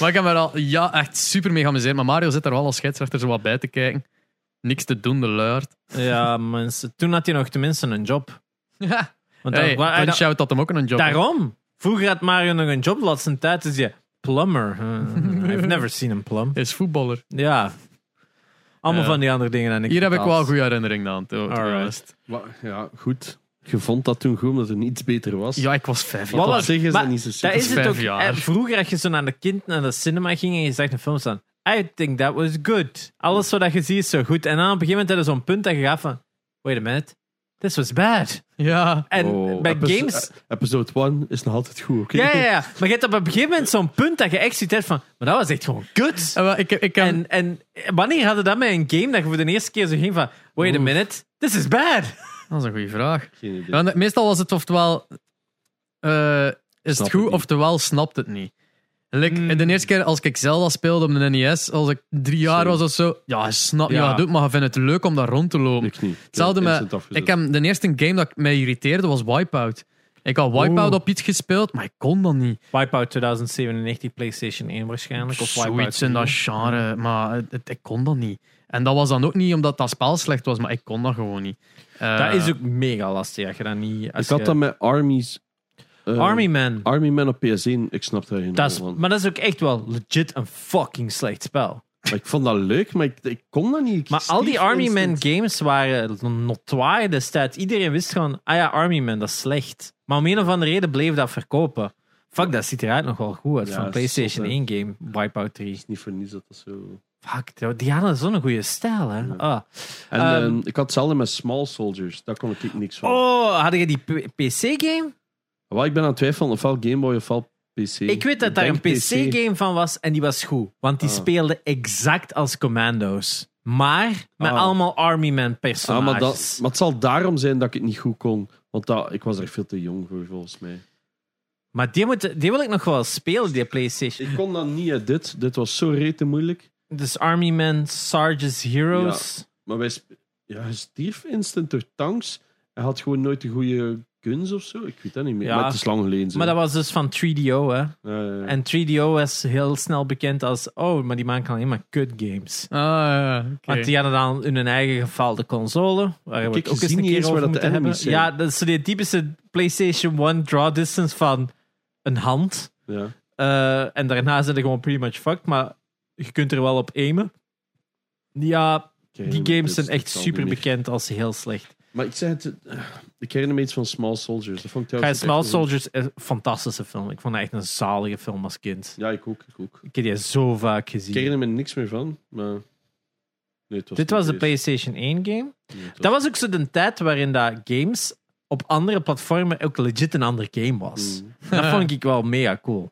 S2: Maar ik heb me er al ja, echt super mee geamuseerd. Maar Mario zit er wel als scheidsrechter zo wat bij te kijken. Niks te doen, de luiert.
S1: ja, mensen. Toen had hij nog tenminste een job.
S2: Ja.
S1: Want
S2: Hey,
S1: dat- wa-
S2: Punch
S1: da-
S2: Out had hem ook een job.
S1: daarom. Vroeger had Mario nog een job. Laatste tijd is hij plumber. Hmm, I've never seen him plum.
S2: Hij is voetballer.
S1: Ja. Allemaal
S2: Ja.
S1: van die andere dingen. En
S2: Hier heb ik wel een
S1: goed.
S2: goede herinnering aan. to- to-
S1: Alright.
S3: Maar, ja, goed. Je vond dat toen goed omdat er niets beter was.
S2: Ja, ik was vijf.
S1: Wat
S3: Wat op
S1: was-
S3: zich is
S1: maar
S3: dat niet zo super.
S1: Dat is het
S2: vijf
S1: ook.
S2: jaar.
S1: eh, Vroeger, als je zo naar de kind naar de cinema ging en je zag een film staan. I think that was good. Alles wat je ziet is zo goed. En dan op een gegeven moment had je zo'n punt dat je gaat van... Wait a minute. This was bad.
S2: Ja.
S1: En
S3: Oh,
S1: bij
S3: episo-
S1: games...
S3: eh, Episode 1 is nog altijd goed, oké?
S1: Ja, ja, ja. Maar je hebt op een gegeven moment zo'n punt dat je echt zoiets hebt van... Maar dat was echt gewoon kut.
S2: En Eh, wel, Ik, ik, heb-
S1: En, en wanneer hadden dat met een game dat je voor de eerste keer zo ging van... Wait a
S2: Oef.
S1: minute. This is bad.
S2: Dat is een goede vraag.
S3: Geen idee.
S2: Ja, want meestal was het oftewel... eh, is
S3: Snap
S2: het
S3: het
S2: goed,
S3: niet.
S2: oftewel snapt het niet. Like,
S1: Mm.
S2: De eerste keer als ik Zelda speelde op de NES, als ik drie jaar
S3: Zo.
S2: was of zo... Ja, snap je
S1: Ja.
S2: wat doet, maar je vindt het leuk om daar rond te lopen.
S3: Ik niet. Ik heb
S2: Hetzelfde met...
S3: instant afgezet.
S2: Ik heb, de eerste game dat mij irriteerde was Wipeout. Ik had Wipeout
S1: Oeh.
S2: op iets gespeeld, maar ik kon dat niet.
S1: Wipeout 2097, PlayStation 1 waarschijnlijk. Of Wipeout
S2: Zoiets in dat
S1: 3.
S2: genre, maar het, het- ik kon dat niet. En dat was dan ook niet omdat dat spel slecht was, maar ik kon dat gewoon niet. Eh,
S1: Dat is ook mega lastig. Als je dat niet... Als
S3: Ik had
S1: je-
S3: dat met Armies. eh,
S1: Army Man.
S3: Army Man op PS1, ik snap daar geen
S1: Dat
S3: hol
S1: is,
S3: van.
S1: maar dat is ook echt wel legit een fucking slecht spel.
S3: Maar ik vond dat leuk, maar ik, ik kon dat niet. Ik
S1: Maar al die
S3: stierf
S1: Army Man
S3: instant.
S1: games waren notoire destijds. Iedereen wist gewoon, ah ja, Army Man, dat is slecht. Maar om een of andere reden bleef dat verkopen. Fuck, dat ziet eruit nog wel goed uit.
S3: Ja,
S1: Van PlayStation
S3: zot, hè.
S1: 1 game, Wipeout 3.
S3: Het is niet voor niets dat dat zo...
S1: Fuck, die hadden zo'n goede stijl, hè. Ah.
S3: En
S1: Ehm,
S3: ehm, ik had hetzelfde met Small Soldiers. Daar kon ik niks van.
S1: Oh, had je die PC-game?
S3: Wel, ik ben aan het twijfelen ofwel Game Boy ofwel PC.
S1: Ik weet dat daar
S3: denk
S1: een PC-game van was en die was goed. Want die
S3: Ah.
S1: speelde exact als Commando's. Maar met
S3: Ah.
S1: allemaal Army
S3: Ah,
S1: Man-personages.
S3: maar, dat, maar het zal daarom zijn dat ik het niet goed kon. Want dat, ik was er veel te jong voor, volgens mij.
S1: Maar die, moet, die wil ik nog wel spelen, die PlayStation.
S3: Ik kon dat niet uit dit. Dit was zo rete moeilijk.
S1: Dus Army Man, Sarge's Heroes.
S3: Maar wij... sp- Ja, hij stierf instant door tanks. Hij had gewoon nooit de goede guns of zo. Ik weet dat niet meer.
S1: Ja.
S3: Maar het is lang geleden. zo.
S1: Maar dat was dus van 3DO, hè?
S3: Ja, ja, ja.
S1: En 3DO was heel snel bekend als. Oh, maar die maken alleen maar kut games.
S2: Ah, ja, oké.
S1: Want die hadden dan hun eigen gefaalde console. Waar we
S3: ik
S1: het ook
S3: zie
S1: eens een
S3: niet
S1: keer
S3: eens waar
S1: over
S3: dat
S1: moeten
S3: de
S1: hebben.
S3: enemies zijn.
S1: Ja, dat is zo die typische PlayStation 1 draw distance van een hand.
S3: Ja.
S1: Eh, en daarna zijn er gewoon pretty much fucked. Maar je kunt er wel op aimen. Ja, die games zijn echt super bekend als heel slecht.
S3: Maar ik zei het, eh, ik herinner me iets van Small Soldiers. Dat vond ik
S1: Guy,
S3: trouwens
S1: Small
S3: echt een-
S1: Soldiers is een fantastische film. Ik vond dat echt een zalige film als kind.
S3: Ja, ik ook, ik ook.
S1: Ik heb die zo vaak
S3: Ik
S1: gezien.
S3: herinner me niks meer van, maar... Nee, het
S1: Dit
S3: was niet
S1: was de
S3: deze.
S1: PlayStation 1 game.
S3: Nee, het was-
S1: Dat was ook zo de tijd waarin dat games op andere platformen ook legit een andere game was.
S3: Mm.
S1: Dat vond ik wel mega cool.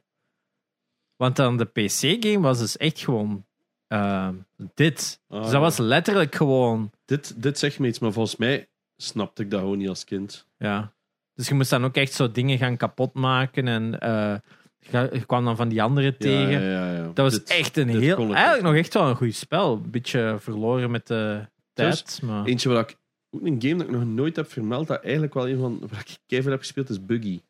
S1: Want dan de PC-game was dus echt gewoon eh, dit.
S3: Ah,
S1: dus
S3: ja.
S1: dat was letterlijk gewoon...
S3: dit, dit zegt me iets, maar volgens mij snapte ik dat gewoon niet als kind.
S1: Ja. Dus je moest dan ook echt zo dingen gaan kapotmaken en eh, je je kwam dan van die anderen
S3: Ja,
S1: tegen.
S3: ja, ja, ja.
S1: Dat was
S3: Dit-
S1: echt een
S3: dit
S1: heel.
S3: kon ik
S1: Eigenlijk
S3: niet.
S1: nog echt wel een goed spel. Een beetje verloren met de
S3: Zelfs
S1: tijd. Maar...
S3: Eentje waar Dus ik... Ook een game dat ik nog nooit heb vermeld, dat eigenlijk wel een van... Waar ik keihard heb gespeeld, is Buggy.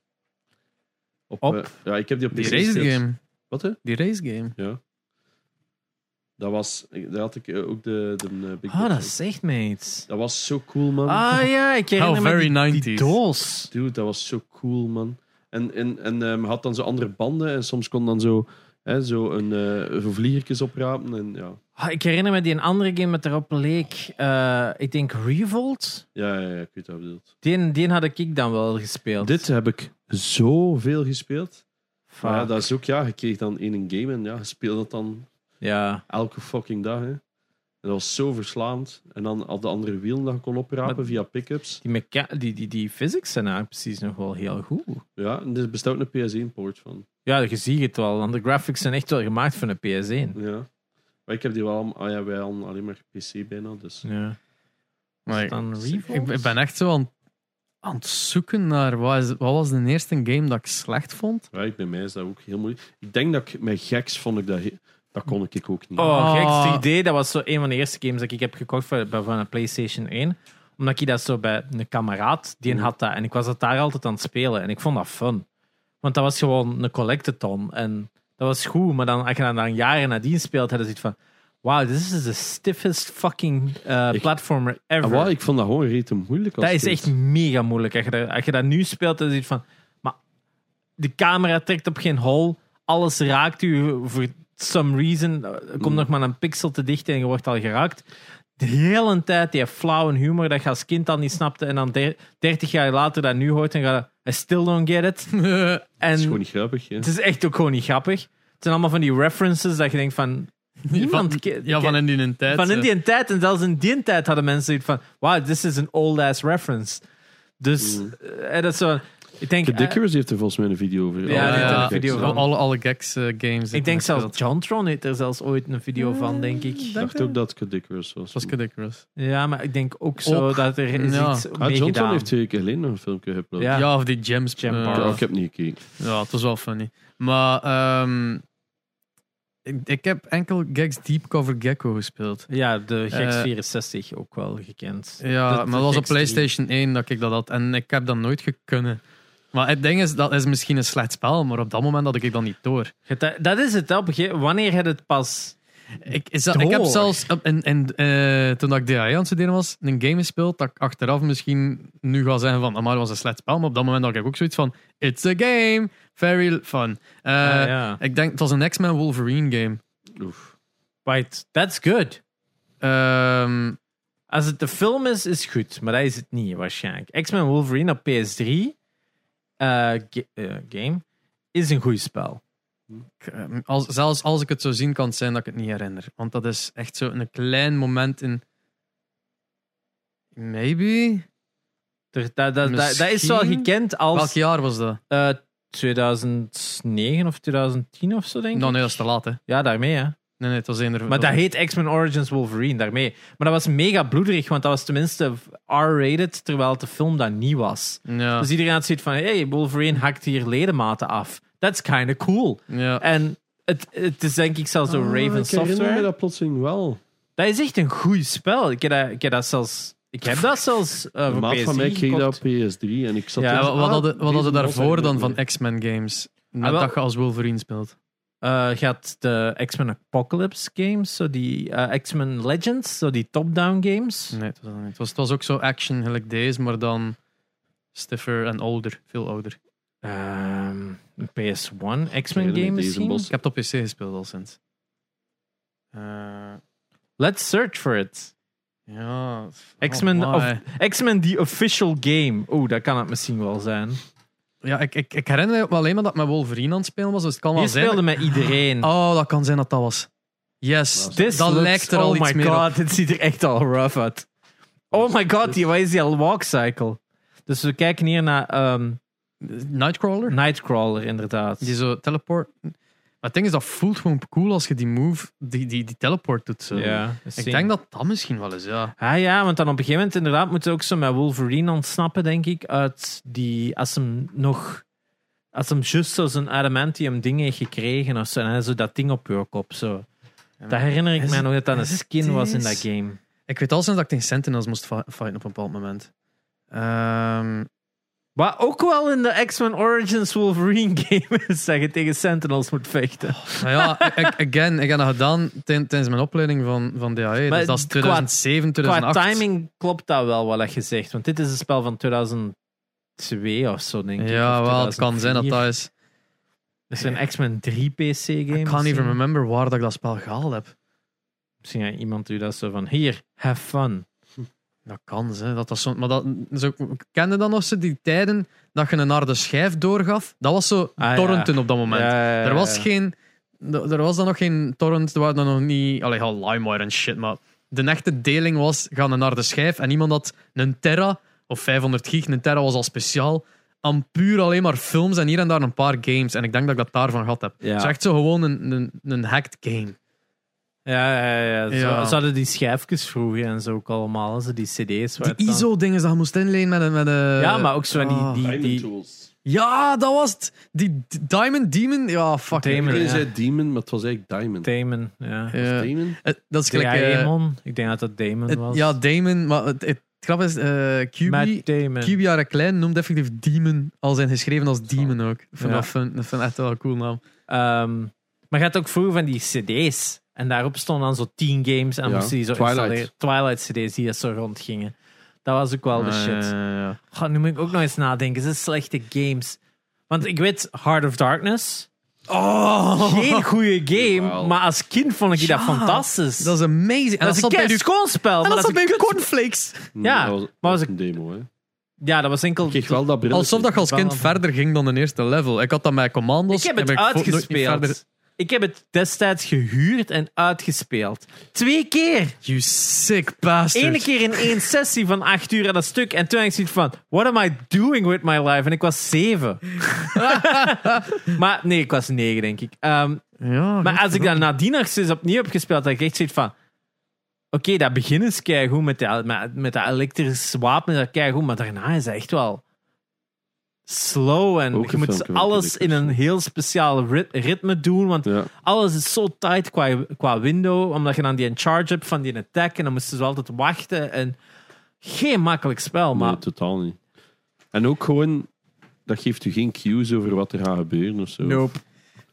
S3: Op,
S1: Op?
S3: eh, ja, ik heb die op
S2: Die
S3: PC
S2: race
S3: gespeeld.
S2: game.
S3: Wat, hè?
S2: Die race game.
S3: Ja. Dat was... Daar had ik eh, ook de, de eh, Big
S1: Oh,
S3: Box
S1: dat
S3: op.
S1: zegt me iets.
S3: Dat was zo cool, man.
S1: Ah ja, ik herinner
S2: Oh. very
S1: me die- die,
S2: 90s.
S1: doos.
S3: Dude, dat was zo cool, man. En, en, en ehm, had dan zo andere banden en soms kon dan zo, hè, zo een eh, zo vliegertjes oprapen. En, ja.
S1: Ah, ik herinner me die een andere game met erop leek. eh, ik denk Revolt.
S3: Ja, ja, ja, ik weet wat je bedoelt.
S1: Die, die had ik dan wel gespeeld.
S3: Dit heb ik zoveel gespeeld.
S1: Fuck.
S3: Maar ja, dat is ook, ja, je kreeg dan één een game en ja, je speelde dat dan
S1: Ja.
S3: elke fucking dag. Hè. En dat was zo verslaand. En dan al de andere wielen dat je kon oprapen
S1: Maar-
S3: via pick-ups.
S1: Die, mecha- die, die, die physics zijn eigenlijk precies nog wel heel goed.
S3: Ja, en er bestaat ook een PS1-poort van.
S1: Ja, je ziet het wel. Want de graphics zijn echt wel gemaakt van een PS1.
S3: Ja. Maar ik heb die wel, allemaal- ah ja, wij hadden alleen maar PC bijna, dus...
S1: Ja.
S2: Maar ik,
S1: Dan
S2: ik-
S1: Revolt?
S2: ik ben echt zo aan, aan het zoeken naar wat, is- wat was de eerste game dat ik slecht vond.
S3: Ja, ik- bij mij is dat ook heel moeilijk. Ik denk dat ik met geks vond ik dat... he- Dat kon ik ook niet.
S1: Oh,
S2: Ah.
S1: gekste idee. Dat was zo een van de eerste games dat ik heb gekocht voor, bij- van een PlayStation 1. Omdat ik dat zo bij een kameraad,
S3: Mhm.
S1: die een had dat. En ik was dat daar altijd aan het spelen. En ik vond dat fun. Want dat was gewoon een collectathon. En dat was goed. Maar dan, als je dan, dan jaren nadien speelt, had je zoiets van... Wow, this is the stiffest fucking eh,
S3: Ik-
S1: platformer
S3: En
S1: ever.
S3: wat, ik vond dat gewoon rete moeilijk. als
S1: dat is
S3: kind.
S1: echt mega moeilijk. Als je dat, als je dat nu speelt, dan is het van... Maar de camera trekt op geen hol. Alles raakt u voor some reason eh, komt nog maar een pixel te dicht en je wordt al geraakt. De hele tijd die flauwe humor dat je als kind al niet snapte en dan der- 30 jaar later dat nu hoort en ga I still don't get it.
S3: is
S1: En
S3: gewoon niet grappig. hè.
S1: het is echt ook gewoon niet grappig. Het zijn allemaal van die references dat je denkt van... Niemand ke-
S2: ja,
S1: ke-
S2: van in die een tijd.
S1: van in
S2: eh.
S1: die tijd, en zelfs in die tijd hadden mensen zoiets van: wow, this is an old-ass reference. Dus
S2: Mm.
S1: eh, dat is zo. Ik denk,
S3: De
S1: eh,
S3: Dickers heeft er volgens mij een video over. Oh,
S1: Ja,
S3: Alle
S1: ja,
S3: Dickers.
S1: video
S2: Zo,
S1: van.
S2: Alle, alle gags eh, games.
S1: ik denk zelfs Jontron heeft er zelfs ooit een video van, denk
S3: Ik
S1: ik.
S3: dacht ook dat het Dickers was.
S2: Zoals Kiddickers.
S1: Ja, maar ik denk ook zo
S2: Ook.
S1: dat er is
S2: Ja.
S1: iets
S3: Ah,
S1: mee
S3: Johnson
S1: gedaan.
S3: heeft twee keer geleden nog een filmpje geüpload.
S1: Ja.
S2: Ja. of die gems.
S1: Gem
S2: eh,
S1: bar.
S3: Ja, ik heb niet gekeken.
S2: ja, het was wel funny. Maar ehm, ik, ik heb enkel gags Deep Cover Gecko gespeeld.
S1: Ja, de Gex
S2: Eh,
S1: 64 ook wel gekend.
S2: Ja,
S1: Dat-
S2: maar dat was op
S1: Gex drie.
S2: PlayStation 1 dat ik dat had. En ik heb dat nooit gekunnen. Maar het ding is, dat is misschien een slecht spel, maar op dat moment had ik dat niet door.
S1: Je- dat- Dat is het, hè, op een gege- wanneer heb je het pas.
S2: Ik, is dat, ik heb
S1: Door.
S2: zelfs, op- en, en, eh, toen dat ik DIY aan het studeren was, een game gespeeld dat ik achteraf misschien nu ga zeggen van, maar was een slecht spel, maar op dat moment had ik ook zoiets van, it's a game, very fun. Eh,
S1: Ah, ja.
S2: Ik denk, het was een X-Men Wolverine game.
S3: Oef.
S1: Right, that's good.
S2: Ehm,
S1: Als het de film is, is goed, maar dat is het niet waarschijnlijk. X-Men Wolverine op PS3 eh, ge- eh, game is een goed spel.
S2: ik, ehm, als, zelfs als ik het zo zien, kan het zijn dat ik het niet herinner. Want dat is echt zo'n klein moment in... Maybe?
S1: Er- Dat, dat, dat, dat is wel
S2: Misschien?
S1: gekend als
S2: Welk jaar was dat?
S1: eh, 2009 of 2010 of zo, denk ik.
S2: Nou, nee, dat is te laat, hè.
S1: Ja, daarmee, hè.
S2: Nee, nee, het was eender...
S1: Maar dat heet X-Men Origins Wolverine, daarmee. Maar dat was mega bloederig, want dat was tenminste R-rated, terwijl het de film dat niet was.
S2: Ja,
S1: Dus iedereen had zoiets van, hey, Wolverine hakt hier ledematen af. That's kind of cool.
S2: ja.
S1: En het, het is denk ik zelfs door Raven
S3: Ah, Ik herinner me
S1: Software.
S3: dat plotseling wel.
S1: Dat is echt een goed spel. Ik heb dat, ik heb dat zelfs. Ik heb dat zelfs. eh
S3: Een
S1: voor
S3: maat
S1: PS3
S3: van mij kreeg
S1: gekocht.
S3: dat op PS3 en ik zat
S1: Ja,
S2: Ja,
S3: daar-
S2: wat wat
S3: Ah,
S2: hadden, wat
S3: deze
S2: hadden daarvoor
S3: monster-
S2: dan van X-Men games? Net
S1: Ah, wel-
S2: dat je als Wolverine speelt.
S1: Eh, je had de X-Men Apocalypse games, zo die eh, X-Men Legends, zo die top-down games.
S2: Nee, het was, dat niet. Het was, het was ook zo action gelijk deze, maar dan stiffer en ouder. Veel ouder.
S1: Ehm, een PS1
S3: Ik
S1: X-Men game
S3: weet niet, deze
S1: misschien.
S3: bos.
S2: Ik heb het op PC gespeeld al sinds. Eh,
S1: Let's search for it.
S2: ja.
S1: X-Men
S2: Oh,
S1: of,
S2: my.
S1: X-Men The Official Game. Oeh, dat kan het misschien wel zijn.
S2: Ja, ik, ik, ik herinner me alleen maar dat ik met Wolverine aan het spelen was, dus het kan wel
S1: Je
S2: zijn.
S1: speelde met iedereen.
S2: Oh, dat kan zijn dat dat was. Yes,
S1: This
S2: dat
S1: looks-
S2: lijkt er al
S1: oh
S2: iets
S1: my
S2: meer op.
S1: god, dit ziet er echt al rough uit. Oh my
S3: Dus-
S1: god, die, wat is die al walkcycle? Dus we kijken hier naar ehm,
S2: Nightcrawler?
S1: Nightcrawler, inderdaad.
S2: Die zo teleport. Maar het ding is, dat voelt gewoon cool als je die move, die, die, die teleport doet. Zo.
S1: Ja,
S2: Ik
S1: zien.
S2: denk dat dat misschien wel is, ja.
S1: Ah ja, want dan op een gegeven moment inderdaad moeten we ook zo met Wolverine ontsnappen, denk ik, uit die... Als hem nog... Als hem juist zo zijn adamantium ding heeft gekregen of zo, en hij zo dat ding op je kop, zo. Dat herinner ik
S2: Is
S1: mij
S2: het-
S1: nog, dat dat een
S2: is het
S1: skin was in
S2: deze?
S1: dat game.
S2: Ik weet al sinds dat ik tegen Sentinels moest fi- fighten op een bepaald moment. Ehm,
S1: Wat ook wel in de X-Men Origins Wolverine game is, dat je tegen Sentinels moet vechten.
S2: nou ja, ik- again, ik heb dat gedaan tien- tijdens mijn opleiding van, van DAE.
S1: Maar
S2: Dus dat is
S1: qua-
S2: 2007,
S1: Qua
S2: 2008.
S1: timing klopt dat wel wat je zegt, want dit is een spel van 2002 of zo, denk ik.
S2: Ja,
S1: of
S2: wel, het kan zijn dat
S1: 2004.
S2: dat is.
S1: Er zijn X-Men 3 PC-games.
S2: Ik can't even remember waar dat ik dat spel gehaald heb.
S1: Misschien ja, iemand doet dat zo van, hier, have fun.
S2: Dat kan, hè. Dat was zo, maar dat, zo, kende dan nog ze die tijden dat je een harde schijf doorgaf? Dat was zo
S1: Ah, ja.
S2: torrenten op dat moment.
S1: Ja, ja, ja,
S2: Er was
S1: ja.
S2: geen... d- Er was dan nog geen torrent, er waren dan nog niet... Allee, ja, LimeWire en shit, maar... De echte deling was, gaan een harde schijf en iemand had een terra, of 500 gig, een terra was al speciaal, aan puur alleen maar films en hier en daar een paar games. En ik denk dat ik dat daarvan gehad heb.
S1: Ja.
S2: Het is echt zo gewoon een, een, een hacked game.
S1: Ja, ja, ja. Zo,
S2: Ja.
S1: Ze hadden die schijfjes vroeger en zo ook allemaal, zo die cd's. waar het
S2: Die
S1: dan-
S2: ISO-dingen dat je moest inleen met een... Met een
S1: Ja, maar ook zo van die-
S2: Ah.
S1: die,
S3: Diamond
S1: die,
S3: Tools.
S2: Ja, dat was het. Die D- Diamond Demon. Ja, fuck.
S1: Demon.
S2: Eh,
S3: Iedereen
S1: ja.
S3: zei Demon, maar het was eigenlijk Diamond.
S1: Damon, ja.
S3: Demon?
S2: eh, dat is gelijk. eh,
S1: Diamond. Ik denk dat dat Damon
S2: het-
S1: was.
S2: ja, Damon. Maar het, het grap is, eh QB,
S1: Matt Damon.
S2: QB Jaren Klein noemt effectief Demon al zijn geschreven als Demon ook. Ik vind
S1: Ja.
S2: dat fun. Ik vind echt wel een cool naam.
S1: Ehm, maar je had ook vroeger van die cd's. En daarop stonden dan zo tien games. En dan
S3: Ja.
S1: moesten die zo
S3: Twilight.
S1: installeren. Twilight cd's die dat zo rondgingen. Dat was ook wel de shit.
S2: ja.
S1: Goh, nu moet ik ook nog eens nadenken. Zijn slechte games. Want ik weet Heart of Darkness.
S2: Oh,
S1: Geen goede game,
S3: Jawel.
S1: maar als kind vond ik
S2: Ja,
S1: dat fantastisch.
S2: dat is amazing. En
S1: dat is een
S2: zat bij uw-
S1: schoolspel.
S2: en
S1: Maar
S2: dat
S1: dat
S2: zat
S1: is een
S2: bij uw
S1: kut-
S2: cornflakes.
S1: Ja,
S3: Hmm, dat was,
S1: maar
S3: dat
S1: was
S3: was een demo, hè. Ik
S1: ja, dat was enkel.
S3: kreeg wel dat dus brilletje.
S2: Alsof dat je als
S1: Wel
S2: kind
S1: aan-
S2: verder ging dan de eerste level. Ik had dat met commando's.
S1: Ik heb het
S2: en ben vo- nooit verder-
S1: uitgespeeld. Ik heb het destijds gehuurd en uitgespeeld. Twee keer.
S2: You sick bastard.
S1: Eén keer in één sessie van acht uur aan dat stuk. En toen had ik zoiets van: What am I doing with my life? En ik was zeven. maar nee, ik was negen, denk ik. Ehm,
S2: Ja,
S1: maar als ik dat nadien nog eens opnieuw heb gespeeld, dan ik echt zoiets van. Oké, dat begin is keigoed met dat, met, met dat elektrisch wapen, is dat keigoed, maar daarna is dat echt wel slow en
S3: Ook
S1: je
S3: een
S1: moet
S3: filmpje van
S1: alles in
S3: Killers.
S1: een heel speciaal rit- ritme doen, want
S3: Ja.
S1: alles is zo tight qua, qua window, omdat je dan die charge hebt van die attack en dan moesten ze altijd wachten en geen makkelijk spel, maar
S3: Nee, totaal niet. En ook gewoon, dat geeft u geen cues over wat er gaat gebeuren of zo.
S2: Nope.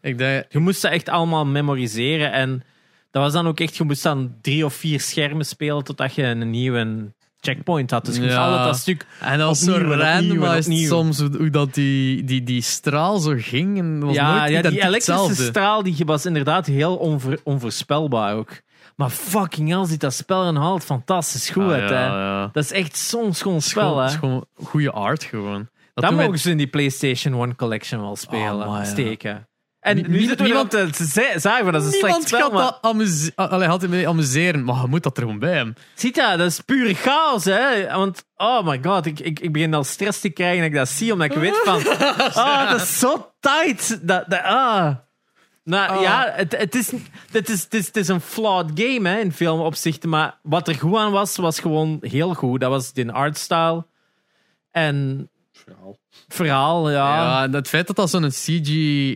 S2: Ik denk...
S1: je moest dat echt allemaal memoriseren en dat was dan ook echt, je moest dan drie of vier schermen spelen totdat je een nieuwe checkpoint had, dus je moest
S2: Ja.
S1: altijd dat stuk
S2: En als zo
S1: Opnieuw en opnieuw en
S2: randomized
S1: opnieuw.
S2: soms hoe hoe dat die, die, die straal zo ging. En dat was
S1: Ja,
S2: nooit
S1: ja die
S2: identiek
S1: elektrische
S2: hetzelfde.
S1: straal die was inderdaad heel onver- onvoorspelbaar ook. Maar fucking hell, ziet dat spel en haalt fantastisch goed
S2: Ah,
S1: uit.
S2: ja,
S1: hè.
S2: ja.
S1: Dat is echt zo'n schoon
S2: Het is
S1: spel.
S2: gewoon-
S1: hè.
S2: het is gewoon goede art gewoon.
S1: dat
S2: doen wij-
S1: mogen ze in die PlayStation 1 Collection wel spelen,
S2: Oh, maar ja.
S1: steken. En
S2: Nie-
S1: nu
S2: nie-
S1: zitten we
S2: niemand-
S1: niemand te ze- zagen, dat is een slecht
S2: Niemand
S1: spel.
S2: gaat
S1: Maar...
S2: dat amuse- a- allee, had mee amuseren, maar je moet dat er gewoon bij hebben.
S1: Ziet dat, dat is puur chaos, hè? Want, oh my god, ik, ik, ik begin al stress te krijgen dat ik dat zie, omdat ik weet van. Ah, dat is zo tight. Dat, dat, ah. Nou
S2: Ah.
S1: ja, het, het, is, het, is, het, is, het is een flawed game hè, in veel opzichten. Maar wat er goed aan was, was gewoon heel goed. Dat was die artstyle en
S3: Verhaal.
S1: verhaal, ja.
S2: Ja, en het feit dat dat zo'n CG...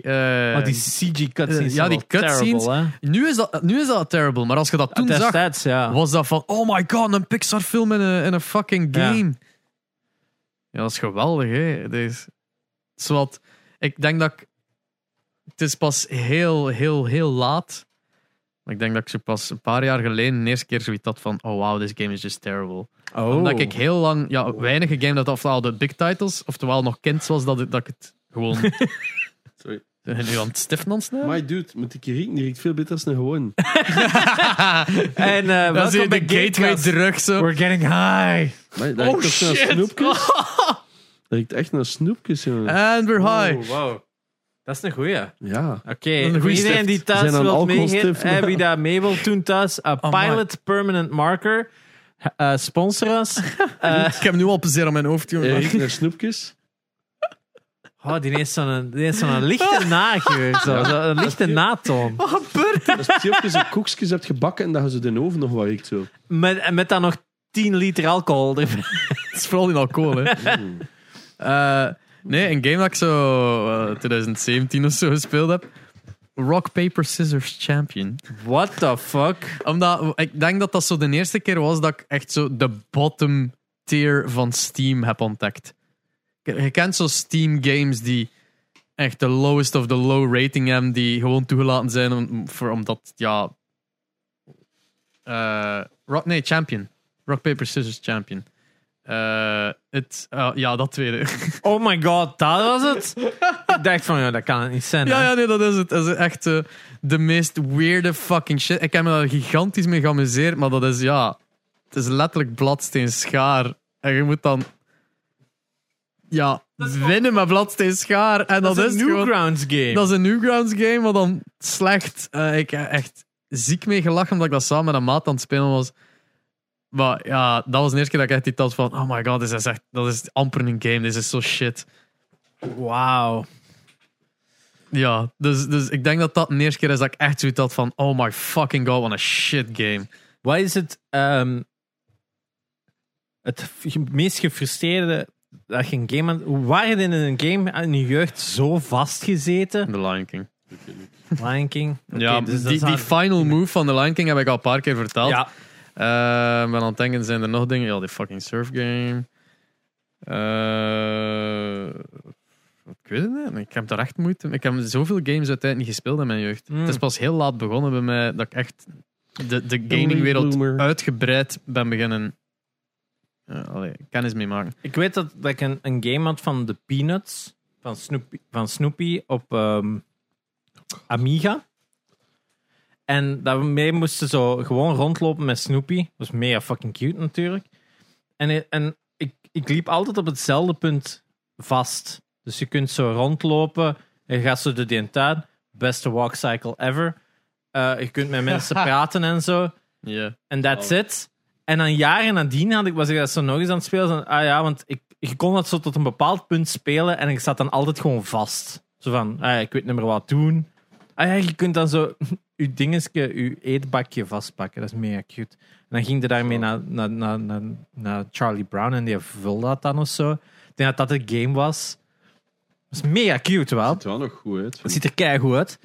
S2: eh,
S1: Maar die CG-cutscenes.
S2: eh, ja, die cutscenes. nu, is dat, nu is dat terrible, maar als je dat toen zag,
S1: Destijds, ja.
S2: was dat van... Oh my god, een Pixar film in een, in een fucking
S1: Ja.
S2: game. Ja, dat is geweldig, hè. Het is, het is wat... Ik denk dat ik... Het is pas heel, heel, heel laat. Maar ik denk dat ik zo pas een paar jaar geleden de eerste keer zoiets had van... Oh wow, this game is just terrible.
S1: Oh.
S2: Omdat ik heel lang, ja, weinige game dat ofwel de big titles, oftewel nog kind was, dat, ik- dat ik het gewoon
S3: Sorry.
S2: nu aan het stiften aan het snijden?
S3: Maar dude, met die kieriek, die riekt veel beter als een gewoon.
S1: En eh,
S2: Dan zie je
S1: welkom bij
S2: de gateway
S1: Gatecast.
S2: druk zo.
S1: We're getting high.
S3: Maar dat riekt toch naar snoepjes? Dat riekt echt naar snoepjes, jongen.
S2: And we're high.
S1: wow. Dat is een goeie. Oké,
S3: Ja.
S2: Een goeie
S1: voor iedereen
S2: stift.
S1: die
S3: Zijn
S1: thuis
S3: dat
S1: wil meegeven,
S3: alcoholstiften?
S1: eh, wie daar mee wil doen thuis, eh,
S2: Amai.
S1: Pilot Permanent Marker, eh, sponsor ons. Eh,
S2: Ik heb nu al plezier aan mijn hoofd,
S3: Hij
S2: jongen.
S3: riekt naar snoepjes.
S1: oh, die heeft zo'n die heeft zo'n lichte nageur, zo, zo, een lichte natoon.
S3: Dat is precies of je ze koekjes hebt gebakken en dat je ze de oven nog wat riekt zo.
S1: Met, en met dan nog 10 liter alcohol erbij.
S2: Het is vooral in alcohol, hè. Eh, nee, een game dat ik zo eh, 2017 of zo gespeeld heb. Rock, Paper, Scissors Champion.
S1: What the fuck?
S2: Omdat ik denk dat dat zo de eerste keer was dat ik echt zo de bottom tier van Steam heb ontdekt. Je je kent zo Steam games die echt de lowest of the low rating hebben, die gewoon toegelaten zijn om, voor, omdat, ja... eh, rock, nee, Champion. Rock, Paper, Scissors Champion. Eh, het, eh, ja, dat tweede.
S1: Oh my god, dat was het? Ik dacht van, ja, dat kan het niet zijn.
S2: Ja,
S1: hè.
S2: ja, nee, dat is het. Dat is echt eh, de meest weirde fucking shit. Ik heb me daar gigantisch mee geamuseerd, maar dat is ja. Het is letterlijk bladsteen schaar. En je moet dan. Ja, winnen met bladsteen schaar. En dat,
S1: Dat is
S2: is
S1: een
S2: gewoon.
S1: Newgrounds game.
S2: Dat is een Newgrounds game, maar dan slecht. Eh, ik heb echt ziek mee gelachen omdat ik dat samen met een maat aan het spelen was. Maar ja, dat was de eerste keer dat ik echt die had van: oh my god, dit is echt, dat is amper een game, dit is zo shit.
S1: Wauw.
S2: Ja, dus, dus ik denk dat dat de eerste keer is dat ik echt zoiets had van... Oh my fucking god, what a shit game.
S1: Wat is het, ehm, het f- meest gefrustreerde dat je een game... aan- Hoe Waar je in een game in je jeugd zo vastgezeten?
S2: The Lion King.
S1: Lion King. Oké,
S2: ja,
S1: dus dat
S2: die,
S1: is aan-
S2: die final move van The Lion King heb ik al een paar keer verteld.
S1: Ja.
S2: Eh, Ik ben aan het denken, zijn er nog dingen? Ja, die fucking surf game. Eh, ik weet het niet. Ik heb daar echt moeite mee. Ik heb zoveel games uiteindelijk niet gespeeld in mijn jeugd.
S1: Mm.
S2: Het is pas heel laat begonnen bij mij dat ik echt de, de gamingwereld
S3: bloomer.
S2: uitgebreid ben beginnen... eh, allee, kennis mee maken.
S1: Ik weet dat, dat ik een, een game had van de Peanuts, van Snoopy, van Snoopy op ehm, Amiga. En daarmee moesten ze zo gewoon rondlopen met Snoopy. Dat was mega fucking cute natuurlijk. En, en ik, ik liep altijd op hetzelfde punt vast. Dus je kunt zo rondlopen. Je gaat zo door die tuin. Beste walkcycle ever. Eh, je kunt met mensen praten en zo.
S2: Ja.
S1: En that's
S3: Oh.
S1: it. En dan jaren nadien had ik, was ik dat zo nog eens aan het spelen. Zo, ah ja, want ik, je kon dat zo tot een bepaald punt spelen en ik zat dan altijd gewoon vast. Zo van, ah ja, ik weet niet meer wat doen. Ah ja, je kunt dan zo je dingetje, je eetbakje vastpakken. Dat is mega cute. En dan ging je daarmee naar, naar, naar, naar, naar Charlie Brown en die vulde dat dan of zo. Ik denk dat dat het game was. Dat is mega cute wel.
S3: Het is wel nog goed uit.
S1: Het ziet er keigoed uit.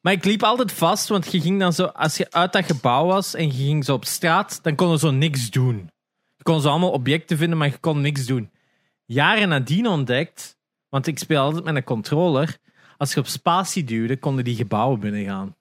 S1: Maar ik liep altijd vast, want je ging dan zo, als je uit dat gebouw was en je ging zo op straat, dan kon je zo niks doen. Je kon zo allemaal objecten vinden, maar je kon niks doen. Jaren nadien ontdekt, want ik speel altijd met een controller, als je op spatie duwde, konden die gebouwen binnengaan.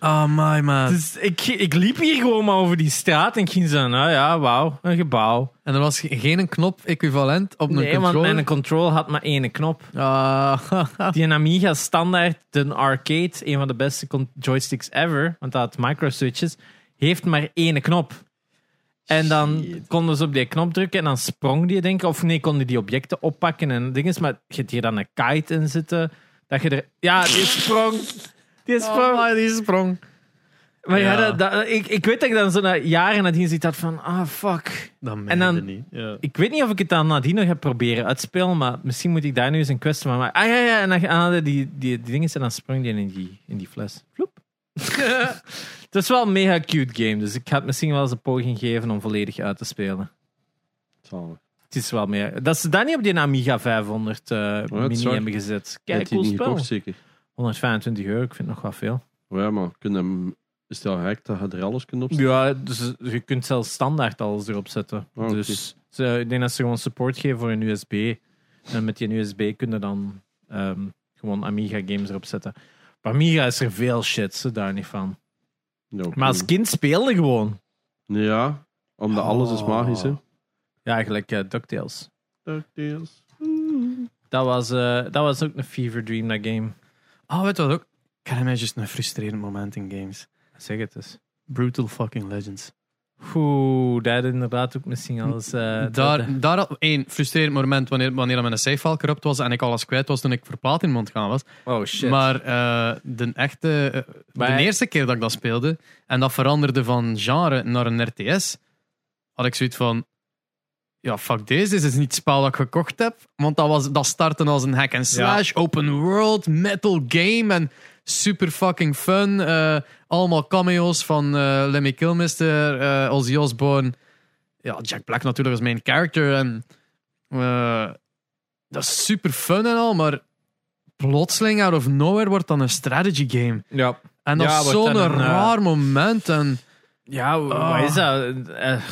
S2: Oh my man.
S1: Dus ik, ik liep hier gewoon maar over die straat en ik ging zo, nou ja, wauw, een gebouw.
S2: En er was ge- geen knop equivalent op een
S1: Nee, want
S2: controller.
S1: mijn controller had maar één knop.
S2: Ah,
S1: Die een Amiga standaard, de arcade, een van de beste con- joysticks ever, want dat had microswitches, heeft maar één knop. En dan
S3: Shit.
S1: konden ze op die knop drukken en dan sprong die, denk ik. Of nee, konden die objecten oppakken en dingen. Maar je hebt hier dan een kite in zitten. Dat je er... Ja, die sprong. Die sprong.
S2: oh my, die sprong.
S1: maar ja,
S2: ja.
S1: dat, dat- ik, ik weet dat ik dan zo na jaren nadien ziet dat van... Ah, fuck.
S2: Dat meende
S1: En dan-
S2: niet. Ja.
S1: Ik weet niet of ik het dan nadien nog heb proberen uitspelen, maar misschien moet ik daar nu eens een quest van maken. Ah ja, ja, en dan ah, die, die, die dingen en dan sprong die in die, in die fles. Vloep. het is wel een mega cute game, dus ik ga het misschien wel eens een poging geven om volledig uit te spelen.
S3: Zalig.
S1: Het is wel meer. Dat ze dat niet op die Amiga 500 eh,
S3: Oh,
S1: mini
S3: zag-
S1: hebben gezet.
S3: Heeft
S1: Kijk,
S3: hij
S1: cool
S3: niet
S1: spel.
S3: gekocht, zeker?
S1: 125 euro, ik vind het nog wel veel.
S3: Maar ja, maar kun je hem, is het al gehackt dat je er alles kunt opzetten?
S1: Ja, dus je kunt zelfs standaard alles erop zetten.
S3: Oh, oké.
S1: Dus ze, ik denk dat ze gewoon support geven voor een USB. En met die USB kunnen dan ehm, gewoon Amiga games erop zetten. Op Amiga is er veel shit, ze daar niet van.
S3: Ja, oké.
S1: Maar als kind speelde gewoon.
S3: Nou, Ja, omdat alles is magisch, hè.
S1: Ja, eigenlijk eh, DuckTales.
S3: DuckTales.
S1: Dat was, eh, dat was ook een fever dream, dat game.
S2: Oh, weet je wat ook? Ik herinner mij juist een frustrerend moment in games.
S1: Zeg het eens.
S2: Brutal fucking Legends.
S1: Oeh, dat had inderdaad ook misschien alles... eh, dat-
S2: daar, daar al één frustrerend moment wanneer, wanneer mijn safe corrupt was en ik alles kwijt was toen ik voor Platinum gaan was.
S1: oh shit.
S2: Maar eh, de echte, eh,
S1: Maar-
S2: de eerste keer dat ik dat speelde en dat veranderde van genre naar een RTS, had ik zoiets van: ja, fuck deze, dit is niet het spel dat ik gekocht heb. Want dat, was, dat startte als een hack and slash, open world, metal game en super fucking fun. Eh, allemaal cameo's van eh Lemmy Kilmister, eh Ozzy Osbourne. Ja, Jack Black natuurlijk als main character. En, eh, dat is super fun en al, maar plotseling out of nowhere wordt dan een strategy game.
S1: ja.
S2: En dat
S1: Ja,
S2: is
S1: wordt
S2: zo'n
S1: dan een, eh,
S2: raar moment. En,
S1: Ja, w-
S2: Ah.
S1: wat is dat? Eh,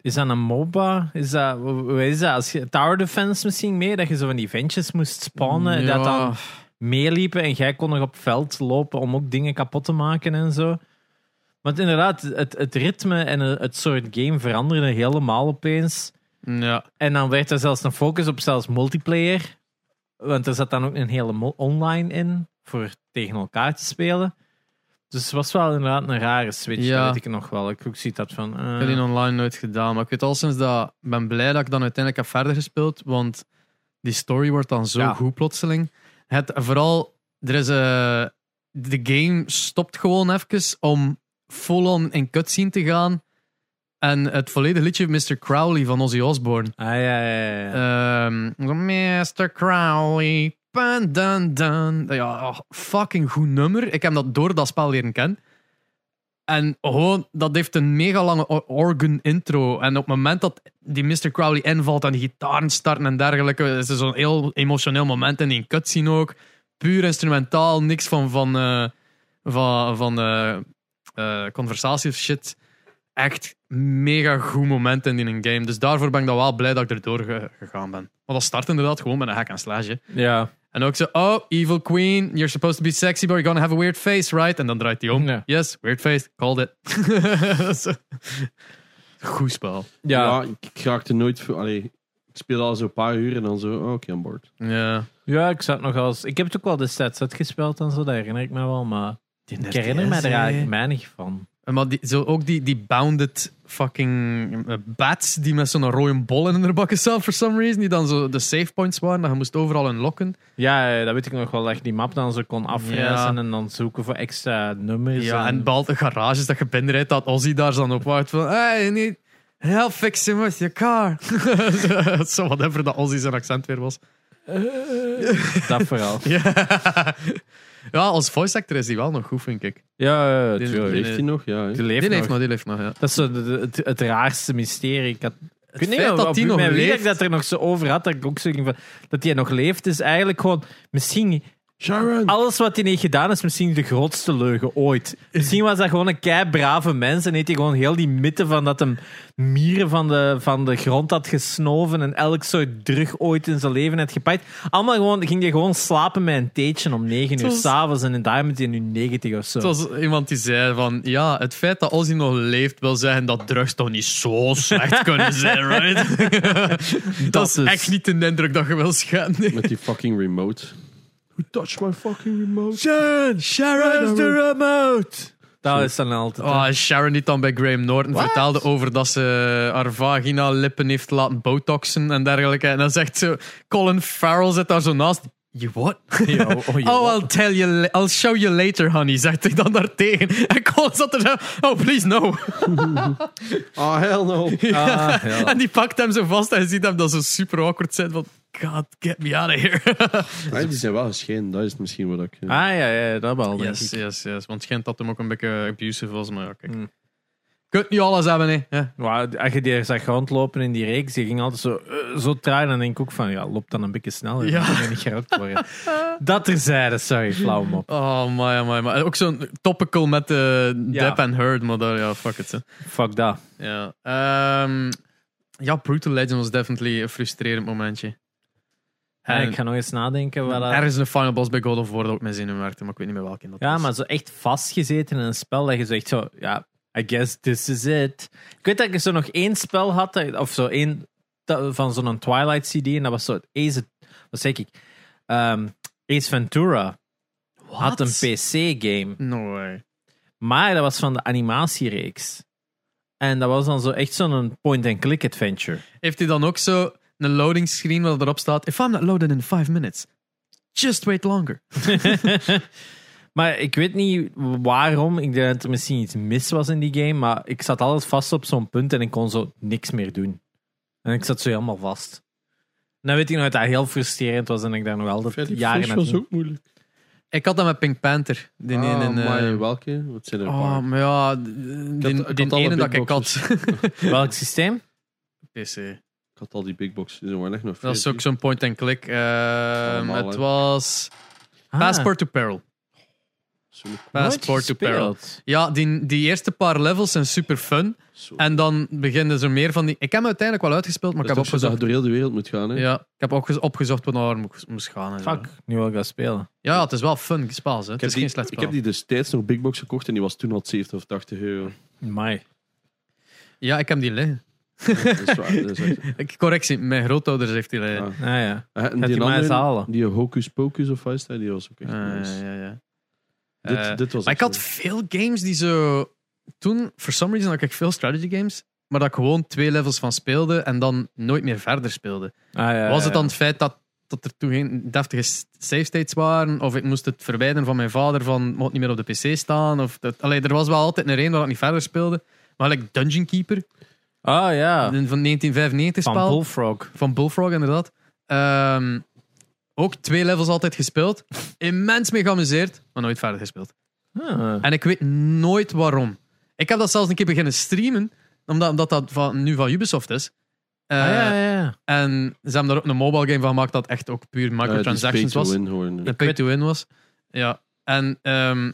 S1: is dat een MOBA? Is dat, w- wat is dat? Als je, tower defense misschien mee? Dat je zo van die ventjes moest spawnen en dat
S2: Ja.
S1: dan meeliepen en jij kon nog op veld lopen om ook dingen kapot te maken en zo. Want inderdaad, het, het ritme en eh, het soort game veranderde helemaal opeens.
S2: Ja.
S1: En dan werd er zelfs een focus op zelfs multiplayer. Want er zat dan ook een hele mo- online in voor tegen elkaar te spelen. Dus het was wel inderdaad een rare switch,
S2: Ja.
S1: dat weet ik nog wel. Ik ook zie dat van... eh,
S2: Ik heb die online nooit gedaan, maar ik weet al sinds dat ik ben blij dat ik dan uiteindelijk heb verder gespeeld, want die story wordt dan zo
S1: Ja.
S2: goed plotseling. Het, vooral, er is eh, de game stopt gewoon even om full-on in cutscene te gaan en het volledige liedje Mr. Crowley van Ozzy Osbourne.
S1: ah, ja, ja, ja, ja.
S2: Ehm, zo, Mr. Crowley. Dun, dun, dun. Ja, oh, fucking goed nummer. Ik heb dat door dat spel leren kennen. En gewoon, dat heeft een mega lange o- organ intro. En op het moment dat die Mr. Crowley invalt en die gitaren starten en dergelijke, is er zo'n heel emotioneel moment in die cutscene ook. Puur instrumentaal, niks van, van, eh, van, van eh, eh, conversatie of shit echt mega goed moment in een game. Dus daarvoor ben ik dan wel blij dat ik erdoor ge- gegaan ben. Want dat start inderdaad gewoon met een hack en slash. hè.
S1: Ja.
S2: En ook zo, oh, evil queen, you're supposed to be sexy, but you're gonna have a weird face, right? En dan draait hij om.
S1: Ja.
S2: Yes, weird face, called it. Zo. goed spel.
S1: Ja.
S3: Ja, ik raakte nooit... Allee, ik speel al zo'n paar uur en dan zo, oh, oké, aan boord.
S2: Ja.
S1: Ja, ik zat nog als. Ik heb het ook wel destijds uitgespeeld en zo, dat herinner ik me wel, maar ik herinner me
S2: DS,
S1: er eigenlijk
S2: hè.
S1: weinig van.
S2: En Maar die, zo ook die, die bounded fucking eh, bats die met zo'n rode bol in hun bakken zaten, for some reason, die dan zo de save points waren, dat je moest overal unlocken.
S1: Ja, eh, dat weet ik nog wel, dat je die map dan zo kon afreizen en dan zoeken voor extra nummers.
S2: Ja, en behalve de garages dat je binnenrijdt, dat Ozzy daar dan op wacht van, hey, you need help fixing with your car. zo, zo whatever dat Ozzy zijn accent weer was.
S1: dat vooral.
S2: Ja. ja, als voice actor is die wel nog goed, vind ik.
S1: Ja, ja,
S2: Dit-
S1: tuurlijk.
S2: dit-
S3: Leeft hij nog? Ja, hè?
S1: Dus Die leeft
S2: die leeft
S1: nog.
S2: nog, die leeft nog, ja.
S1: Dat is zo de- de- het, het raarste mysterie. Ik had, ik weet
S2: feit
S1: niet
S2: dat
S1: dat
S2: die nog
S1: mijn
S2: leeft.
S1: werk dat er nog zo over had, dat ik ook zo ging van, dat hij nog leeft, is eigenlijk gewoon misschien
S3: Sharon!
S1: alles wat hij heeft gedaan is misschien de grootste leugen ooit. Misschien was dat gewoon een kei brave mens en heeft hij gewoon heel die mythe van dat hem mieren van de, van de grond had gesnoven en elk soort drug ooit in zijn leven had gepakt. Allemaal gewoon, ging hij gewoon slapen met een theetje om 9 uur
S2: was-
S1: s'avonds en daar moet hij nu 90 of zo.
S2: Het was iemand die zei van, ja, het feit dat Ozzy nog leeft, wil zeggen dat drugs toch niet zo slecht kunnen zijn, right? dat, is
S1: dus.
S2: echt niet de indruk dat je wil scheppen. nee.
S3: Met die fucking remote. Who touched my fucking remote?
S2: Sharon, Sharon remote.
S1: Dat is dan altijd. hè.
S2: Ah, Sharon die dan bij Graham Norton vertelde over dat ze haar vagina lippen heeft laten botoxen en dergelijke. En dan zegt ze, Colin Farrell zit daar zo naast. You what?
S1: Ja, oh, oh, ja.
S2: Oh, I'll tell you, la- I'll show you later, honey, zegt hij dan daartegen. En Colin zat er zo, oh, please no.
S3: Ah, hell no.
S1: Ah, ja.
S2: En die pakt hem zo vast en je ziet hem dan zo super awkward zijn van, God, get me out of here.
S3: Nee, Ah, die zijn wel gescheiden, dat is misschien wat ik... eh.
S1: Ah ja, ja, dat wel. denk
S2: yes,
S1: ik.
S2: yes, yes. Want het schijnt dat hem ook een beetje abusive was, maar ja, kijk.
S1: Mm.
S2: Kunt niet alles hebben, hè. Ja.
S1: Maar als je die zag rondlopen in die reeks, die ging altijd zo, eh, zo traag. Dan denk ik ook van, ja, loop dan een beetje sneller.
S2: Ja.
S1: Ja. Dan kan je niet gerokt worden. dat terzijde, sorry, flauw mop.
S2: Oh, my, my, my. Ook zo'n topical met eh
S1: Ja.
S2: Depp and Heard, maar daar, ja, fuck it. Hè.
S1: Fuck dat.
S2: Ja. Ehm, ja, Brutal Legend was definitely een frustrerend momentje.
S1: Ja,
S2: En
S1: ik ga nog eens nadenken. Wat
S3: eh,
S1: dat-
S2: Er is een final boss bij God of War dat ook mijn zin in werkte, maar ik weet niet meer welke dat
S1: Ja,
S2: was.
S1: maar zo echt vastgezeten in een spel dat je zo echt zo, ja, I guess this is it. Ik weet dat ik zo nog één spel had, dat- of zo één dat- van zo'n Twilight CD, en dat was zo Ace, wat zeg ik, Ehm, Ace Ventura had een
S2: What?
S1: PC-game.
S2: No way.
S1: Maar dat was van de animatiereeks. En dat was dan zo echt zo'n point-and-click adventure.
S2: Heeft hij dan ook zo een loading screen waar erop staat: If I'm not loaded in 5 minutes, just wait longer.
S1: maar ik weet niet waarom. Ik denk dat er misschien iets mis was in die game. Maar ik zat altijd vast op zo'n punt en ik kon zo niks meer doen. En ik zat zo helemaal vast. En dan weet ik nog dat dat heel frustrerend was en ik daar nog altijd
S3: Verder,
S1: jaren
S3: Fish
S1: naar
S3: was ook moeilijk.
S2: Ik had dat met Pink Panther. Die ene
S3: Ah,
S2: in, eh,
S3: amai, welke? Wat zijn er een
S2: oh,
S3: paar?
S2: maar ja, d- die,
S3: had- ik
S2: die
S3: had alle
S2: ene dat
S3: big
S2: ik had. eh.
S1: Welk systeem?
S2: PC.
S3: Ik had al die big boxes, er waren echt nog
S2: Dat is
S3: veel.
S2: ook zo'n point and click. Ehm,
S3: Allemaal,
S2: het
S3: hè.
S2: was
S1: Ah,
S2: Passport to Peril.
S3: Zo-
S1: nooit
S2: Passport to
S1: gespeeld.
S2: Peril. Ja, die, die eerste paar levels zijn super fun.
S3: zo.
S2: En dan beginnen ze meer van die. Ik heb hem uiteindelijk wel uitgespeeld, maar
S3: Dat
S2: ik
S3: is
S2: heb
S3: toch zo dat je
S2: opgezocht.
S3: door heel de wereld moet gaan, hè?
S2: Ja, ik heb opge- opgezocht waar naar moest moest gaan. en zo.
S1: Fuck, nu wil ik dat spelen.
S2: Ja, ja, het is wel fun spel. hè. Het
S3: Ik heb,
S2: is geen
S3: die,
S2: slecht
S3: ik
S2: spel.
S3: heb die destijds nog Big Box gekocht en die was toen al 70 of 80 euro.
S1: Mai.
S2: Ja, ik heb die liggen.
S3: Dat is waar. dat is echt-
S2: Ik- Correctie, mijn grootouders heeft die liggen.
S3: Ah.
S1: Ah, ja.
S3: En
S1: die
S3: die
S1: mij eens
S3: andere,
S1: halen?
S3: die Hocus Pocus of Vice, die was ook echt
S2: Ah,
S3: nice.
S2: ja, ja.
S3: Dit,
S2: Eh,
S3: dit was
S2: Maar ik
S3: echt
S2: had veel games die zo. Toen, for some reason, had ik veel strategy games. Maar dat ik gewoon twee levels van speelde en dan nooit meer verder speelde.
S1: Ah, ja,
S2: Was het dan
S1: ja.
S2: het feit dat, dat er toen geen deftige s- save states waren? Of ik moest het verwijderen van mijn vader van moet niet meer op de PC staan? Of dat, allee, er was wel altijd een reden waar ik niet verder speelde. Maar like Dungeon Keeper
S1: Ah, ja.
S2: een van 1995
S1: Van
S2: spel.
S1: Bullfrog.
S2: Van Bullfrog, inderdaad. Ehm, ook twee levels altijd gespeeld. Immens mee geamuseerd, maar nooit verder gespeeld.
S1: Ah.
S2: En ik weet nooit waarom. Ik heb dat zelfs een keer beginnen streamen, omdat, omdat dat van, nu van Ubisoft is. Eh,
S1: Ah, ja, ja, ja.
S2: En ze hebben daar ook een mobile game van gemaakt dat echt ook puur
S3: nice. Eh, die
S2: microtransactions
S3: Spade
S2: was.
S3: Windhorn.
S2: Een pay-to-win was. Ja. En ehm,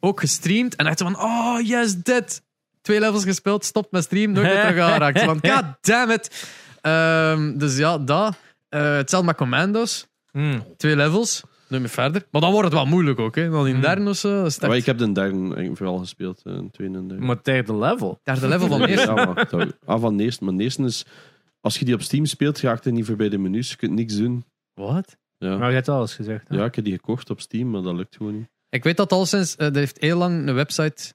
S2: ook gestreamd en echt zo van, oh yes, dit. Twee levels gespeeld, stopt met stream, nooit meer terug aangeraakt. Want god damn it. Ehm, dus ja, dat. Eh, hetzelfde met Commando's.
S1: Hm.
S2: Twee levels, nooit meer verder. Maar dan wordt het wel moeilijk ook, hè. Dan in derde of zo. dat is het echt-
S3: Maar Hmm. ik heb de derde eigenlijk vooral gespeeld, eh, een tweede en derde.
S1: Maar derde level.
S2: Daar de level van eerst.
S3: Ja, maar, dat- ah, van de eerste. Maar de eerste is Als je die op Steam speelt, raakt hij niet voorbij de menus. Je kunt niks doen.
S2: Wat?
S3: Ja.
S1: Maar je hebt alles gezegd. hè?
S3: ja, ik heb die gekocht op Steam, maar dat lukt gewoon niet.
S2: Ik weet dat al sinds. eh, er heeft heel lang een website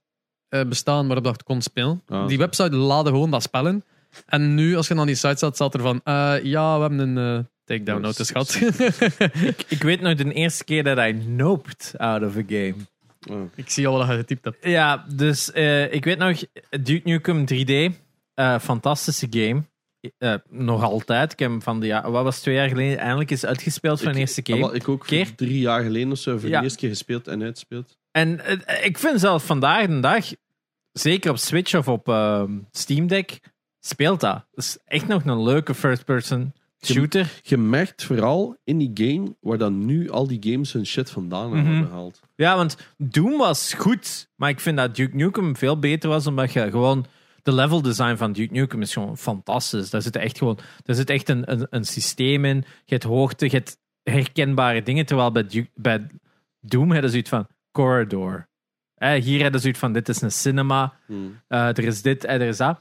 S2: eh, bestaan waarop dat je kon spelen.
S3: Ah,
S2: die
S3: zo.
S2: website laadde gewoon dat spellen. En nu, als je naar die site staat, staat er van. eh, ja, we hebben een eh, takedown
S3: Dat
S2: notice
S3: is-
S2: gehad.
S1: Ik, ik weet nog de eerste keer dat hij noped out of a game.
S3: Ah.
S2: ik zie al wat je getypt hebt.
S1: Ja, dus eh, ik weet nog, Duke Nukem 3D, eh, fantastische game. Eh, nog altijd. Ik heb hem van de ja, wat was het, twee jaar geleden eindelijk is uitgespeeld van de eerste
S3: Ah,
S1: keer.
S3: wel, ik ook
S1: Keer?
S3: drie jaar geleden of zo voor
S1: Ja.
S3: de eerste keer gespeeld en uitspeeld.
S1: En eh, ik vind zelfs vandaag de dag, zeker op Switch of op eh, Steam Deck, speelt dat. Dat is echt nog een leuke first-person shooter.
S3: Je merkt vooral in die game waar dan nu al die games hun shit vandaan hebben
S1: Mhm.
S3: gehaald.
S1: Ja, want Doom was goed, maar ik vind dat Duke Nukem veel beter was, omdat je gewoon... De level design van Duke Nukem is gewoon fantastisch. Daar zit echt, gewoon, daar zit echt een, een, een systeem in. Je hebt hoogte, je hebt herkenbare dingen. Terwijl bij, Duke- bij Doom hadden ze zoiets van corridor. Hè, hier hadden ze zoiets van, dit is een cinema.
S3: Hmm.
S1: Eh, er is dit en er is dat.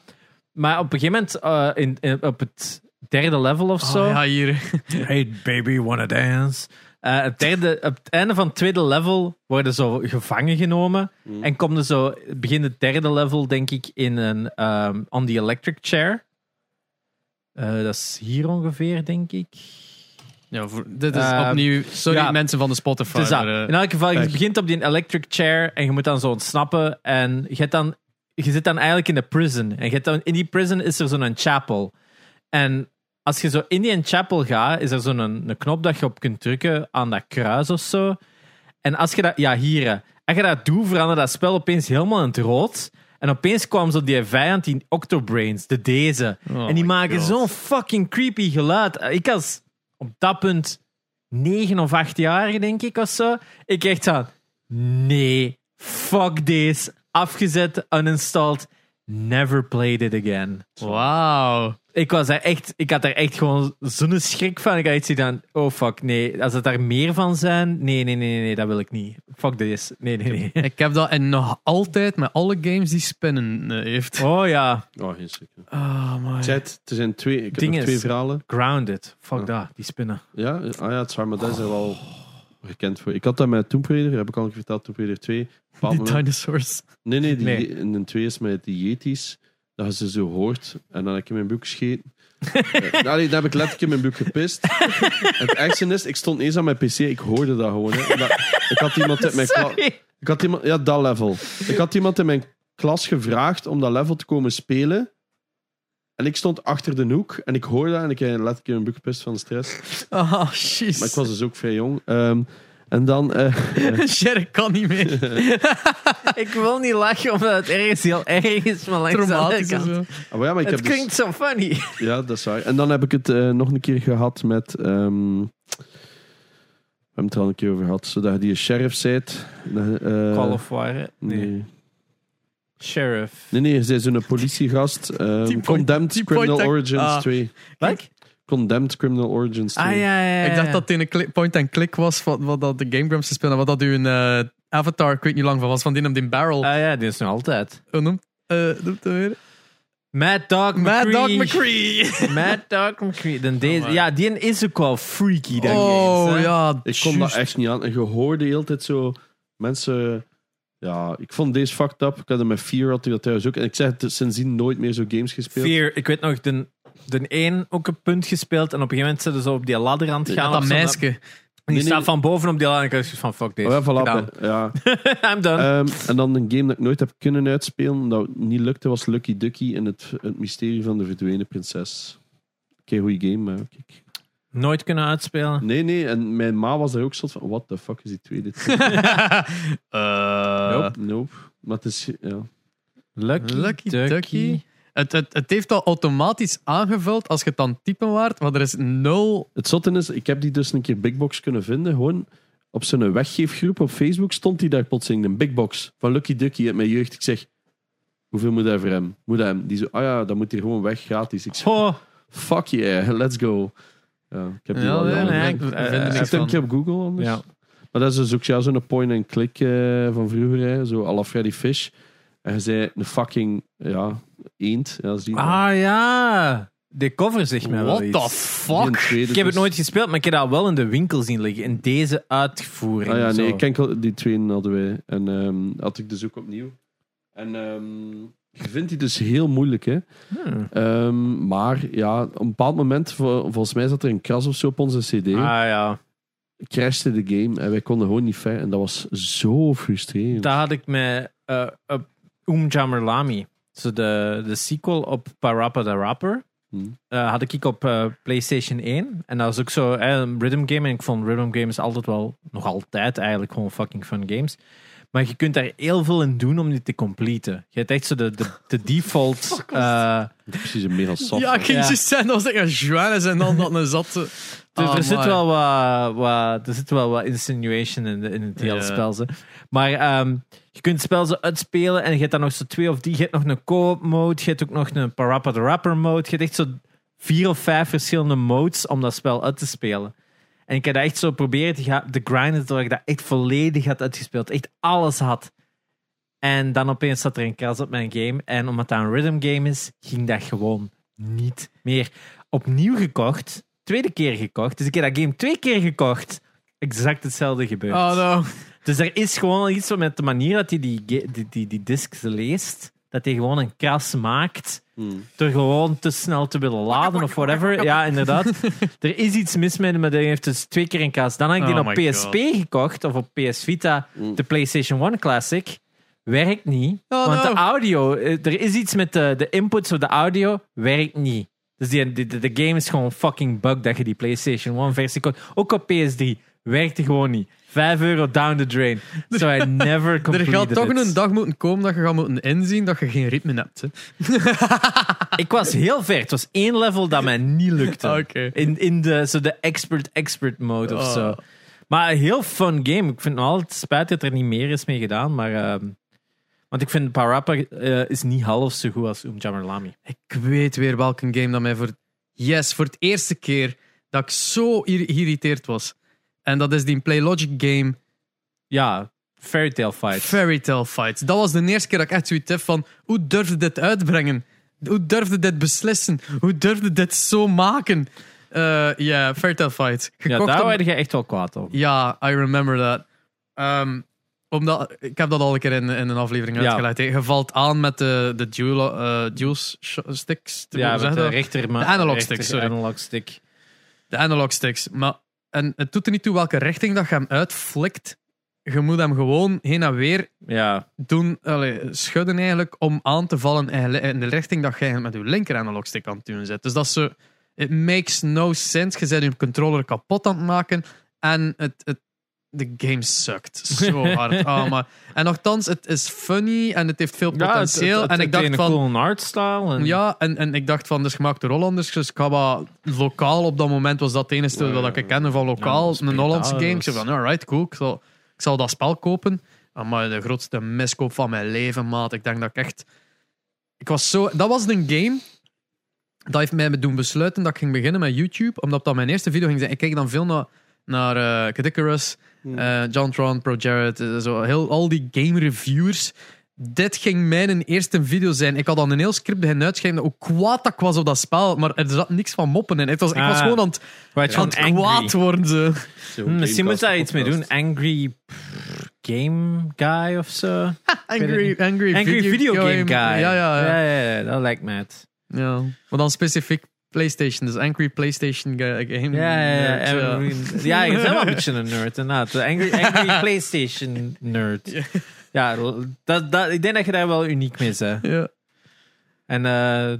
S1: Maar op een gegeven moment, eh, in, in- op het derde level of zo.
S2: Ah, ja, hier.
S1: Hey baby, wanna dance? Eh, het derde, op het einde van het tweede level worden ze gevangen genomen.
S3: Mm.
S1: En komen zo, begin het derde level, denk ik, in een ehm, on the electric chair. Eh, dat is hier ongeveer, denk ik.
S2: Ja, voor- dit is
S1: Eh,
S2: opnieuw. Sorry,
S1: ja.
S2: mensen van de Spotify.
S1: Dus dat.
S2: maar, eh,
S1: In elk geval, je
S3: Kijk.
S1: begint op die electric chair en je moet dan zo ontsnappen. En je, hebt dan, je zit dan eigenlijk in de prison. En je hebt dan, in die prison is er zo'n chapel. En als je zo in die chapel gaat, is er zo'n een knop dat je op kunt drukken aan dat kruis of zo. En als je dat, ja, hier. hè. Als je dat doet, verandert dat spel opeens helemaal in het rood. En opeens kwam zo die vijand, die Octobrains, de deze.
S2: Oh
S1: en die
S2: my
S1: maken
S2: God.
S1: zo'n fucking creepy geluid. Ik als op dat punt negen of acht jaar, denk ik, of zo. Ik echt zo, nee, fuck this. Afgezet, uninstalled, never played it again.
S2: Wauw.
S1: Ik was daar echt, ik had daar echt gewoon zo'n schrik van. Ik had iets gedaan, oh fuck, nee. Als het daar meer van zijn, nee, nee, nee, nee, dat wil ik niet. Fuck this, nee, nee, nee.
S2: Ik heb dat en nog altijd met alle games die spinnen eh, heeft.
S1: Oh ja,
S3: Oh, geen seconde.
S2: Ah, man.
S3: Zet, er zijn twee, ik heb
S1: Ding
S3: nog
S1: is-
S3: twee verhalen.
S1: grounded. Fuck dat, die spinnen.
S3: Ja, ah ja, het is waar, maar dat is er wel gekend voor. Ik had dat met Tomb Raider, heb ik al verteld, Tomb Raider 2. Op een bepaald
S2: Die
S3: moment-
S2: dinosaurs.
S3: Nee, nee, die,
S1: Nee.
S3: in de twee is met die Yetis. Dat je ze zo hoort. En dan heb ik in mijn boek gescheten. Eh, Allee, dan heb ik letterlijk in mijn boek gepist. het ergste is, ik stond eens aan mijn pc, ik hoorde dat gewoon. Hè. Dat- ik had iemand uit mijn klas...
S1: Sorry.
S3: Ik had iemand, ja, dat level. Ik had iemand in mijn klas gevraagd om dat level te komen spelen. En ik stond achter de hoek en ik hoorde dat en ik eh, letterlijk in mijn boek gepist van de stress.
S2: Ah, jeez.
S3: Maar ik was dus ook vrij jong. Ehm, en dan... eh,
S2: Sherry kan niet meer.
S1: Ik wil niet lachen omdat het ergens heel erg is, maar langs de andere
S2: Traumatisch en
S1: kant.
S2: zo.
S3: ah, maar ja, maar ik
S1: Het
S3: heb dus-
S1: klinkt zo funny.
S3: Ja, dat is waar. En dan heb ik het eh, nog een keer gehad met. ehm, we hebben het er al een keer over gehad. Zodat je die sheriff zijt. Dat, eh,
S1: Call of War, hè? nee.
S3: Nee.
S1: Sheriff.
S3: Nee, nee, je bent zo'n politiegast. ehm,
S2: Die point-
S3: Condemned
S2: die
S3: Criminal
S2: point-
S3: Origins
S2: ah.
S3: 2.
S1: Wat?
S3: Condemned Criminal Origins 2.
S1: Ah ja, ja, ja,
S2: Ik dacht
S1: ja.
S2: dat het in een klik- point-and-click was van wat dat de Game Grumps speelde. Wat dat uw eh, avatar, ik weet niet lang van was, van die op die barrel.
S1: Ah ja, die is nog altijd.
S2: Hoe noemt eh, noemt hij weer?
S1: Mad Dog
S2: Mad
S1: McCree.
S2: Dog McCree.
S1: Mad Dog McCree. Dan
S2: Oh,
S1: deze,
S2: man.
S1: ja, die is ook wel freaky, denk
S2: Oh ja,
S3: ik kon dat echt niet aan. En je hoorde de hele tijd zo mensen. Ja, ik vond deze fucked up. Ik had hem met Fear had ik dat thuis ook. En ik zeg het sindsdien nooit meer zo games gespeeld.
S1: Fear, ik weet nog, de, de één ook een punt gespeeld en op een gegeven moment zitten ze zo op die ladder aan het gaan.
S2: dat
S1: of zo.
S2: meisje.
S1: Die
S3: Nee, nee.
S1: staat van boven op die ladder en ik dacht van fuck
S3: Oh,
S1: deze.
S3: ja, voilà,
S1: Gedaan.
S3: ja.
S1: I'm done.
S3: Ehm, en dan een game dat ik nooit heb kunnen uitspelen, dat niet lukte, was Lucky Ducky en het, het mysterie van de verdwenen prinses. Oké, goede game, maar kijk.
S1: Nooit kunnen uitspelen.
S3: Nee, nee, en mijn ma was daar ook zot van, what the fuck is die tweede?
S2: Eh,
S3: nope, nope. Maar het is, ja.
S1: Lucky,
S2: Lucky
S1: Ducky.
S2: Ducky. Het, het, het heeft al automatisch aangevuld als je het aan het typen waard, maar er is nul.
S3: Het zotte is, ik heb die dus een keer Big Box kunnen vinden, gewoon op zijn weggeefgroep op Facebook stond die daar plotseling, een Big Box van Lucky Ducky uit mijn jeugd. Ik zeg, hoeveel moet hij voor hem? Moet hij hem? Die zo, ah ja, dan moet hij gewoon weg, gratis. Ik zeg,
S1: Oh,
S3: fuck yeah, let's go. Ja, ik heb die
S2: Ja,
S3: wel
S2: ja,
S3: jammer.
S1: nee,
S2: nee,
S1: ik-
S2: we
S1: eh,
S2: vinden
S1: eh,
S2: niks
S1: ik
S3: Zet
S2: van.
S3: hem een keer op Google anders.
S1: ja.
S3: Maar dat is dus ook ja, zo'n point-and-click eh, van vroeger, hè, zo à la Freddy
S2: Ah,
S3: Fish. En je zei een fucking ja, eend. Ja, zie je.
S1: Ah ja. de cover zegt mij wel
S2: What
S1: iets. dus.
S2: the fuck?
S1: Ik heb het nooit gespeeld, maar ik heb dat wel in de winkel zien liggen. In deze uitvoering.
S3: Ah ja,
S1: zo.
S3: nee, ik ken enkel die twee hadden wij. En ehm, had ik dus ook opnieuw. En ehm, je vindt die dus heel moeilijk, hè.
S1: Hmm.
S3: Ehm, maar ja, op een bepaald moment, vol- volgens mij zat er een kras of zo op onze cd.
S1: Ah ja,
S3: Crashte de game en wij konden gewoon niet ver. En dat was zo frustrerend.
S1: daar had ik met eh op Oom Jammer Lami. Zo de, de sequel op Parappa the Rapper.
S3: Hmm.
S1: eh, had ik op eh, PlayStation 1. En dat was ook zo eh, een rhythm game. En ik vond rhythm games altijd wel, nog altijd eigenlijk, gewoon fucking fun games. Maar je kunt daar heel veel in doen om die te completen. Je hebt echt zo de, de, de default. eh,
S3: Precies een mega sap.
S2: Ja, ik ging
S1: Ja.
S2: juist zeggen, dat was echt een Joannes en dan dat een zatte.
S1: Dus
S2: Ah,
S1: er, zit
S2: maar.
S1: wel wat, wat, er zit wel wat insinuation in, de- in het hele
S2: Ja.
S1: spel. Ze. Maar ehm, je kunt het spel zo uitspelen en je hebt dan nog zo twee of die. Je hebt nog een co-op mode, je hebt ook nog een Parappa the Rapper mode. Je hebt echt zo vier of vijf verschillende modes om dat spel uit te spelen. En ik heb dat echt zo proberen te, ga- te grinden totdat ik dat echt volledig had uitgespeeld. Echt alles had. En dan opeens zat er een kras op mijn game. En omdat dat een rhythm game is, ging dat gewoon niet meer. Opnieuw gekocht. Tweede keer gekocht. Dus ik heb dat game twee keer gekocht. Exact hetzelfde gebeurd.
S2: Oh no.
S1: Dus er is gewoon iets wat met de manier dat hij die, ge- die, die, die discs leest. Dat hij gewoon een kras maakt
S3: Hmm.
S1: door gewoon te snel te willen laden of whatever. Ja, inderdaad. er is iets mis met hem, maar hij heeft dus twee keer een kaas. Dan had ik die
S2: Oh
S1: op
S2: my
S1: PSP gekocht of op PS Vita, de PlayStation 1 Classic. Werkt niet,
S2: Oh
S1: want
S2: no.
S1: de audio, eh, er is iets met de, de inputs of de audio, werkt niet. Dus die, die- de, de game is gewoon fucking bug dat je die PlayStation 1 versie kon. Ook op PS3 werkte gewoon niet. 5 euro down the drain. So I never
S2: Er
S1: completed
S2: gaat toch
S1: it.
S2: een dag moeten komen dat je gaat moeten inzien dat je geen ritme hebt. hè.
S1: Ik was heel ver. Het was één level dat mij niet lukte.
S2: Oké.
S1: In, in de, zo de expert-expert mode of
S2: Oh.
S1: zo. Maar een heel fun game. Ik vind het altijd spijt dat er niet meer is mee gedaan. Maar, ehm, want ik vind Parappa eh, is niet half zo goed als Oom Jammer Lami.
S2: Ik weet weer welke game dat mij voor. Yes, voor het eerste keer dat ik zo ir- geïrriteerd was. En dat is die Playlogic game
S1: Ja, Fairy Tale Fight.
S2: Fairy Tale Fight. Dat was de eerste keer dat ik echt zoiets heb van: hoe durfde dit uitbrengen? Hoe durfde dit beslissen? Hoe durfde dit zo maken? Eh, Ja, Fairy Tale Fight.
S1: ja,
S2: op-
S1: daar werd je echt wel kwaad op.
S2: Ja, I remember that. Ehm, omdat, ik heb dat al een keer in, in een aflevering
S1: Ja.
S2: uitgelegd. hè. Je valt aan met de, de dual, eh, dual sh- sticks. Hoe
S1: Ja, met
S2: zeg je
S1: de
S2: dat?
S1: rechter... maar-
S2: De analog
S1: rechter-
S2: stick, sorry.
S1: analog stick.
S2: De analog sticks. Maar, en het doet er niet toe welke richting dat je hem uitflikt. Je moet hem gewoon heen en weer
S1: Ja,
S2: doen, allee, schudden eigenlijk, om aan te vallen in in de richting dat jij met je linker analog stick aan het doen zit. Dus dat is zo... It makes no sense. Je bent je controller kapot aan het maken en het... het de game sukt zo hard. Ah, maar, en nogthans, het is funny en het heeft veel
S1: Ja, het-
S2: potentieel.
S1: het- het-
S2: en ik
S1: het
S2: dacht
S1: ene
S2: van,
S1: cool artstyle. En...
S2: ja, en, en ik dacht van, dus gemaakt door Hollanders. Dus ik ga wat lokaal op dat moment was dat het enige
S3: Ja,
S2: dat ik kende van
S1: ja,
S2: lokaal.
S1: dat is
S2: een Hollandse
S1: prima,
S2: game. Ik
S1: dat
S2: zei
S1: is-
S2: van, alright, cool. Ik zal, ik zal dat spel kopen. Maar de grootste miskoop van mijn leven, maat. Ik denk dat ik echt. Ik was zo. Dat was een game. Dat heeft mij doen besluiten dat ik ging beginnen met YouTube. Omdat dat mijn eerste video ging zijn. Ik keek dan veel naar, naar eh, Kid Icarus, eh, John Tron, Pro Jared, eh, zo, heel, al die game reviewers. Dit ging mijn eerste video zijn. Ik had dan een heel script begin uitschrijven hoe kwaad dat ik was op dat spel, maar er zat niks van moppen in. Het was, ik was
S1: Ah,
S2: gewoon aan het,
S1: Waar het
S2: aan
S1: gewoon
S2: het
S1: angry-
S2: kwaad worden. zo.
S3: Zo'n
S1: Hmm, misschien moet je daar
S3: gamecast
S1: iets mee doen.
S3: podcast.
S1: Angry pff, Game Guy of zo.
S2: Angry, angry,
S1: Angry Video, Game Guy.
S2: Ja, ja, ja.
S1: ja, ja, dat lijkt me het.
S2: ja. Maar dan specifiek PlayStation, dus Angry PlayStation Guy- Game.
S1: Ja, ja, ja.
S2: Nerd, ja.
S1: Angry- ja, ik ben wel een beetje een nerd, inderdaad. De Angry, angry PlayStation nerd.
S2: Ja.
S1: Ja, dat, dat, ik denk dat je daar wel uniek mee bent.
S2: Ja.
S1: En eh,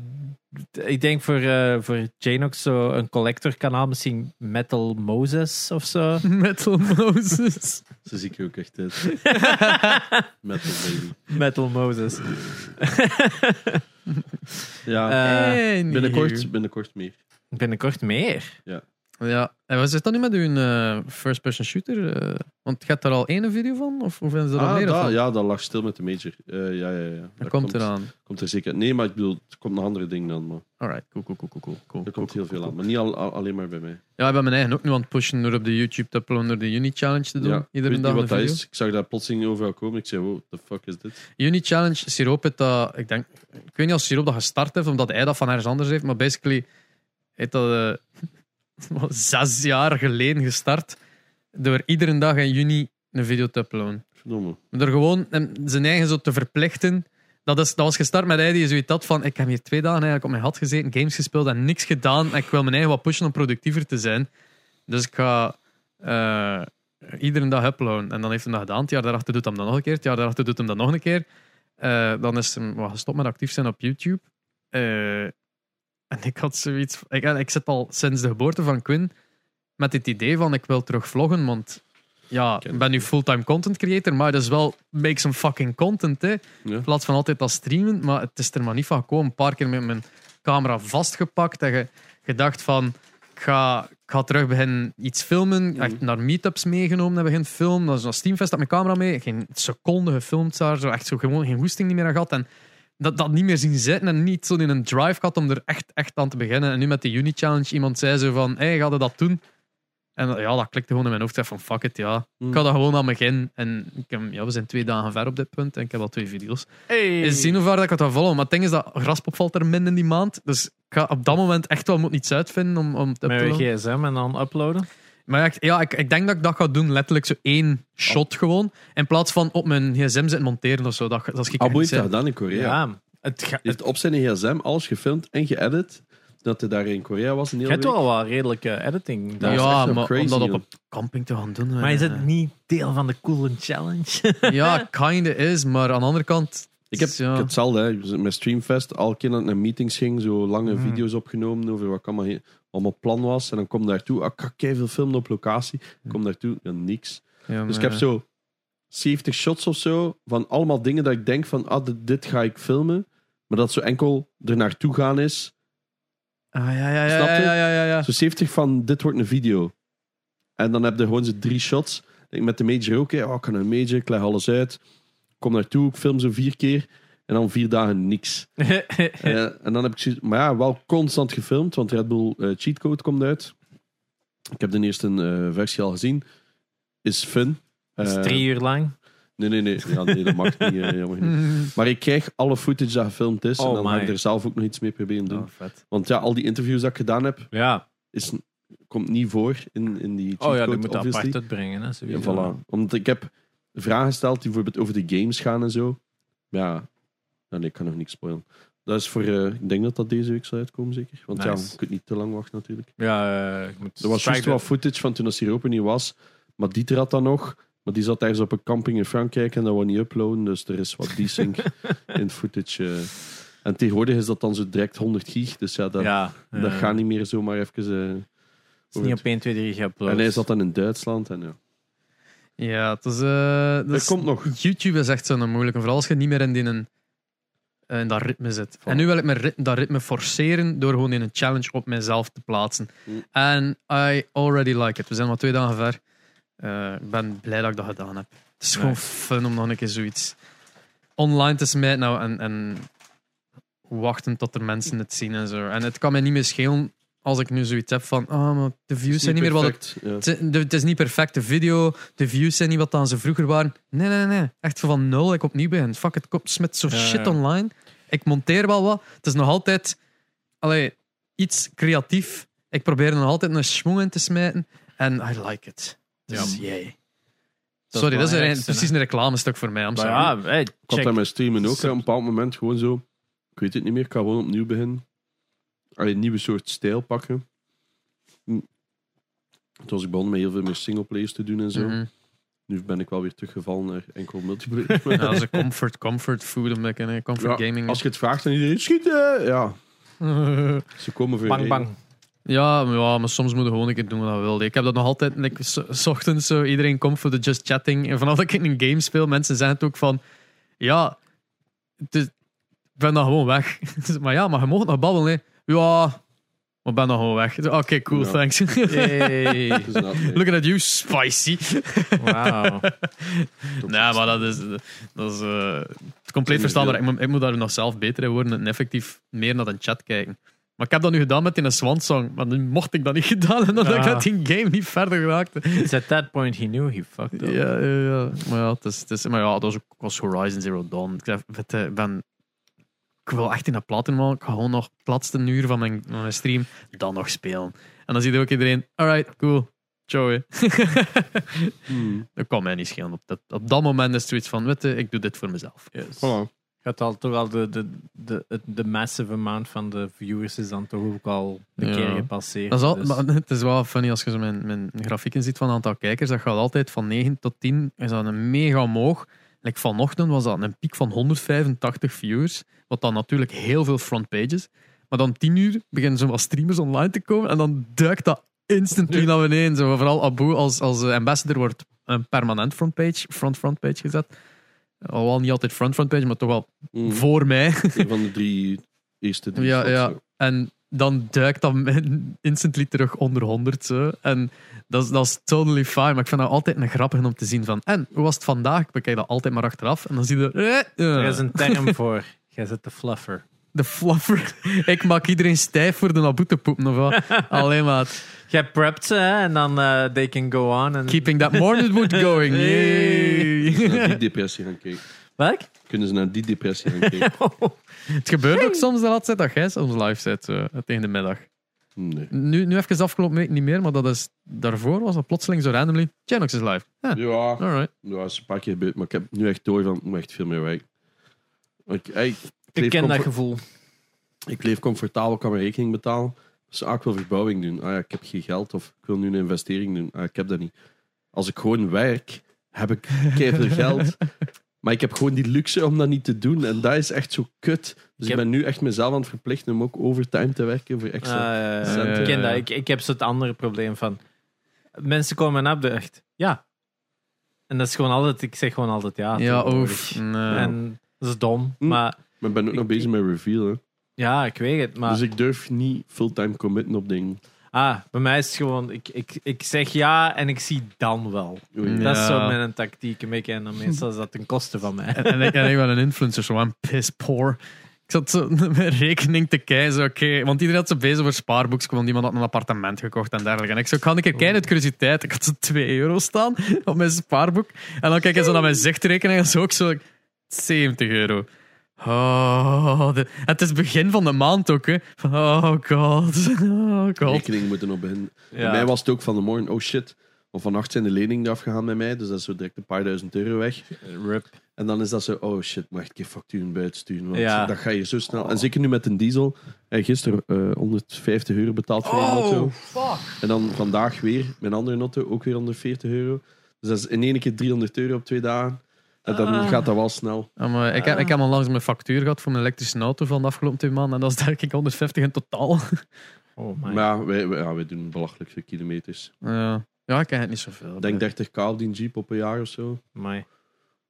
S1: ik denk voor, eh voor Janox zo een collector kanaal, misschien Metal Moses of zo.
S2: Metal Moses.
S3: Zo zie ik er ook echt uit. Metal baby.
S1: Metal Moses.
S3: Ja,
S1: Eh,
S2: Anywho.
S3: binnenkort, binnenkort meer.
S1: binnenkort meer.
S2: Ja, en wat zit dat nu met uw eh, first-person shooter? eh? want gaat er al één video van? Of hoeveel is er al
S3: Ah,
S2: meer?
S3: dat-
S2: van?
S3: ja, dat lag stil met de major. Eh, ja, ja, ja.
S2: dat komt eraan.
S3: Komt er zeker. Nee, maar ik bedoel, er komt nog andere dingen dan. Maar
S2: Alright, cool, cool, cool, cool, cool. cool.
S3: er komt heel veel aan. Maar niet al, al- alleen maar bij mij.
S2: Ja, ik ben mijn eigen ook nu aan het pushen door op de YouTube te uploaden, door de Uni Challenge te doen.
S3: Ja. Ik weet
S2: Iedere
S3: niet
S2: dag een
S3: wat dat
S2: video.
S3: is. Ik zag daar plotseling overal komen. Ik zei, wow, the fuck is dit?
S2: Uni Challenge, Siroop heeft dat, ik denk, ik weet niet als Siroop dat gestart heeft, omdat hij dat van ergens anders heeft, maar basically heeft dat eh, wat, zes jaar geleden gestart. Door iedere dag in juni een video te uploaden.
S3: Verdomme.
S2: Om Er gewoon hem zijn eigen zo te verplichten. Dat, is, dat was gestart met hij die zoiets had van... Ik heb hier twee dagen eigenlijk op mijn had gezeten, games gespeeld en niks gedaan. En ik wil mijn eigen wat pushen om productiever te zijn. Dus ik ga eh, iedere dag uploaden. En dan heeft hij dat gedaan. Het jaar daarachter doet hij hem dat nog een keer. Het jaar daarachter doet hij hem dat nog een keer. Eh, dan is hij wat gestopt met actief zijn op YouTube. Eh, en ik had zoiets... Ik, ik zit al sinds de geboorte van Quinn met het idee van... Ik wil terug vloggen, want ja,
S3: Ken
S2: ik ben nu fulltime content creator, maar dat is wel make some fucking content, hè.
S3: Ja.
S2: In plaats van altijd dat streamen, maar het is er maar niet van gekomen. Een paar keer met mijn camera vastgepakt en ge- gedacht van, ik ga, ik ga terug beginnen iets filmen. Echt
S3: Mhm.
S2: naar meetups meegenomen en begin filmen. Dat is een Steamfest, had mijn camera mee. Geen seconde gefilmd daar, zo echt zo gewoon geen hoesting niet meer aan gehad. En dat, dat niet meer zien zitten en niet zo in een drive gehad om er echt, echt aan te beginnen. En nu met de Uni Challenge, iemand zei zo van, hé, hey, ga je dat doen? En dat- ja, dat klikte gewoon in mijn hoofd. Ik zei van, fuck it, ja.
S1: Hmm.
S2: Ik had dat gewoon aan begin. En ik heb, ja, we zijn twee dagen ver op dit punt en ik heb al twee video's.
S1: Hey.
S2: Eens zien hoe ver dat ik het ga volgen. Maar het ding is dat Graspop valt er min in die maand. Dus ik ga op dat moment echt wel moet iets uitvinden om, om het up te
S1: Met je
S2: uploaden.
S1: gsm en dan uploaden.
S2: Maar ja, ik, ja ik, ik denk dat ik dat ga doen. Letterlijk zo één
S1: Oh.
S2: shot gewoon. In plaats van op mijn gsm zitten monteren of zo. Dat, dat is niet
S3: Abu heeft Ah, dat
S2: zijn.
S3: gedaan in Korea.
S1: Ja. Het ga-
S3: Die heeft op zijn gsm alles gefilmd en geëdit. Dat hij daar in Korea was een
S1: je
S3: hele
S1: hebt
S3: week.
S1: wel wat redelijke editing.
S3: Ja,
S1: daar.
S3: dat is
S2: ja,
S3: echt wel
S2: maar
S3: crazy,
S2: om dat op
S3: joh.
S2: een camping te gaan doen.
S1: Maar is
S2: eh,
S1: het niet deel van de Coolen Challenge?
S2: Ja, kinda is. Maar aan de andere kant...
S3: Ik heb,
S2: ja.
S3: ik heb hetzelfde, hè. met Streamfest, al keer dat ik naar meetings ging, zo
S2: Mm.
S3: lange video's opgenomen over wat ik allemaal, he- allemaal plan was. En dan kom ik daartoe, ah, ik ga veel filmen op locatie. Ik
S2: Mm.
S3: kom daartoe, ja, niks.
S2: Ja,
S3: Dus ik
S2: maar-
S1: eh,
S3: heb zo 70 shots of zo van allemaal dingen dat ik denk van, ah, dit, dit ga ik filmen. Maar dat zo enkel er naartoe gaan is.
S2: Ah, ja, ja,
S3: Snap
S2: ja,
S3: je?
S2: ja, ja, ja, ja.
S3: Zo 70 van, dit wordt een video. En dan heb je gewoon zo drie shots. Ik denk Met de major ook, hè. Oh, ik kan een major, ik leg alles uit. Ik kom naartoe, ik film zo vier keer. En dan vier dagen niks. Eh, en dan heb ik zoiets- maar ja, wel constant gefilmd, want Red Bull eh, Cheat Code komt uit. Ik heb de eerste eh, versie al gezien. Is fun.
S1: Dat is
S3: Eh,
S1: drie uur lang.
S3: nee, nee, nee. Ja, nee, dat mag niet. eh, jammer genoeg.
S2: Mm.
S3: Maar ik krijg alle footage dat gefilmd is. en
S1: Oh
S3: dan
S1: my.
S3: heb ik er zelf ook nog iets mee proberen te doen.
S2: Oh, vet.
S3: Want ja, al die interviews dat ik gedaan heb,
S1: Ja.
S3: is, komt niet voor in, in die cheat
S1: Oh ja,
S3: code,
S1: die moet dat
S3: obviously.
S1: apart uitbrengen. Hè,
S3: Ja,
S1: sowieso.
S3: voilà. Omdat ik heb vragen gesteld die bijvoorbeeld over de games gaan en zo. Ja, ja, nee, ik kan nog niks spoilen. Dat is voor, eh, ik denk dat dat deze week zal uitkomen, zeker. Want ja,
S1: Nice.
S3: je kunt niet te lang wachten natuurlijk.
S1: Ja, eh, ik moet
S3: Er was juist
S1: Strike
S3: wel footage van toen als hier open niet was. Maar Dieter had dat nog. Maar die zat ergens op een camping in Frankrijk en dat wou niet uploaden. Dus er is wat desync in footage. eh. En tegenwoordig is dat dan zo direct 100 gig. Dus ja, dat,
S1: ja,
S3: dat
S1: eh,
S3: gaat niet meer zomaar even... eh,
S1: is niet op 1, 2, 3 geüpload.
S3: en hij zat dan in Duitsland. En, ja.
S2: Ja, het is... eh, dat
S3: Er
S2: is-
S3: komt nog.
S2: YouTube is echt zo'n moeilijke. Vooral als je niet meer in, die, een- in dat ritme zit. En nu wil ik mijn rit- dat ritme forceren door gewoon in een challenge op mezelf te plaatsen.
S3: Mm.
S2: En I already like it. We zijn maar twee dagen ver. Eh, Ik ben blij dat ik dat gedaan heb. Het is gewoon
S1: Nice.
S2: fun om nog een keer zoiets online te smijten nou, en, en wachten tot er mensen het zien en zo. En het kan mij niet meer schelen als ik nu zoiets heb van, ah, maar de views zijn niet meer wat ik
S3: Perfect, ja.
S2: het is- de- Het is niet perfect, de video, de views zijn niet wat dan ze vroeger waren. Nee, nee, nee. Echt van nul, ik opnieuw begin. Fuck it, ik smet zo
S1: Ja,
S2: shit
S1: ja.
S2: online. Ik monteer wel wat. Het is nog altijd allee, iets creatief. Ik probeer er nog altijd een schwung in te smijten. En I like it. Dus, yay.
S1: is
S2: Sorry, dat is
S1: belangrijk,
S2: een- precies een reclamestuk voor mij. I'm
S1: Maar
S2: sorry.
S1: ja, hey,
S3: Ik had
S1: check.
S3: dat met streamen ook.
S1: Sub-
S3: hè. Op een bepaald moment gewoon zo. Ik weet het niet meer. Ik ga gewoon opnieuw beginnen. Allee, een nieuwe soort stijl pakken. Hm. Toen was ik begonnen met heel veel meer singleplayers te doen en zo.
S2: Mhm.
S3: Nu ben ik wel weer teruggevallen naar enkel multiplayer.
S2: Ja, dat is een comfort, comfort food. Omdat ik een comfort
S3: Ja,
S2: Nou, gaming.
S3: Als je het vraagt aan iedereen, schieten! Ja, ze komen voor
S1: Bang,
S3: je
S1: bang.
S2: Ja, maar, ja, maar soms moet je gewoon een keer doen wat je wil. Ik heb dat nog altijd. Ik, so- 's ochtends zo, iedereen komt voor de just chatting. En vanaf dat ik een game speel, mensen zeggen het ook van. Ja, het is- ik ben dan gewoon weg. maar ja, maar je mocht nog babbelen. Hè. Ja, maar ik ben dan gewoon weg. Ah, Oké, cool,
S3: Ja.
S2: thanks.
S1: Hey.
S3: reden. Dus dat- nee.
S2: Looking at you, spicy.
S1: Wauw.
S2: nee, maar dat is, dat is eh, compleet verstaanbaar. Ik moet, ik moet daar nog zelf beter in worden en effectief meer naar de chat kijken. Maar ik heb dat nu gedaan met in een Swansong, maar nu mocht ik dat niet gedaan en dan had ik
S1: Ja.
S2: dat in game niet verder geraakt.
S1: It's at that point he knew he fucked up.
S2: Ja, ja, ja. Maar ja, het is, het is, maar ja dat was, ook- was Horizon Zero Dawn. Ik zeg, weet je, ik ben ik wil echt in dat platen maken. Ik ga gewoon nog het laatste uur van mijn, van mijn stream dan nog spelen. En dan ziet ook iedereen, alright, cool, ciao.
S3: Hmm.
S2: dat kwam mij niet schelen. Op dat, op dat moment is het zoiets van, weet je, ik doe dit voor mezelf.
S3: Voilà.
S1: Gaat al toch al de, de, de, het- de massive amount van de viewers is dan toch ook al de
S2: Ja.
S1: keer gepasseerd.
S2: Dat is al,
S1: dus.
S2: maar het is wel funny als je zo mijn, mijn grafieken ziet van het aantal kijkers. Dat gaat altijd van 9 tot 10. Is dat een mega omhoog. Like vanochtend was dat een piek van 185 viewers. Wat dan natuurlijk heel veel frontpages. Maar dan 10 uur beginnen zo wat streamers online te komen. En dan duikt dat instant terug naar beneden. Zo, vooral Abu als, als eh, ambassador wordt een permanent frontpage, front frontpage gezet. Alhoewel niet altijd front frontpage, maar toch wel
S3: Hmm.
S2: voor mij.
S3: Een van de drie eerste drie.
S2: Ja,
S3: slots,
S2: ja.
S3: zo.
S2: En dan duikt dat men instantly terug onder 100. Zo. En dat is, dat is totally fine. Maar ik vind dat altijd een grappige om te zien van. En hoe was het vandaag? Ik bekijk dat altijd maar achteraf. En dan zie je. eh, eh,
S1: Er is een term voor. Jij zit de fluffer.
S2: De fluffer. ik maak iedereen stijf voor de naboe te poepen of wat. Alleen maar.
S1: Jij prept ze hè, en dan eh, they can go on. En...
S2: Keeping that morning wood going.
S3: Naar
S2: Yay.
S3: die depressie gaan kijken.
S1: Welk?
S3: Kunnen ze naar die depressie gaan kijken?
S2: het gebeurt ook soms de laatste tijd dat jij soms live zit. zo, het einde middag.
S3: Nee.
S2: Nu, nu even de afgelopen week niet meer. Maar dat is, daarvoor was dat plotseling zo randomly. Genox is live. Ja,
S3: Ja,
S2: alright.
S3: ja, dat is een paar keer gebeurd, maar ik heb nu echt door van, ik moet echt veel meer werken. Ik, ik, ik,
S1: Ik
S3: leef
S1: ken dat
S3: comfort-
S1: gevoel.
S3: ik leef comfortabel, kan mijn rekening betalen. Dus ah, ik wil verbouwing doen. Ah ja, ik heb geen geld. Of ik wil nu een investering doen. Ah, ik heb dat niet. Als ik gewoon werk, heb ik veel geld. Maar ik heb gewoon die luxe om dat niet te doen. En dat is echt zo kut. Dus ik,
S1: heb-
S3: ben nu echt mezelf aan het verplichten om ook overtime te werken voor extra.
S1: Ah, ja, ja, ja.
S3: centen.
S1: ik ken dat. Ik, ik heb zo het andere probleem van. Mensen komen en opdracht. Ja. En dat is gewoon altijd. Ik zeg gewoon altijd ja.
S2: Ja,
S1: tegenwoordig.
S2: oef. Nee.
S1: En dat is dom.
S3: Hm.
S1: Maar
S3: maar ik ben ook nog
S1: ik-
S3: bezig met reveal. hè.
S1: ja, ik weet het. Maar
S3: Dus ik durf niet fulltime committen op dingen.
S1: ah, bij mij is het gewoon. Ik, ik, ik zeg ja en ik zie dan wel.
S3: Oei.
S2: Ja.
S1: Dat is zo mijn tactiek. Een beetje. En dan meestal is dat ten koste van mij.
S2: En, en ik, en ik ben een influencer, zo I'm piss poor. Ik zat zo naar mijn rekening te kijken, zo, oké, want iedereen had zo bezig voor spaarboeks, want iemand had een appartement gekocht en dergelijke. En ik zo, kan ik een kijken uit curiositeit? Ik had zo 2 euro staan op mijn spaarboek. En dan kijk ik zo naar mijn zichtrekening en zo ook zo 70 euro. Oh, de- het is begin van de maand ook, hè. Oh god, oh god.
S3: rekening moeten op beginnen.
S1: Ja.
S3: Bij mij was het ook van de morgen, oh shit. Want vannacht zijn de leningen eraf gegaan bij mij, dus dat is zo direct een paar duizend euro weg.
S1: Eh, Rip.
S3: En dan is dat zo, oh shit, mag ik je facturen buiten sturen? Want
S1: Ja.
S3: dat ga je zo snel. En zeker nu met een diesel. En gisteren eh, 150 euro betaald voor een auto.
S2: fuck.
S3: En dan vandaag weer mijn andere auto, ook weer 140 euro. Dus dat is in één keer 300 euro op twee dagen. En dan
S1: Ah.
S3: gaat dat wel snel.
S2: maar ik, heb- ik heb al langs mijn factuur gehad voor mijn elektrische auto van de afgelopen twee maanden en dat is denk ik 150 in totaal.
S1: Oh my.
S3: Maar ja, wij, wij- ja, wij doen belachelijke kilometers.
S2: Ja, ja ik ken het niet zoveel.
S3: Ik denk 30k op die jeep op een jaar of zo.
S1: my.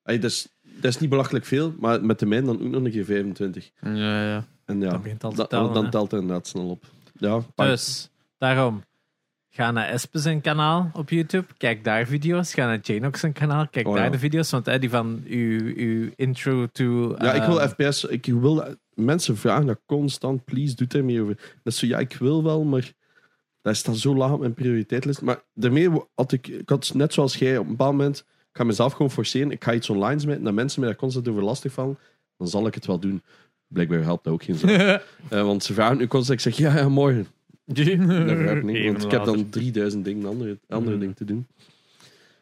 S3: Hey, dat, is, dat is niet belachelijk veel, maar met de mijn dan ook nog een keer 25.
S2: Ja, ja.
S3: En ja,
S1: Dat begint al te
S3: da-
S1: tellen, hè.
S3: dan telt het inderdaad snel op. Ja, pak-
S1: Dus, daarom. Ga naar Espen zijn kanaal op YouTube. Kijk daar video's. Ga naar Janox zijn kanaal. Kijk
S3: Oh,
S1: daar
S3: ja.
S1: de video's. Want eh, die van uw, uw intro to...
S3: ja, ik wil
S1: eh,
S3: FPS. Ik wil, mensen vragen dat constant. Please, doe daar meer over. Dat is zo, ja, ik wil wel, maar dat staat zo laag op mijn prioriteitenlijst. Maar daarmee had ik, ik had net zoals jij op een bepaald moment. Ik ga mezelf gewoon forceren. Ik ga iets online smijten. Dat mensen me daar constant over lastig vallen. Dan zal ik het wel doen. Blijkbaar helpt dat ook geen zin. want ze vragen nu constant. Ik zeg ja, ja morgen. Dat
S2: Mhm.
S3: werkt niet, want ik heb dan 3000 dingen, andere, andere
S2: Mm.
S3: dingen te doen.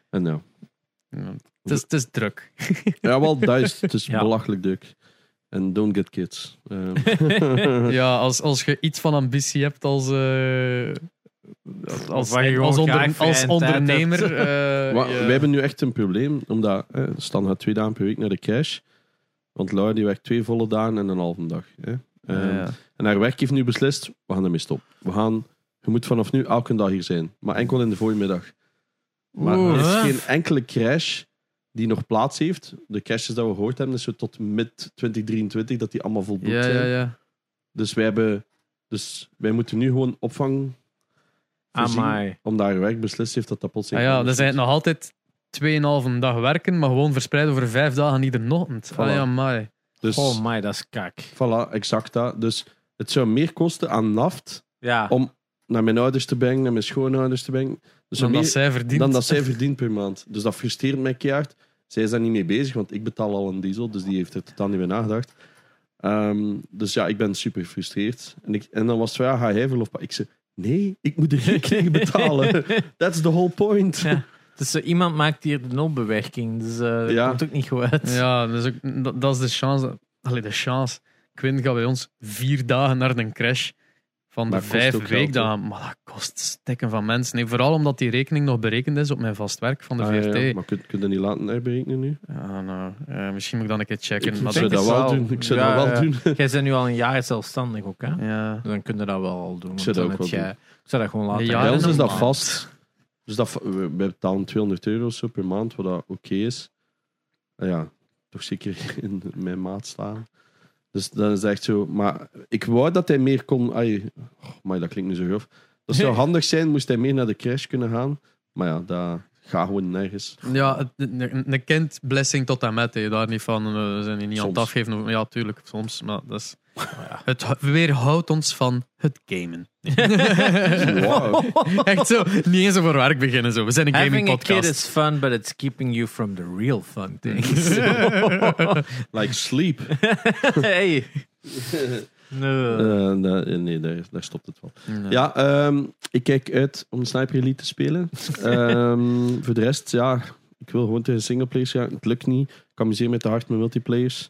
S3: En nou.
S2: Het is, het is druk.
S3: Ja, wel, dat is, het is
S1: Ja.
S3: belachelijk druk. En don't get kids. Ehm,
S2: Ja, als, als je iets van ambitie hebt als, eh,
S1: Of
S2: als,
S1: waar je
S2: als,
S1: gewoon
S2: onder-
S1: graag vrij
S2: als
S1: tijd
S2: ondernemer.
S1: hebt.
S2: eh,
S3: maar
S2: ja.
S3: Wij hebben nu echt een probleem, omdat eh, Stan gaat twee dagen per week naar de cash. Want Laura die werkt twee volle dagen en een halve dag. Hè. Ehm,
S2: Ja.
S3: En haar werk heeft nu beslist, we gaan ermee stoppen. We gaan, je moet vanaf nu elke dag hier zijn, maar enkel in de voormiddag. Maar
S2: Oeh.
S3: er is
S2: Huh?
S3: geen enkele crash die nog plaats heeft. De crashes dat we gehoord hebben, is zo tot mid 2023 dat die allemaal volboekt
S2: ja,
S3: zijn.
S2: ja, ja.
S3: Dus wij, hebben, dus wij moeten nu gewoon opvang voorzien,
S1: Amai.
S3: omdat haar werk beslist heeft dat dat plots...
S2: Ah, ja, dan zijn het nog altijd 2,5 dag werken, maar gewoon verspreid over vijf dagen ieder ochtend. Ah
S3: Voilà.
S2: ja, amai.
S3: Dus,
S1: Oh my, dat is kak.
S3: voilà, exact dat. Dus het zou meer kosten aan naft
S1: Ja.
S3: Om- naar mijn ouders te brengen, naar mijn schoonouders te brengen, dus
S2: Dan
S3: meer,
S2: dat zij verdient.
S3: dan dat zij verdient per maand. Dus dat frustreert mij keihard. Zij is daar niet mee bezig, want ik betaal al een diesel, dus die heeft er totaal niet mee nagedacht. Ehm, dus ja, ik ben super gefrustreerd. En, ik, en dan was het van, ja, ga jij verlof pa- Ik zei, nee, ik moet de rekening betalen. That's the whole point.
S1: Ja. Dus eh, iemand maakt hier de nulbewerking, dus eh dat
S3: Ja.
S1: komt ook niet goed uit.
S2: Ja, dat is, ook, dat, dat is de chance. dat- Allee, de chance. Quinn gaat bij ons vier dagen naar de crash van de
S3: Dat kost ook
S2: vijf
S3: geld,
S2: weekdagen. maar dat kost stekken van mensen. Nee, vooral omdat die rekening nog berekend is op mijn vast werk van de
S3: Ah, ja,
S2: VRT.
S3: maar kun, kun je dat niet laten herberekenen nu?
S2: Ah, nou, eh, misschien moet ik dan een keer checken.
S3: Ik
S2: maar
S3: zou
S2: dat
S3: dat
S2: is
S3: wel
S1: wel-
S3: doen. Ik zou
S1: Ja,
S3: dat wel
S1: ja.
S3: doen.
S1: Jij bent nu al een jaar zelfstandig ook, hè? Dus
S2: Ja.
S1: Dan kun je dat wel al doen. want
S3: zou dat
S1: dan
S3: ook
S1: heb
S3: wel
S1: jij- Ik zou dat gewoon laten.
S2: Ja,
S3: Bij
S2: dat
S3: ons is
S2: is
S3: dat
S2: normaal.
S3: vast. Dus dat, va- we we betalen 200 euro zo per maand, wat dat oké is. Nou ja, toch zeker in mijn maat staan. Dus dan is het echt zo. Maar ik wou dat hij meer kon. Ai, oh, maar dat klinkt nu zo grof. Dat zou handig zijn, moest hij meer naar de crash kunnen gaan. Maar ja, dat gaat gewoon nergens.
S2: Ja, het- een een kind blessing tot en met. hè. Daar niet van, eh, we zijn hier niet aan het
S3: Soms.
S2: afgeven. Ja, tuurlijk, soms. Maar dat is, het hu- weerhoudt ons van het gamen.
S3: Wow.
S2: Echt zo, niet eens over werk beginnen. Zo. We zijn een gaming
S1: Having a kid
S2: podcast.
S1: is fun, but it's keeping you from the real fun things.
S3: Like sleep.
S1: hey. No.
S3: Eh, nee, nee, daar, daar stopt het wel. Ja, ehm, ik kijk uit om Sniper Elite te spelen. Ehm, voor de rest, ja, ik wil gewoon tegen singleplayers gaan. Het lukt niet. Ik amuseer me te hard met multiplayers.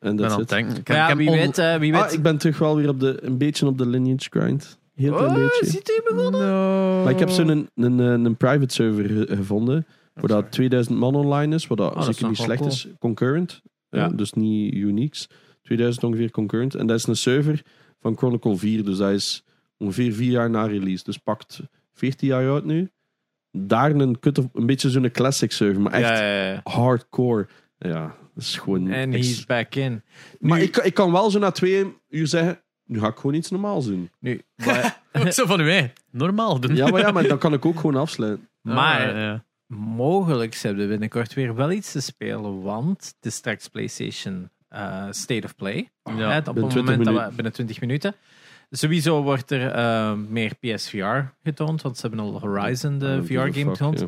S3: En
S2: Ik ben
S3: dat
S2: aan het
S3: is het.
S2: denken. Ik
S1: Maar
S2: heb- ik
S1: ja,
S2: heb
S1: wie
S2: on-
S1: weet, eh, wie weet.
S3: Ah, ik ben terug wel weer op de, een beetje op de lineage grind. Heel klein
S1: oh,
S3: beetje.
S1: ziet u me
S2: No.
S3: Maar ik heb
S1: Oh.
S3: zo'n een, een, eh, een private server ge- gevonden. Waar dat 2000 man online is. Wat dat
S1: Oh, dat is
S3: zeker niet
S1: nog wel
S3: slecht is. Concurrent. Eh,
S1: Ja.
S3: dus niet uniques. 2000 ongeveer concurrent. En dat is een server van Chronicle 4. Dus dat is ongeveer vier jaar na release. Dus pakt 14 jaar oud nu. Daar een, kut of, een beetje zo'n classic server. Maar echt
S1: Ja, ja, ja.
S3: hardcore. Ja, dat is gewoon...
S1: En
S3: ex-
S1: he's back in.
S3: maar
S1: nu-
S3: ik, ik kan wel zo na twee uur zeggen... Nu ga ik gewoon iets normaals doen.
S1: Nu, maar,
S2: Zo van, wij, normaal doen.
S3: Ja, maar, ja, maar dan kan ik ook gewoon afsluiten.
S1: maar
S2: Ah, ja.
S1: mogelijk hebben we binnenkort weer wel iets te spelen, want het is straks PlayStation eh, State of Play.
S2: Ja.
S1: Hè, op het
S3: binnen 20
S1: moment dat we
S3: minuten.
S1: binnen 20 minuten. Sowieso wordt er eh, meer PSVR getoond, want ze hebben al Horizon, de
S3: Eh,
S1: VR-game
S3: fuck,
S1: getoond.
S3: ja.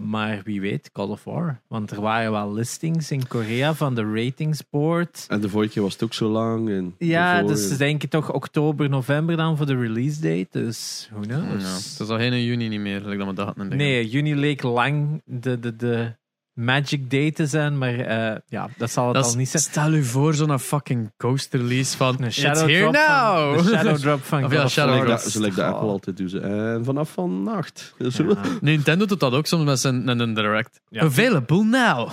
S1: Maar wie weet, Call of War. Want er waren wel listings in Korea van de ratingsboard.
S3: En de vorige keer was het ook zo lang. En
S1: Ja,
S3: daarvoor-
S1: dus ze denken toch oktober, november dan voor de release date. Dus who
S2: Ja,
S1: knows?
S2: Het is al geen juni niet meer, like dat we dachten.
S1: Nee, juni leek lang de, de, de magic day te zijn, maar eh, ja, dat zal het
S2: Dat
S1: al
S2: is-
S1: niet zijn.
S2: Stel u voor zo'n fucking ghost release van
S1: Een
S2: It's
S1: shadow
S2: here
S1: drop
S2: now.
S1: Van, de shadow drop van
S2: Of
S1: God
S2: ja,
S1: of
S2: shadow
S1: War.
S2: drop.
S3: Ja, zo lijkt de Apple altijd doen. ze. En vanaf vannacht. Dus Zo.
S1: Ja,
S2: Nintendo doet dat ook soms met zijn een, een direct.
S1: Ja.
S2: Available now.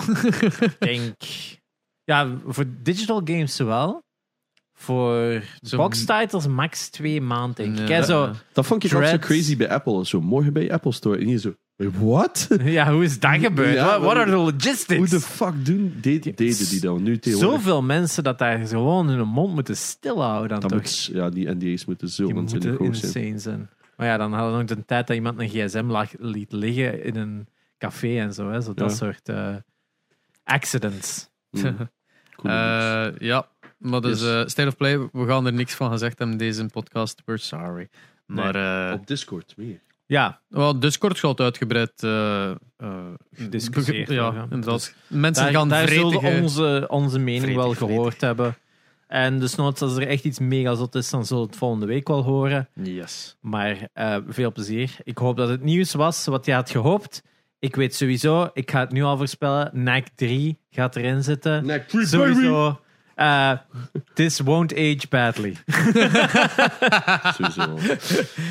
S1: ik denk... Ja, voor digital games wel. Voor
S2: Zo-
S1: box titles max twee maanden, denk ik.
S2: Ja.
S1: Hè, zo,
S3: Dat vond ik altijd
S1: Dreads.
S3: zo crazy bij Apple. Zo morgen bij Apple Store. En hier zo, what?
S1: Ja, hoe is dat gebeurd?
S3: Ja,
S1: What- What are the
S3: Hoe de
S1: logistics?
S3: fuck doen, deed- deden die dan nu tegenwoordig?
S1: Zoveel mensen dat daar gewoon hun mond moeten stilhouden dan
S3: Dat
S1: toch?
S3: moet, ja, die NDA's moeten zo
S1: Die
S3: ontzettend
S1: moeten
S3: hoog zijn.
S1: insane zijn. Maar ja, dan hadden we ook de tijd dat iemand een gsm lag, liet liggen in een café en zo. Hè? zo Dat
S3: Ja.
S1: soort eh, accidents.
S3: Mm. Coole dudes.
S2: Eh, ja, maar dus
S3: Yes.
S2: eh, State of Play, we gaan er niks van gezegd hebben in deze podcast. We're sorry. Maar eh
S3: Op Discord meer.
S1: Ja,
S2: wel, Discord gaat uitgebreid eh eh,
S1: Gediscussieerd
S2: Ja,
S1: worden, ja.
S2: inderdaad.
S1: Dus
S2: Mensen
S1: daar,
S2: gaan
S1: daar
S2: vretige-
S1: zullen onze, onze mening wel
S2: Vretig,
S1: gehoord hebben. En dus noods als er echt iets mega zot is, dan zullen we het volgende week wel horen.
S2: Yes.
S1: Maar eh, veel plezier. Ik hoop dat het nieuws was wat je had gehoopt. Ik weet sowieso, ik ga het nu al voorspellen. NAC 3 gaat erin zitten.
S3: Nee, free baby!
S1: sowieso. Eh, this won't age badly.
S3: Sowieso.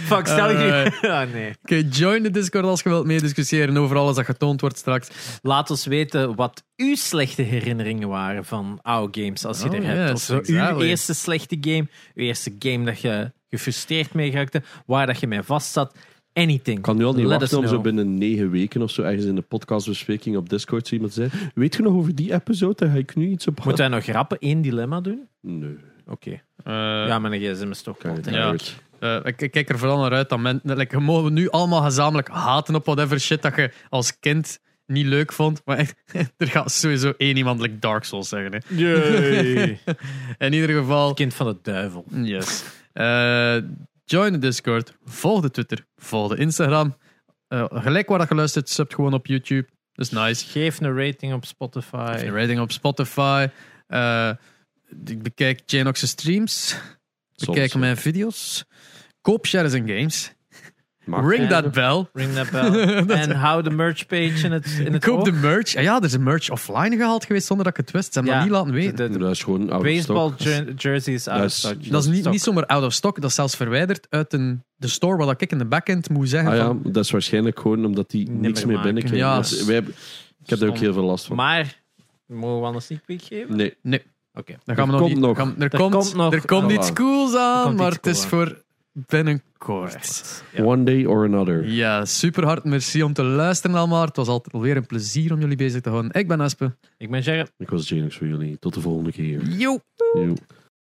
S1: Fuck, stel je.
S2: Eh.
S1: Ah, nee.
S2: Oké, join de Discord als je wilt meediscussiëren over alles dat getoond wordt straks.
S1: Laat ons weten wat uw slechte herinneringen waren van oude games, als je
S2: Oh,
S1: er hebt.
S2: yes,
S1: of zo, uw
S2: exactly.
S1: eerste slechte game, uw eerste game dat je gefrustreerd mee raakte, waar dat je mee vast zat. Anything.
S3: Ik kan nu al niet
S1: Let
S3: wachten
S1: us
S3: om zo
S1: know.
S3: binnen negen weken of zo ergens in de podcastbespreking op Discord zo iemand te zeggen. Weet je nog over die episode? Daar ga ik nu iets op...
S1: Moeten wij nog grappen één dilemma doen?
S3: Nee,
S1: Oké.
S2: Eh,
S1: Ja, mijn gsm is toch
S3: kan je
S1: kapot, hè.
S2: Ja.
S3: niet.
S2: eh, ik, ik kijk er vooral naar uit dat men, like, we mogen nu allemaal gezamenlijk haten op whatever shit dat je als kind niet leuk vond. Maar echt, er gaat sowieso één iemand like Dark Souls zeggen. Hè. In ieder geval,
S1: Kind van de duivel.
S2: yes. Eh, join de Discord, volg de Twitter, volg de Instagram. Eh, gelijk waar dat geluisterd is, subt gewoon op YouTube. Dat is nice.
S1: Geef een rating op Spotify.
S2: Een rating op Spotify. Eh, Ik bekijk Janox's streams.
S3: Soms,
S2: bekijk
S3: ja.
S2: mijn video's. Koop shares en games.
S3: Maar-
S2: Ring
S1: Ja.
S2: that bell.
S1: Ring that bell. en hou de merch page in het, in het
S2: Koop de
S1: oog.
S2: merch. Ah ja, er is een merch offline gehaald geweest zonder dat ik het wist. Ze hebben
S1: Ja.
S2: dat niet laten weten.
S1: De- de
S3: Dat is gewoon oude
S1: baseball
S3: stok.
S1: jer- jersey is out
S3: Dat
S1: of
S3: is-
S1: stock.
S2: Dat is niet,
S1: Stock.
S2: niet zomaar out of stock. Dat is zelfs verwijderd uit een, de store waar ik in de backend moet zeggen
S3: Ah ja,
S2: van...
S3: dat is waarschijnlijk gewoon omdat die
S1: Niet
S3: niks
S1: meer
S3: meer
S1: maken.
S3: binnenkrijgt.
S2: Ja,
S3: Want
S2: dat is
S3: wij hebben- ik heb daar ook
S1: stom.
S3: heel veel last van.
S1: Maar, mogen we al een sneak peek geven?
S3: Nee,
S2: Nee,
S1: Oké.
S2: dan gaan we nog
S3: Er komt
S2: niet-
S3: nog.
S2: gaan- er,
S1: Er
S2: komt,
S1: komt nog-
S2: er komt
S3: Ah,
S2: iets
S3: wel.
S2: cools aan,
S1: komt
S2: maar
S1: iets
S2: het is
S1: cool
S2: voor binnenkort.
S1: Ja.
S3: one day or another.
S2: Ja, super hard. Merci om te luisteren allemaal. Het was altijd alweer een plezier om jullie bezig te houden. Ik ben Aspe.
S1: Ik ben Gerrit.
S3: Ik was Genix voor jullie. Tot de volgende keer.
S2: Yo!
S3: Joe.